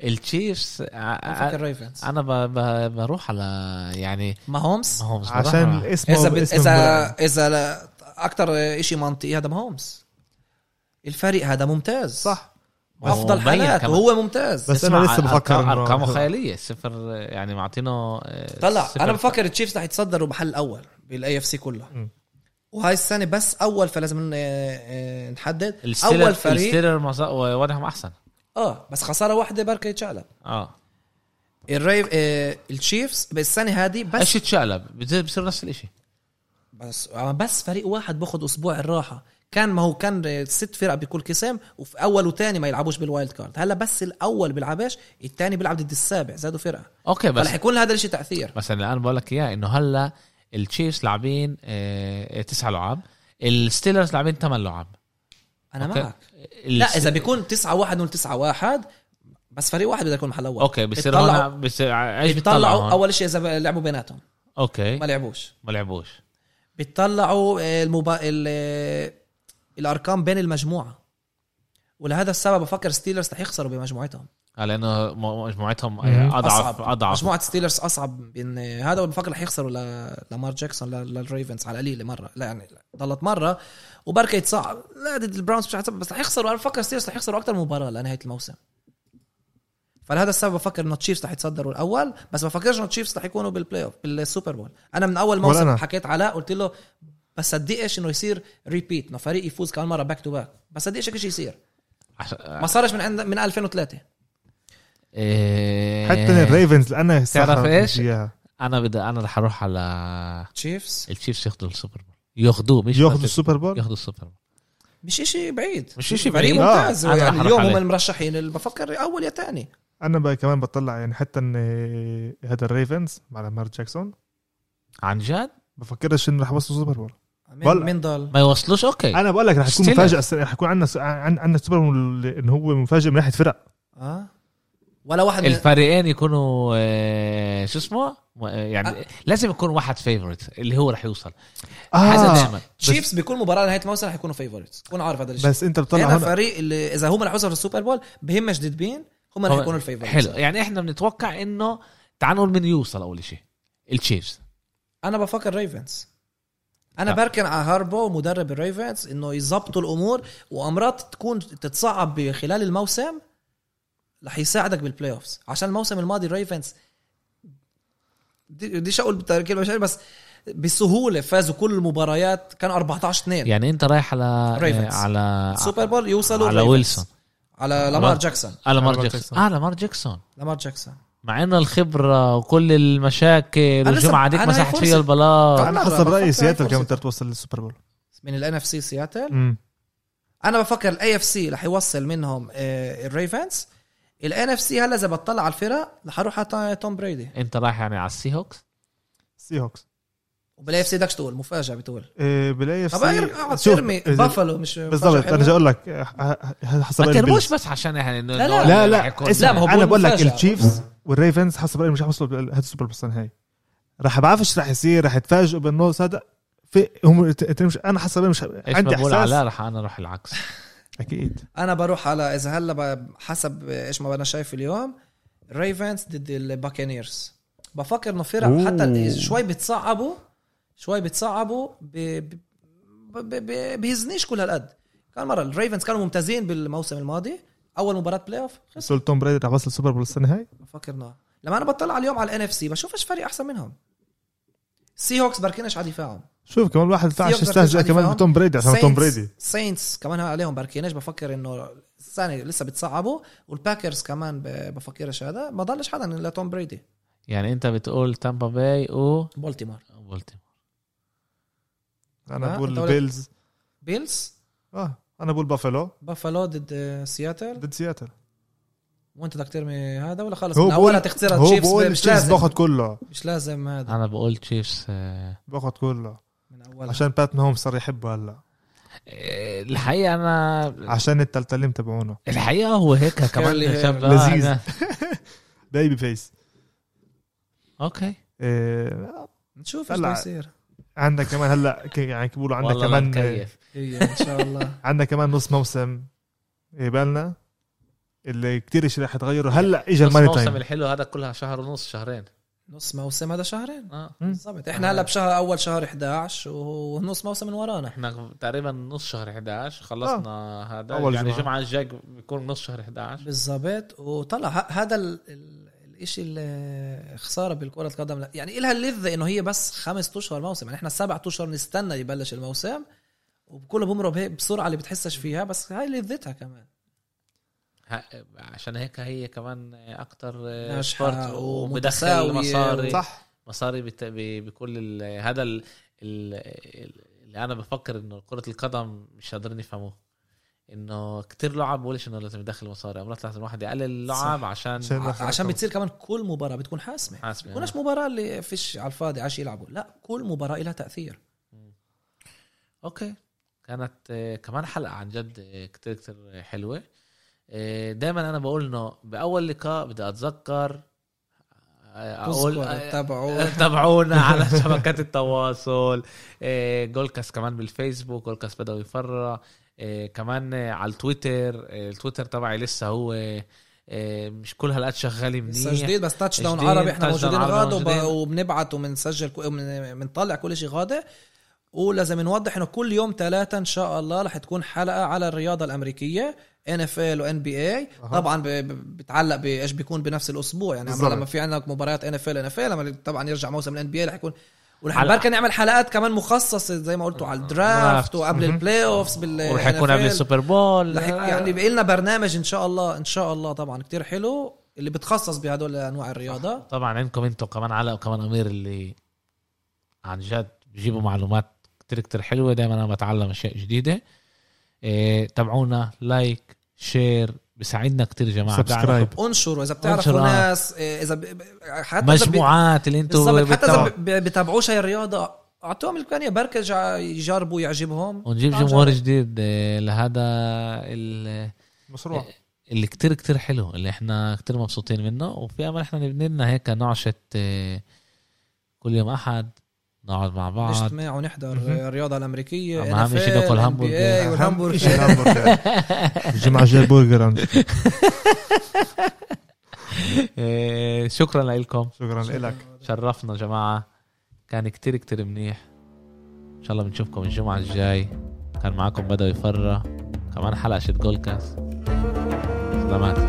Speaker 1: التشيفز آه،
Speaker 3: انا مفكر ريفنز
Speaker 1: انا ب- ب- بروح على يعني
Speaker 3: ما هومس
Speaker 1: ما هو بصراحة.
Speaker 2: عشان اسمه
Speaker 3: اذا بال-
Speaker 2: اسمه
Speaker 3: اذا
Speaker 2: بلعب.
Speaker 3: اذا اكثر شيء منطقي هذا ما هومس الفريق هذا ممتاز
Speaker 2: صح
Speaker 1: ما هو
Speaker 3: افضل
Speaker 1: مبين
Speaker 3: حالاته
Speaker 1: كمان.
Speaker 3: هو ممتاز
Speaker 2: بس أنا
Speaker 1: اسمع،
Speaker 2: لسه بفكر
Speaker 1: أرقام-
Speaker 2: إنه-
Speaker 1: ارقامه خياليه صفر يعني معطينه آه،
Speaker 3: طلع
Speaker 1: صفر.
Speaker 3: انا بفكر التشيفز رح يتصدروا محل الاول بالاي اف سي كلها
Speaker 2: مم.
Speaker 3: وهاي السنه بس اول فلازم ن- آه، نحدد
Speaker 1: الستيلر
Speaker 3: اول فريق
Speaker 1: الستيلر معظ- وضعهم احسن
Speaker 3: اه بس خساره واحده بركه يتشقلب
Speaker 1: اه
Speaker 3: الريف آه التشيفز بالسنه هذه بس
Speaker 1: ايش يتشقلب بتصير- بصير نفس الشيء
Speaker 3: بس آه، بس فريق واحد باخذ اسبوع الراحه كان ما هو كان ست فرق بكل قسم وفي اول وثاني ما يلعبوش بالوايلد كارد هلا بس الاول بيلعبش الثاني بيلعب ضد السابع زادوا فرقه
Speaker 1: اوكي بس
Speaker 3: فرح يكون لهذا الشيء تاثير
Speaker 1: بس انا الان بقول لك اياه انه هلا التشيفز لاعبين آه، تسعة لعاب الستيلرز لاعبين ثمان لعاب
Speaker 3: انا
Speaker 1: أوكي.
Speaker 3: معك
Speaker 1: الس-
Speaker 3: لا اذا بيكون 9 1 ولا 9 1 بس فريق واحد بده يكون محل اول
Speaker 1: اوكي بصير
Speaker 3: بيطلعوا-
Speaker 1: هون بصير ايش بيطلعوا
Speaker 3: بيطلعوا
Speaker 1: هون؟
Speaker 3: اول شيء اذا لعبوا بيناتهم
Speaker 1: اوكي
Speaker 3: ما لعبوش
Speaker 1: ما لعبوش
Speaker 3: بيطلعوا آه، المبا... ال... آه، الارقام بين المجموعه ولهذا السبب بفكر ستيلرز رح يخسروا بمجموعتهم
Speaker 1: لانه م- آه، مجموعتهم
Speaker 2: مم.
Speaker 1: آه، اضعف اضعف
Speaker 3: مجموعه ستيلرز اصعب من هذا وبفكر رح يخسروا ل... لمار جاكسون ل... للريفنز على القليله مره لا يعني ضلت مره وبركه يتصعب لا ضد البراونز مش رح يتصعب، بس رح يخسروا انا بفكر ستيلرز رح يخسروا اكثر مباراه لنهايه الموسم فلهذا السبب بفكر انه تشيفز رح يتصدروا الاول بس بفكرش انه تشيفز رح يكونوا بالبلاي اوف بالسوبر بول انا من اول
Speaker 2: ولا
Speaker 3: موسم
Speaker 2: أنا.
Speaker 3: حكيت علاء قلت له بس صدقش انه يصير ريبيت انه فريق يفوز كمان مره باك تو باك بس صدقش هيك شيء يصير ما صارش من عند من 2003
Speaker 1: آه،
Speaker 2: حتى الريفنز انا
Speaker 1: إيه. تعرف إيش؟
Speaker 2: اياها
Speaker 1: انا بدي انا رح اروح على
Speaker 3: تشيفز
Speaker 1: التشيفز ياخذوا السوبر بول ياخذوه مش
Speaker 2: ياخذوا السوبر بول
Speaker 1: ياخذوا السوبر بول
Speaker 3: مش اشي بعيد
Speaker 1: مش إشي
Speaker 3: فريق
Speaker 1: بعيد.
Speaker 3: ممتاز
Speaker 1: آه، أنا رح
Speaker 3: يعني
Speaker 1: أروح
Speaker 3: اليوم هم
Speaker 1: عليه.
Speaker 3: المرشحين اللي بفكر اول يا تاني
Speaker 2: انا بقى كمان بطلع يعني حتى ان إيه، هذا الريفنز مع لامار جاكسون
Speaker 1: عن جد
Speaker 2: بفكرش انه رح يوصلوا السوبر بول
Speaker 3: مين
Speaker 2: بلع.
Speaker 3: مين ضل
Speaker 1: ما يوصلوش اوكي
Speaker 2: انا بقول لك رح تكون
Speaker 1: Still.
Speaker 2: مفاجاه السنة- رح يكون عندنا عندنا السوبر بول ان هو مفاجئ من ناحيه فرق
Speaker 3: اه ولا واحد من...
Speaker 1: الفريقين يكونوا آه، شو اسمه م- آه، يعني
Speaker 3: أ- آه.
Speaker 1: لازم يكون واحد فيفورت اللي هو رح يوصل هذا
Speaker 2: اه
Speaker 1: دائما
Speaker 3: تشيفس بكل مباراه نهايه الموسم رح يكونوا فيفورتس كون عارف هذا الشيء
Speaker 2: بس انت بتطلع
Speaker 3: هنا
Speaker 2: هنا
Speaker 3: فريق اللي اذا هم رح يوصلوا السوبر بول بهمش ضد مين هم رح
Speaker 1: هو-
Speaker 3: يكونوا الفيفورتس
Speaker 1: حلو يعني احنا بنتوقع انه تعال نقول من يوصل اول شيء التشيفز
Speaker 3: انا بفكر ريفنز انا
Speaker 1: لا.
Speaker 3: بركن على هاربو مدرب الريفنز انه يظبطوا الامور وامرات تكون تتصعب خلال الموسم رح يساعدك بالبلاي اوفز عشان الموسم الماضي الريفنز دي بديش اقول بتركيب مش عارف بس بسهوله فازوا كل المباريات كان 14 2
Speaker 1: يعني انت رايح على آه،
Speaker 3: Ravens.
Speaker 1: على
Speaker 3: سوبر بول يوصلوا
Speaker 1: على
Speaker 3: الRavens.
Speaker 1: ويلسون.
Speaker 3: على لامار
Speaker 1: لامار.
Speaker 3: جاكسون
Speaker 1: على
Speaker 2: على
Speaker 1: مار
Speaker 2: مار
Speaker 1: جاكسون
Speaker 2: جاكسون.
Speaker 1: اه لامار جاكسون
Speaker 3: لامار جاكسون
Speaker 1: مع انه الخبره وكل المشاكل
Speaker 3: لسه-
Speaker 1: والجمعه ديك
Speaker 3: أنا هاي
Speaker 1: مسحت
Speaker 3: فرصة.
Speaker 1: فيها البلاط
Speaker 3: طب-
Speaker 2: انا
Speaker 3: مرة
Speaker 2: حسب
Speaker 3: بفكر
Speaker 2: رايي
Speaker 3: هاي
Speaker 2: سياتل
Speaker 3: فرصة.
Speaker 2: كمان بتقدر توصل للسوبر بول
Speaker 3: من الان اف سي سياتل
Speaker 2: مم.
Speaker 3: انا بفكر الاي اف سي رح يوصل منهم آه، الريفنز الان اف سي هلا اذا بطلع على الفرق رح اروح على تا- توم بريدي
Speaker 1: انت رايح يعني على السي هوكس
Speaker 2: سي هوكس
Speaker 3: وبالاي اف سي بدكش تقول مفاجاه بتقول
Speaker 2: إيه، بالاي اف
Speaker 3: طب أير- اقعد ترمي بافلو مش
Speaker 2: بالضبط
Speaker 3: مفاجأة
Speaker 2: انا جاي
Speaker 3: حلوة؟
Speaker 2: اقول لك آه، آه، آه، حسب
Speaker 1: ما
Speaker 2: رأيي البيلز.
Speaker 1: ترموش بس عشان يعني انه
Speaker 3: لا،
Speaker 1: إنه
Speaker 2: لا
Speaker 1: رح
Speaker 2: لا
Speaker 1: يكون-
Speaker 3: لا، ما هو
Speaker 2: اسمع انا
Speaker 3: بقول
Speaker 2: بقول لك
Speaker 3: مفاجأة.
Speaker 2: التشيفز والريفنز حسب رايي مش رح يوصلوا بال- هاد السوبر بول السنه هاي رح بعرفش رح يصير رح يتفاجئوا بالنص هذا في هم الت- التنين مش انا حسب رأيي مش
Speaker 1: ايش
Speaker 2: عندي
Speaker 1: ما بقول علاء
Speaker 2: احساس
Speaker 1: رح انا اروح العكس
Speaker 2: اكيد
Speaker 3: انا بروح على اذا هلا ب- حسب ايش ما انا شايف اليوم ريفنز ضد الباكانيرز بفكر انه فرق
Speaker 2: أوه.
Speaker 3: حتى شوي بتصعبوا شوي بتصعبوا ب... ب... ب... ب... بهزنيش كل هالقد كان مره الريفنز كانوا ممتازين بالموسم الماضي اول مباراه بلاي اوف خسروا
Speaker 2: سول توم بريدي رح يوصل السوبر بول السنه هاي
Speaker 3: بفكر نوع لما انا بطلع اليوم على الان اف سي بشوفش فريق احسن منهم سي هوكس بركنش على دفاعهم
Speaker 2: شوف كمان الواحد
Speaker 3: سيوك
Speaker 2: ينفعش
Speaker 3: رح
Speaker 2: يستهزئ
Speaker 3: ترجع
Speaker 2: كمان
Speaker 3: دفاعهم.
Speaker 2: بتوم بريدي عشان توم بريدي
Speaker 3: ساينتس كمان عليهم بركنش بفكر انه السنه لسه بتصعبوا والباكرز كمان ب- بفكرش هذا ما ضلش حدا الا توم بريدي
Speaker 1: يعني انت بتقول تامبا باي و
Speaker 3: بولتيمور
Speaker 1: بولتيمور
Speaker 2: انا
Speaker 3: آه،
Speaker 2: بقول
Speaker 3: أنت ولا-
Speaker 2: بيلز
Speaker 3: بيلز
Speaker 2: اه انا بقول بافالو
Speaker 3: بافالو ضد سياتل
Speaker 2: ضد سياتل
Speaker 3: وانت بدك ترمي هذا ولا خلص
Speaker 2: هو
Speaker 3: من
Speaker 2: بقول
Speaker 3: اولها تختارها
Speaker 2: هو
Speaker 3: تشيفز
Speaker 2: بقول
Speaker 3: مش
Speaker 2: تشيفز
Speaker 3: لازم
Speaker 2: باخد كله
Speaker 3: مش لازم هذا
Speaker 1: انا بقول تشيفز آه،
Speaker 2: باخد كله
Speaker 3: من اولها
Speaker 2: عشان بات ماهوم صار يحبه هلا
Speaker 1: آه، الحقيقه انا
Speaker 2: عشان التلتليم تبعونه
Speaker 1: الحقيقه هو هيك كمان
Speaker 3: كيرلي
Speaker 1: شاب
Speaker 3: هير.
Speaker 1: آه،
Speaker 2: لذيذ.
Speaker 1: أنا-
Speaker 2: بيبي فيس
Speaker 1: اوكي
Speaker 2: إيه
Speaker 3: نشوف ايش
Speaker 2: هلا.
Speaker 3: بده يصير
Speaker 2: عندك كمان هلا ك- يعني بيقولوا عندك
Speaker 1: والله كمان
Speaker 2: كمان
Speaker 1: نكيف
Speaker 3: هي ان إيه، شاء الله
Speaker 2: عندنا كمان نص موسم يبالنا اللي كتير اشي رح يتغيروا هلا اجى
Speaker 1: بس
Speaker 2: الماني
Speaker 1: الموسم
Speaker 2: تايم
Speaker 1: الحلو هذا كلها شهر ونص شهرين
Speaker 3: نص موسم هذا شهرين
Speaker 1: اه
Speaker 3: بالضبط احنا هلا بشهر اول شهر 11 ونص موسم من ورانا
Speaker 1: احنا تقريبا نص شهر 11 خلصنا هذا
Speaker 2: آه. أول
Speaker 1: يعني
Speaker 2: جمعة.
Speaker 1: الجمعه الجاي بيكون نص شهر 11
Speaker 3: بالضبط وطلع ه- هذا ال- ال- الاشي اللي خساره بالكره القدم لا يعني الها اللذه انه هي بس خمس اشهر موسم يعني احنا سبع اشهر نستنى يبلش الموسم وكله بمرق هيك بسرعه اللي بتحسش فيها بس هاي لذتها كمان
Speaker 1: ه- عشان هيك هي كمان اكثر
Speaker 3: ناجحة
Speaker 1: إيه، سبورت
Speaker 3: ومتساوية
Speaker 1: ومدخل مصاري
Speaker 2: صح
Speaker 1: مصاري بت... ب... بكل ال... هذا ال... ال... ال- اللي انا بفكر انه كره القدم مش قادرين يفهموه انه كتير لعب بقولش انه لازم يدخل مصاري مرات لازم الواحد يقلل اللعب عشان
Speaker 2: عشان
Speaker 3: ع-
Speaker 2: ناخد
Speaker 3: عشان
Speaker 2: رقم.
Speaker 3: بتصير كمان كل مباراه بتكون حاسمه
Speaker 1: حاسمة.
Speaker 3: بتكونش مباراه اللي فيش على الفاضي عاش يلعبوا لا كل مباراه لها تاثير
Speaker 1: اوكي كانت آه، كمان حلقه عن جد آه، كتير كتير حلوه آه، دايما انا بقول انه باول لقاء بدي اتذكر آه، اقول
Speaker 3: تذكر تبعه
Speaker 1: تابعونا على شبكات التواصل آه، جولكاس كمان بالفيسبوك جولكاس بدأوا يفرع آه، كمان آه، على التويتر آه، التويتر تبعي لسه هو آه، مش كل هالقد شغال
Speaker 3: لسه
Speaker 1: منيح
Speaker 3: جديد بس تاتش داون
Speaker 1: جديد،
Speaker 3: عربي احنا
Speaker 1: touchdown
Speaker 3: موجودين
Speaker 1: عربي
Speaker 3: غاد
Speaker 1: موجودين.
Speaker 3: وب- وبنبعت وبنسجل كو- وبن- بنطلع كل شيء غادة ولازم نوضح انه كل يوم ثلاثة ان شاء الله رح تكون حلقة على الرياضة الامريكية ان اف ال وان بي اي
Speaker 2: أها.
Speaker 3: طبعا ب- ب- بتعلق بايش بيكون بنفس الاسبوع يعني عمرو
Speaker 2: بالظبط.
Speaker 3: لما في عندك مباريات ان اف ال ان اف ال لما طبعا يرجع موسم الان بي اي رح يكون ورح
Speaker 1: على- آه.
Speaker 3: بركة نعمل حلقات كمان مخصصة زي ما قلتوا على الدرافت
Speaker 1: درافت.
Speaker 3: وقبل
Speaker 2: مهم.
Speaker 3: البلاي اوفز بال
Speaker 1: ورح يكون قبل
Speaker 3: NFL.
Speaker 1: السوبر بول آه،
Speaker 3: رح يك- يعني بقى لنا برنامج ان شاء الله ان شاء الله طبعا كتير حلو اللي بتخصص بهدول انواع الرياضه
Speaker 1: طبعا عندكم انتم كمان علاء وكمان امير اللي عن جد بجيبوا معلومات كتير كتير حلوه دائما انا بتعلم اشياء جديده آه، تابعونا لايك شير بيساعدنا كتير يا جماعه
Speaker 2: سبسكرايب.
Speaker 1: بتعرفوا-
Speaker 3: انشروا اذا بتعرفوا
Speaker 1: انشروا.
Speaker 3: ناس إيه، اذا ب... ب- حتى إذا ب-
Speaker 1: مجموعات اللي انتم
Speaker 3: بالضبط حتى اذا ب- ب- بتابعوش هاي الرياضه اعطوهم الامكانيه بركة جع- يجربوا يعجبهم
Speaker 1: ونجيب
Speaker 3: طبعاً
Speaker 1: جمهور
Speaker 3: شغلة.
Speaker 1: جديد آه، لهذا ال-
Speaker 2: مشروع
Speaker 1: اللي كتير كتير حلو اللي احنا كتير مبسوطين منه وفي امل احنا نبني لنا هيك نعشة آه، كل يوم احد نقعد مع بعض
Speaker 3: نجتمع ونحضر
Speaker 2: مهم.
Speaker 3: الرياضه الامريكيه
Speaker 1: أما أهم
Speaker 3: NFL,
Speaker 1: شي ناكل
Speaker 3: NBA
Speaker 1: همبرجر.
Speaker 3: إيه،
Speaker 2: أهم شي
Speaker 3: والهمبرجر
Speaker 2: الهامبرجر. إيه، الجمعة الجاية برجر عندي.
Speaker 1: آه، شكرا لكم
Speaker 2: شكرا لك
Speaker 1: شرفنا جماعة كان كتير كتير منيح ان شاء الله بنشوفكم الجمعة الجاي كان معاكم بدأ يفرى كمان حلقة شت جولكاست سلامات